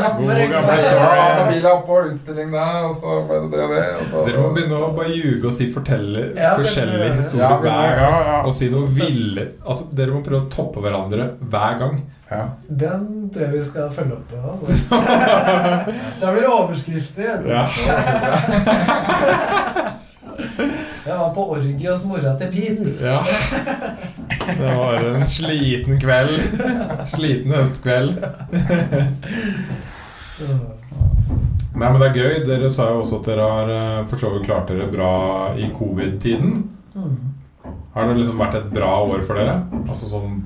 S3: God gamle historie. Bilen opp og utstilling der, og så ble det det og det. Og så,
S1: Dere må begynne å bare ljuge og si fortelle
S2: Ja, det tror
S1: forskjellige
S2: jeg.
S3: ja,
S1: historier
S3: begynne-
S1: hver gang.
S3: ja, ja.
S1: Og si noe ville Altså, dere må prøve å toppe hverandre hver gang.
S3: ja.
S2: Den tror jeg vi skal følge opp på. Altså. da blir det overskrifter. vet du.
S1: Ja.
S2: Jeg var på orgie hos mora til Pete.
S1: ja. Det var en sliten kveld. Sliten høstkveld.
S2: Så-
S1: Nei, men det er gøy. Dere sa jo også at dere har eh, for så vidt klart dere bra i covid-tiden.
S2: Mm.
S1: Har det liksom vært et bra år for dere? Altså sånn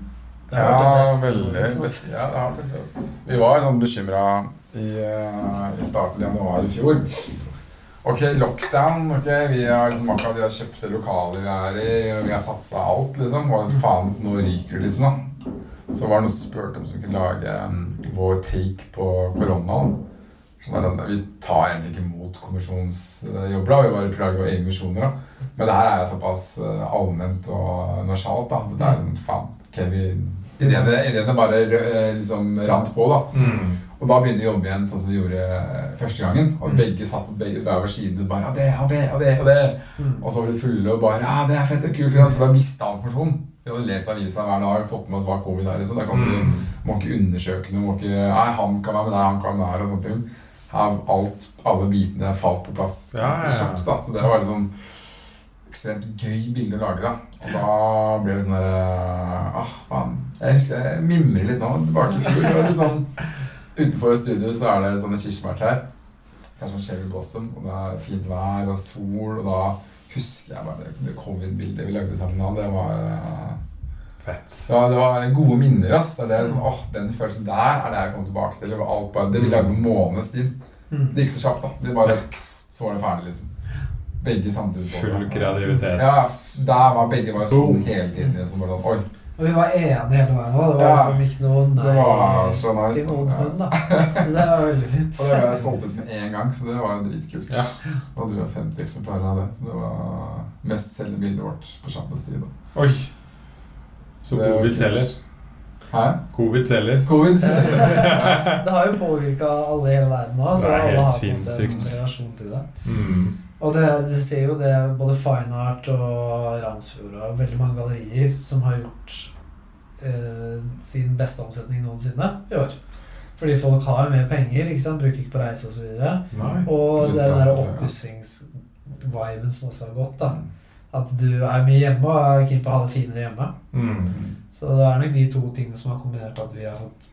S2: Det har vært det
S3: Ja,
S2: beste
S3: veldig.
S2: året som har
S3: best-
S2: sett.
S3: Ja, det har faktisk ass. Vi var sånn bekymra i, eh, i starten av januar i fjor. Ok, lockdown. ok, Vi har liksom akkurat vi har kjøpt det lokalet vi er i, og vi har satsa alt, liksom. Og liksom, faen, nå ryker det, liksom. da. Så var det noen som spurte om vi kunne lage mm, vår take på koronaen. Så var det, vi tar egentlig ikke imot kommisjonsjobber, da. vi bare lager våre egne misjoner. da. Men det her er jo såpass eh, allment og nasjonalt, da. Dette er en faen ok, vi Ideene, ideene bare eh, liksom rant på, da.
S1: mm,
S3: Og da begynte vi å jobbe igjen sånn som vi gjorde eh, første gangen. Og
S2: Mm.
S3: begge satt på begge hver vår side bare ja, det, ja, det, ja, det, ja, det.
S2: Mm.
S3: Og så var vi fulle og bare Ja, det er fett og kult. ikke sant? For da visste han informasjon. Vi hadde lest avisa hver dag, fått med oss hva covid er. liksom. Da kan du
S1: Mm.
S3: må ikke undersøke noe. Må ikke, nei, han kan være med deg, han kan være med der, og sånne ting. Her, alt, alle bitene falt på plass
S1: Ja, ja,
S3: ganske
S1: ja.
S3: kjapt. da, Så det var liksom ekstremt gøy bilde å lage. da. Og da ble det sånn der eh, Ah, faen. Jeg husker jeg mimrer litt nå. Tilbake i fjor. og liksom, Utenfor studio så er det sånne kirsebærtrær. Det er sånn cherry blossom, og det er fint vær og sol, og da husker jeg bare det covid-bildet vi lagde sammen da. Det var eh,
S1: Fett.
S3: ja, det var gode minner. ass. Det er det, åh, den følelsen der er det jeg kom tilbake til. Det var alt bare, det Vi lagde en måneds tid.
S2: Mm.
S3: Det gikk så kjapt. da. Det bare, Så var det ferdig, liksom. Begge samtidig. på det.
S1: Full kreativitet.
S3: Ja, der var begge var sånn
S1: Boom.
S3: hele tiden. liksom bare sånn, Oi,
S2: Og vi var enige hele veien òg. Det var
S3: Ja.
S2: liksom ikke noe nei
S3: det var så nice.
S2: i noens
S3: da.
S2: munn, da. Så det var veldig fint.
S3: Og det sånn- ble jeg solgt ut med én gang, så det var dritkult.
S1: Ja.
S3: Da hadde vi 50 eksemplarer av det. Så det var mest selgende bildet vårt på Champions tid. da.
S1: Oi. Så
S3: Det var
S1: covid
S3: kult.
S1: selger.
S3: Hæ?
S1: Covid selger.
S3: Covid?
S2: Det har jo påvirka alle i hele verden nå. Så
S1: Det er
S2: alle
S1: helt
S2: har fått en
S1: sinnssykt.
S2: relasjon til det.
S1: Mm.
S2: Og det, du ser jo det både Fine Art og Ramsfjord og veldig mange gallerier som har gjort eh, sin beste omsetning noensinne i år. Fordi folk har jo mer penger, ikke sant? bruker ikke på reise osv. videre
S1: Nei.
S2: Og den
S3: Restaurant,
S2: der
S3: ja.
S2: oppussingsviben som også har gått, da. At du er mye hjemme og er keen på å ha det finere hjemme.
S1: Mm.
S2: Så det er nok de to tingene som har kombinert at vi har fått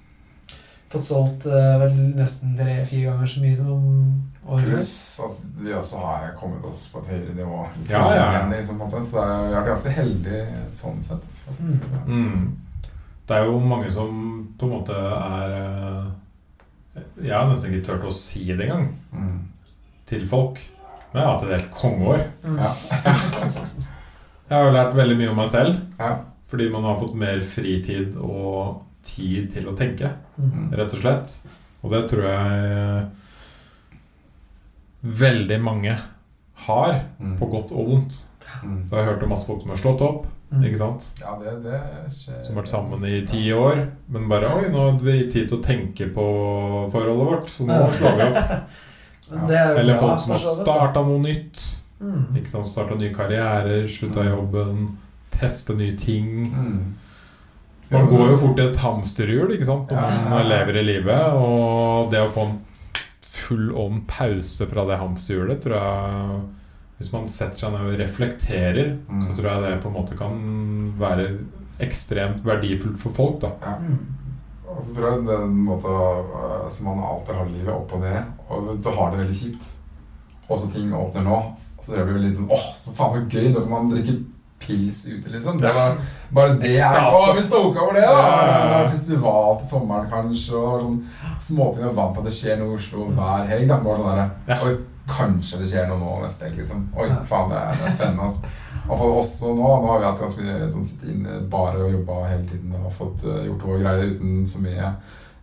S2: fått solgt eh, vel nesten tre-fire ganger så mye som året før.
S3: Pluss at vi også har kommet oss på et høyere nivå. Litt
S1: Ja, ja, ja.
S3: igjen, liksom, på en måte. Så det er, jeg er ganske heldig sånn sett. altså, faktisk.
S1: Mm. Det er jo mange som på en måte er eh, Jeg har nesten ikke turt å si det engang
S3: Mm.
S1: til folk. Men jeg har hatt et helt kongeår.
S2: Mm.
S3: Ja.
S1: Jeg har jo lært veldig mye om meg selv.
S3: Ja.
S1: Fordi man har fått mer fritid og tid til å tenke,
S2: Mm.
S3: Mm.
S1: rett og slett. Og det tror jeg eh, veldig mange har,
S3: Mm.
S1: på godt og vondt.
S3: Mm.
S1: Jeg har hørt om masse folk som har slått opp,
S2: Mm.
S1: ikke sant?
S3: Ja, det, det skjer.
S1: som har vært sammen i ti år, men bare Oi, nå hadde vi tid til å tenke på forholdet vårt, så nå slår vi opp.
S2: Men Det er jo
S1: Eller
S2: bra,
S1: folk som
S2: for
S1: har
S2: så vidt, da.
S1: starta noe nytt.
S2: Mm.
S1: Ikke sant, Starta Liksom, nye karrierer, slutta i jobben, teste nye ting.
S3: Mm.
S1: Man går jo fort i et hamsterhjul ikke sant, når
S3: Ja.
S1: man lever i livet, og det å få en full on pause fra det hamsterhjulet, tror jeg Hvis man setter seg ned og reflekterer,
S3: Mm.
S1: så tror jeg det på en måte kan være ekstremt verdifullt for folk, da.
S2: Mm.
S3: Og så tror jeg det er en måte øh, som man alltid har livet opp og ned, og så har det veldig kjipt. Og så ting åpner nå, og så blir det litt sånn åh, så faen så gøy, da kan man drikke pils ute, liksom. Det var bare det er
S1: Ekstase.
S3: Å, vi stoka over det, da!
S1: Ja, ja, ja.
S3: Det er festival til sommeren, kanskje, og sånn småting og vant til at det skjer noe i Oslo hver helg. Da. Bare sånn
S1: Ja.
S3: derre Oi, kanskje det skjer noe nå neste helg, liksom. Oi,
S2: Ja.
S3: faen, det er, det er spennende, altså. Og for oss også nå, nå har vi hatt ganske mye sånn sitte inne bare og jobba hele tiden og fått eh, gjort våre greier uten så mye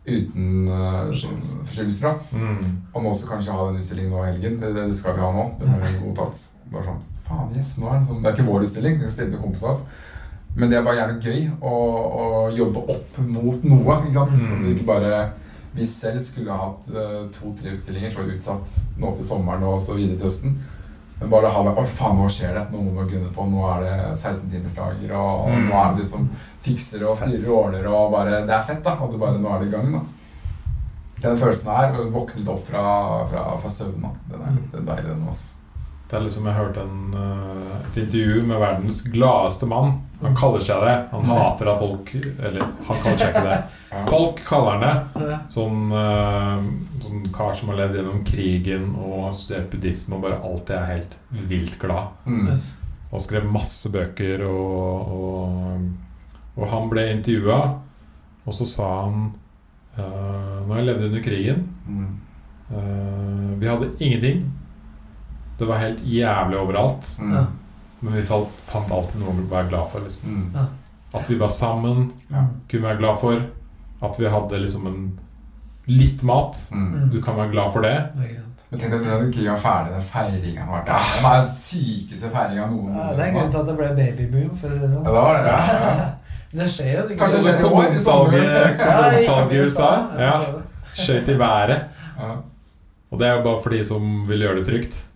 S3: Uten uh,
S1: Forstyrrelser.
S3: forstyrrelser. da.
S1: Mm.
S3: Og nå skal kanskje ha den utstillingen nå i helgen. Det, det, det skal vi ha nå. Det er godtatt. Bare sånn, faen yes, nå er det sånn. Det er ikke vår utstilling, vi skal stille med kompisene hans. Men det er bare gjerne gøy å, å jobbe opp mot noe. ikke sant?
S1: Mm.
S3: At det ikke bare vi selv skulle ha hatt eh, to-tre utstillinger som var utsatt nå til sommeren og så videre til høsten. Men bare ha det Å, faen, nå skjer det. Nå må vi gunne på. Nå er det 16-timersdager, og, og
S1: Mm.
S3: nå er det liksom fikser og styrer og ordner og bare Det er fett, da. At du bare Nå er det i gang, da. Den følelsen her, å våkne litt opp fra, fra, fra søvnen, da. Den er litt deilig, den også.
S1: Det er liksom jeg hørte en, eh, et intervju med verdens gladeste mann. Han kaller seg det. Han
S3: Mm.
S1: hater at folk Eller han kaller seg ikke det. Folk kaller han det.
S2: Ja.
S1: Sånn, eh, sånn kar som har levd gjennom krigen og studert buddhisme og bare alltid er helt vilt glad.
S3: Mm.
S2: Yes.
S1: Og skrev masse bøker og Og, og han ble intervjua, og så sa han uh, Når jeg levde under krigen
S3: Mm.
S1: eh, Vi hadde ingenting. Det var helt jævlig overalt.
S3: Mm.
S2: Ja.
S1: Men vi falt, fant alltid noe å være glad for. Liksom.
S3: Mm.
S1: At vi var sammen,
S3: Ja.
S2: Mm.
S1: kunne være glad for. At vi hadde liksom en litt mat.
S3: Mm.
S1: Du kan være glad for det.
S2: Det er greit.
S3: Men tenk deg når krigen var ferdig, den feiringen har vært der. Det er den sykeste feiringen
S2: Ja,
S3: noensinne.
S2: det er grunnen til at det ble babyboom, for å si det
S3: Mm. Ja,
S2: sånn.
S3: det var det. Ja, ja.
S2: Det skjer jo sikkert.
S3: Kanskje
S1: Så
S3: det skjer i år, i
S1: kondomsalget
S3: sommer.
S1: kondomsalget i USA ja,
S2: ja.
S1: skjøt i været.
S3: Ja.
S1: Og det er jo bare for de som vil gjøre det trygt.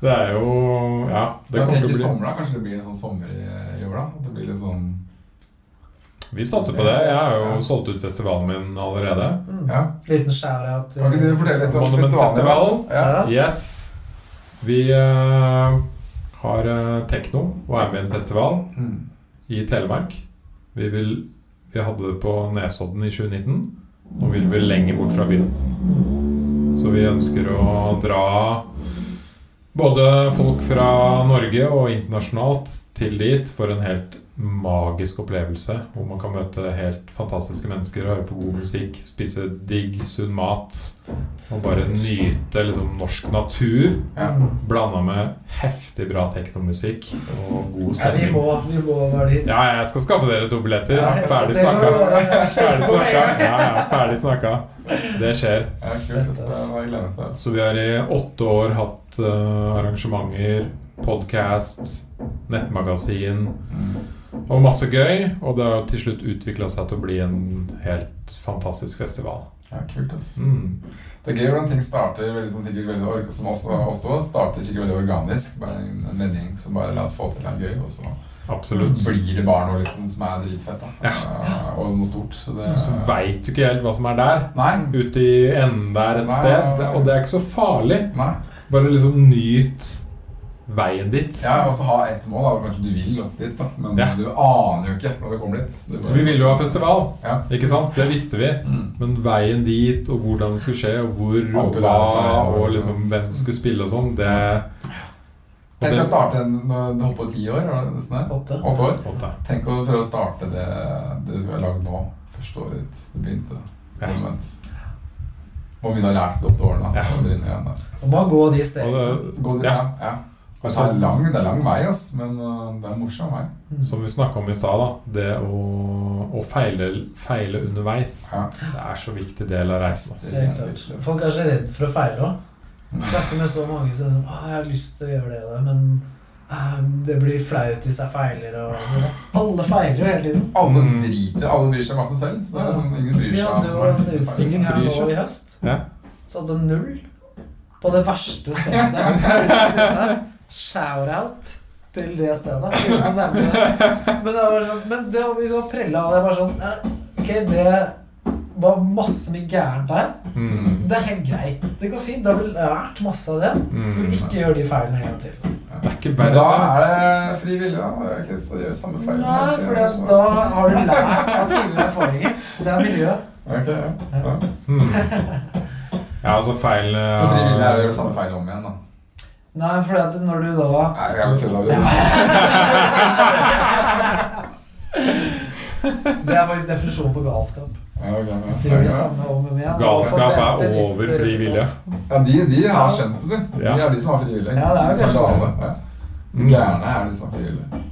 S1: Det er jo Ja, det
S3: Jeg
S1: kommer
S3: tenker i
S1: til å
S3: sommer, da. Kanskje det blir en sånn sommer i i år, da. At det blir litt sånn
S1: bli Vi satser på det. Jeg har
S3: Ja.
S1: jo solgt ut festivalen min allerede.
S2: Mm.
S3: Ja.
S2: Liten shout-out. eh, til-
S3: Kan ikke du fortelle litt om festivalen?
S1: Monumentfestivalen.
S3: Ja.
S1: Yes. Vi eh, har eh, tekno og er med i en festival.
S3: Mm.
S1: i Telemark. Vi, vil, vi hadde det på Nesodden i 2019. Nå vil vi lenger bort fra byen. Så vi ønsker å dra både folk fra Norge og internasjonalt til dit for en helt magisk opplevelse. Hvor man kan møte helt fantastiske mennesker, høre på god musikk, spise digg, sunn mat. Og bare nyte liksom, norsk natur
S3: Ja.
S2: Mm.
S1: blanda med heftig bra teknomusikk og god
S2: Ja, vi
S1: stemning.
S2: må, vi må være dit.
S1: Ja, jeg skal skaffe dere to billetter.
S2: Ja,
S1: Ferdig
S2: det
S1: snakka.
S2: må- ja,
S1: Ferdig
S2: på
S1: snakka.
S2: med en gang.
S1: Ja, ja, ferdig snakka. Det skjer.
S3: Ja, kult. ass. Det var jeg gledet til.
S1: Så vi har i åtte år hatt eh, arrangementer, podkast, nettmagasin
S3: Mm.
S1: og masse gøy. Og det har til slutt utvikla seg til å bli en helt fantastisk festival.
S3: Ja, kult, ass.
S1: Mm.
S3: Det er gøy hvordan ting starter veldig sånn sikkert veldig ork, som også oss to starter sikkert veldig organisk. Bare en, en vending som bare la oss få til noe gøy, og så
S1: Absolutt.
S3: blir det bare noe liksom som er dritfett. da. Eh, og noe stort. Så det
S1: Så veit du ikke helt hva som er der.
S3: Nei.
S1: Ute i enden der et
S3: Nei.
S1: sted. Og det er ikke så farlig.
S3: Nei.
S1: Bare liksom nyt veien dit.
S3: Ja, og så ha ett mål. da. Kanskje du vil opp dit, da. men
S1: Ja.
S3: du aner jo ikke når du kommer dit. Du bare-
S1: Vi ville jo ha festival,
S3: Ja.
S1: ikke sant? Det visste vi.
S3: Mm.
S1: Men veien dit, og hvordan det skulle skje, og hvor
S3: Alt
S1: og
S3: du
S1: hva,
S3: lærer på veien,
S1: og
S3: liksom.
S1: liksom hvem som skulle spille og sånn, det og
S3: Tenk å
S1: det-
S3: starte en når Du holdt på i ti år? var det nesten det?
S2: Åtte.
S3: Åtte år?
S1: Åtte.
S3: Tenk å prøve å starte det, det du har lagd nå, første året ditt. Du begynte.
S1: Ja.
S3: Moment. Må begynne å lære de åtte årene.
S1: Ja.
S3: da, og drive igjen, da.
S2: Og bare gå de
S1: Og
S2: stegene.
S1: det,
S3: Gå dit,
S1: Ja.
S3: ja. ja.
S1: Og
S3: Det
S1: så-
S3: er lang, det er lang vei, ass, men uh, det er en morsom vei.
S2: Mm.
S1: som vi snakka om i stad, da, det å, å feile, feile underveis,
S3: Ja.
S1: det er så viktig del av reisen. ass.
S2: Det er klart. Folk er så redde for å feile òg.
S3: Mm.
S2: Snakker med så mange som er sånn, ah, 'Jeg har lyst til å gjøre det og det, men ah, det blir flaut hvis jeg feiler.' Og alle feiler jo hele tiden.
S3: Alle
S1: Mm.
S3: driter, alle bryr seg masse selv. Så det er sånn, ingen bryr
S2: Vi
S3: seg.
S2: hadde jo en utstilling her nå i høst.
S1: Ja.
S2: Så hadde null på det verste stedet. Shout-out til det stedet. uten å nevne det. Men det var sånn, men det var vi var prella av. Det var sånn ja, Ok, det var masse mye gærent der.
S1: Mm.
S2: Det er helt greit. Det går fint. Da har vi lært masse av det. Så vi ikke gjør de feilene en gang til.
S1: Det er ikke
S3: Men
S1: verre.
S3: da
S1: ass.
S3: er det fri vilje. da. Det er ikke så gjør samme feil.
S2: Nei, for da har du lært av tidligere erfaringer. Det er miljøet.
S3: Ok, ja. ja.
S1: Mm. Ja, altså feil eh,
S3: Så fri vilje er å gjøre samme feil om igjen, da.
S2: Nei, for det at når du da
S3: Nei, jeg har kødda med
S2: Det er faktisk definisjonen på galskap. Hvis de gjør det
S3: det.
S2: samme om og om igjen.
S1: Galskap
S2: og så
S1: er
S2: venter
S1: over
S2: litt
S1: fri
S2: resultat.
S1: vilje.
S3: Ja, de, de har skjønt det, de.
S1: Ja.
S3: De er de som har fri vilje.
S2: Ja, det er jo
S3: som
S2: kanskje det.
S3: alle, ja. De Gærne er de som har fri vilje.
S1: Mm.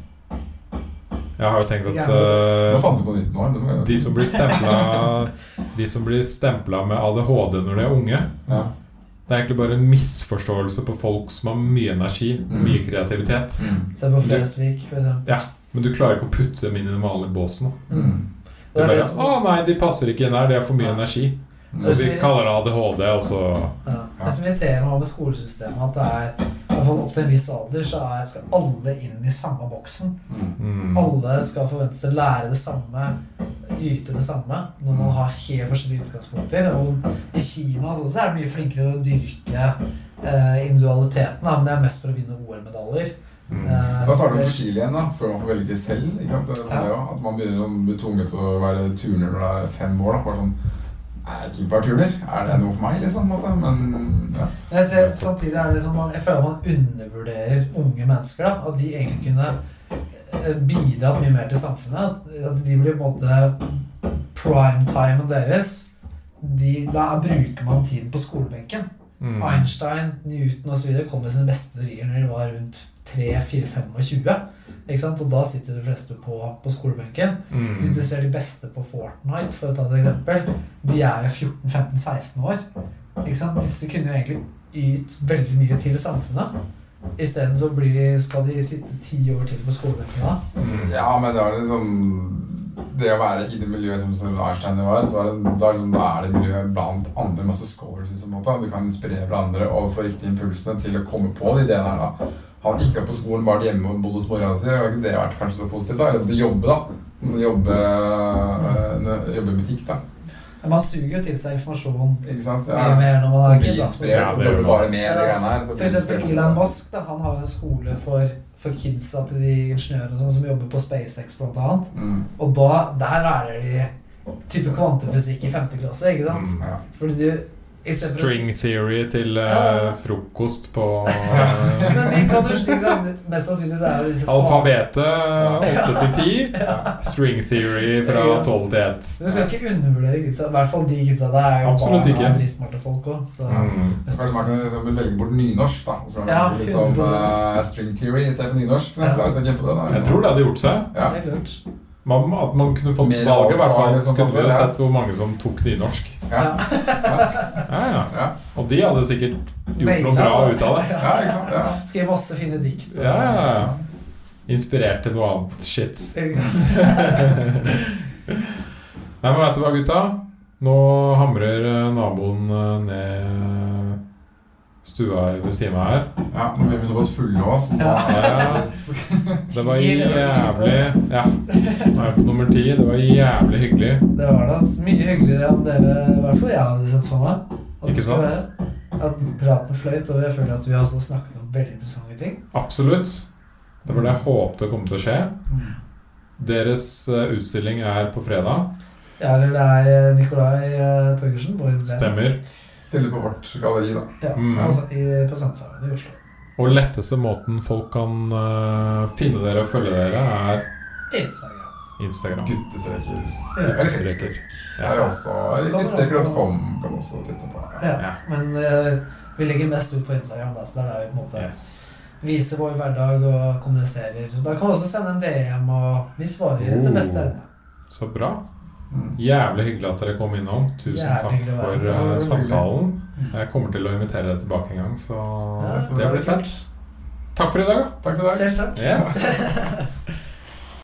S1: Jeg har jo tenkt at
S2: Gjerne
S3: Nå
S1: eh,
S3: fant du på nytt nå. det må jeg-
S1: de som blir stempla De som blir stempla med ADHD når de er unge,
S3: Ja.
S1: det er egentlig bare en misforståelse på folk som har mye energi,
S3: Mm.
S1: mye kreativitet.
S3: Mm.
S2: Se på Flesvig, for eksempel.
S1: Men du klarer ikke å putte dem inn i den vanlige båsen. da.
S3: Mm.
S1: Du
S2: Det er
S1: bare,
S2: det som,
S1: å nei, de passer ikke inn her, de har for mye
S2: Ja.
S1: energi.
S3: Mm.
S1: Så vi kaller det ADHD, og så
S2: ja. det som irriterer meg med skolesystemet, at det er i hvert fall opp til en viss alder så er, skal alle inn i samme boksen.
S3: Mm.
S1: mm.
S2: Alle skal forventes å lære det samme, yte det samme, når man har helt forskjellige utgangspunkter. Og I Kina sånn, så er de mye flinkere til å dyrke eh, individualiteten, da, men det er mest for å vinne OL-medaljer.
S1: Mm.
S2: Eh,
S3: Da starter
S2: det-
S3: du for tidlig igjen, da, før man får velge selv. Ikke sant? Det, er
S2: Ja.
S3: det, jo, at man begynner å bli tvunget til å være turner når det er fem år. Da. Bare sånn Er jeg ikke bare turner? Er det noe for meg? liksom? på en måte? Men ja.
S2: Men jeg ser, samtidig er det som man, jeg føler man undervurderer unge mennesker. da, At de egentlig kunne eh, bidratt mye mer til samfunnet. At- At de blir på en måte primetimen deres. De, da bruker man tiden på skolebenken.
S1: Mm.
S2: Einstein, Newton osv. kom med sine beste teorier når de var rundt 3-4-25. Ikke sant? Og da sitter de fleste på, på skolebenken. De
S1: Mm.
S2: du ser de beste på Fortnite, for å ta et eksempel, de er jo 14-15-16 år. Ikke sant? Disse kunne jo egentlig ytt veldig mye til samfunnet. Isteden så blir de, skal de sitte ti år til på skolebenken da.
S1: Mm.
S3: ja, men det er liksom Det å være i det miljøet som- som Einstein var, så er det, da, er det liksom, da er det miljøet blant andre. Masse scholars. Liksom, på en måte. du kan inspirere hverandre og få riktige impulsene til å komme på de ideene her. da. Han gikk opp på skolen, bare hjemme og bodde hos mora si. Har ikke det vært kanskje så positivt? da? Eller måtte jobbe, da. Jobbe, øh, jobbe i butikk, da.
S2: Men man suger jo til seg informasjon
S3: Ikke sant?
S2: mye
S3: Ja.
S2: mer når man
S3: Man
S2: er
S3: blir
S2: kid. da.
S3: inspirert.
S1: Ja,
S3: og
S1: det gjør
S3: jobber
S1: man.
S3: bare med de
S2: Ja,
S3: greiene her. så
S2: For
S3: blir du
S2: eksempel
S3: inspirert.
S2: Elon Musk, da, han har jo en skole for, for kidsa til de ingeniørene og sånn som jobber på SpaceX blant annet.
S3: Mm,
S2: Og da, der lærer de type kvantefysikk i femte klasse, ikke sant?
S1: Mm.
S3: ja.
S2: Fordi du, i stedet for å
S1: String theory til eh,
S2: Ja.
S1: frokost på eh,
S2: Men de liksom- kan jo slik sant? Mest sannsynlig så er det disse smarte
S1: Alfabetet 8 til 10. String theory fra 12 til 1.
S2: Du skal ikke undervurdere kidsa. I hvert fall de kidsa der er jo
S1: Absolutt
S2: bare
S1: ikke.
S2: dritsmarte folk òg. Så
S1: Mm.
S2: mest
S3: Kanskje
S2: sannsynlig.
S3: man kan liksom velge bort nynorsk, da. Og så
S2: Ja,
S3: er det liksom
S2: 100%.
S3: eh, string theory istedenfor nynorsk.
S2: Ja.
S3: Ja. Jeg, ikke på det, da.
S1: Jeg tror det hadde gjort seg.
S3: Ja.
S2: Helt klart.
S1: Man, at man kunne fått
S3: Mer
S1: valget, i hvert fall.
S3: valgfag, liksom,
S1: Skulle vi jo
S3: ja.
S1: sett hvor mange som tok nynorsk.
S3: Ja.
S1: Ja, ja.
S3: Ja.
S1: Og de hadde sikkert gjort
S2: Naila
S1: noe bra
S2: det.
S1: ut av det.
S3: ja, ikke sant? Ja.
S2: Skriv masse fine dikt. og-
S1: Ja, ja, ja. Inspirert til noe annet shit. Nei, men vet du hva, gutta? Nå hamrer eh, naboen eh, ned stua ved siden av her.
S3: ja. Nå blir vi såpass fulle òg, så da
S1: Ja. Det var
S2: Ti
S1: jævlig
S2: eller
S1: Ja, nå er jeg på nummer ti. Det var jævlig hyggelig.
S2: Det var da s- mye hyggeligere enn dere, i hvert fall jeg hadde sett for meg. At det
S1: Ikke
S2: skulle
S1: sant?
S2: være- At praten fløyt, og jeg føler at vi har også snakket om veldig interessante ting.
S1: Absolutt. Det var det jeg håpte kom til å skje. Deres eh, utstilling er på fredag.
S2: Ja, eller det er eh, Nikolai eh, Torgersen, vår venn.
S1: Stemmer.
S3: Stille på vårt galleri, da.
S2: Ja,
S1: Mm.
S2: på, Sa- i, på Sandshagen i Oslo.
S1: Og letteste måten folk kan eh, finne dere og følge dere, er
S2: Instagram.
S1: Instagram.
S3: Guttestreker.
S2: Ja.
S3: Eller
S1: Guttestreker.
S3: Ja, vi også
S2: Kommer
S3: Guttestreker.com kan man også titte på. Ja.
S2: Ja,
S1: Ja.
S2: men eh, vi legger mest ut på Instagram, da, så det er der vi på en måte
S1: Yes.
S2: viser vår hverdag og kommuniserer. Da kan vi også sende en DM, og vi svarer etter
S1: Oh.
S2: beste evne.
S1: Så bra.
S3: Mm.
S1: Jævlig hyggelig at dere kom innom. Tusen
S2: Jævlig
S1: takk
S2: hyggelig å være
S1: for
S3: her.
S1: eh,
S3: Ja,
S1: samtalen. Jeg kommer til å invitere dere tilbake en gang, så
S2: Ja,
S1: det blir fett. Takk for i dag, da.
S3: Takk for i dag.
S2: Selv takk.
S1: Yes.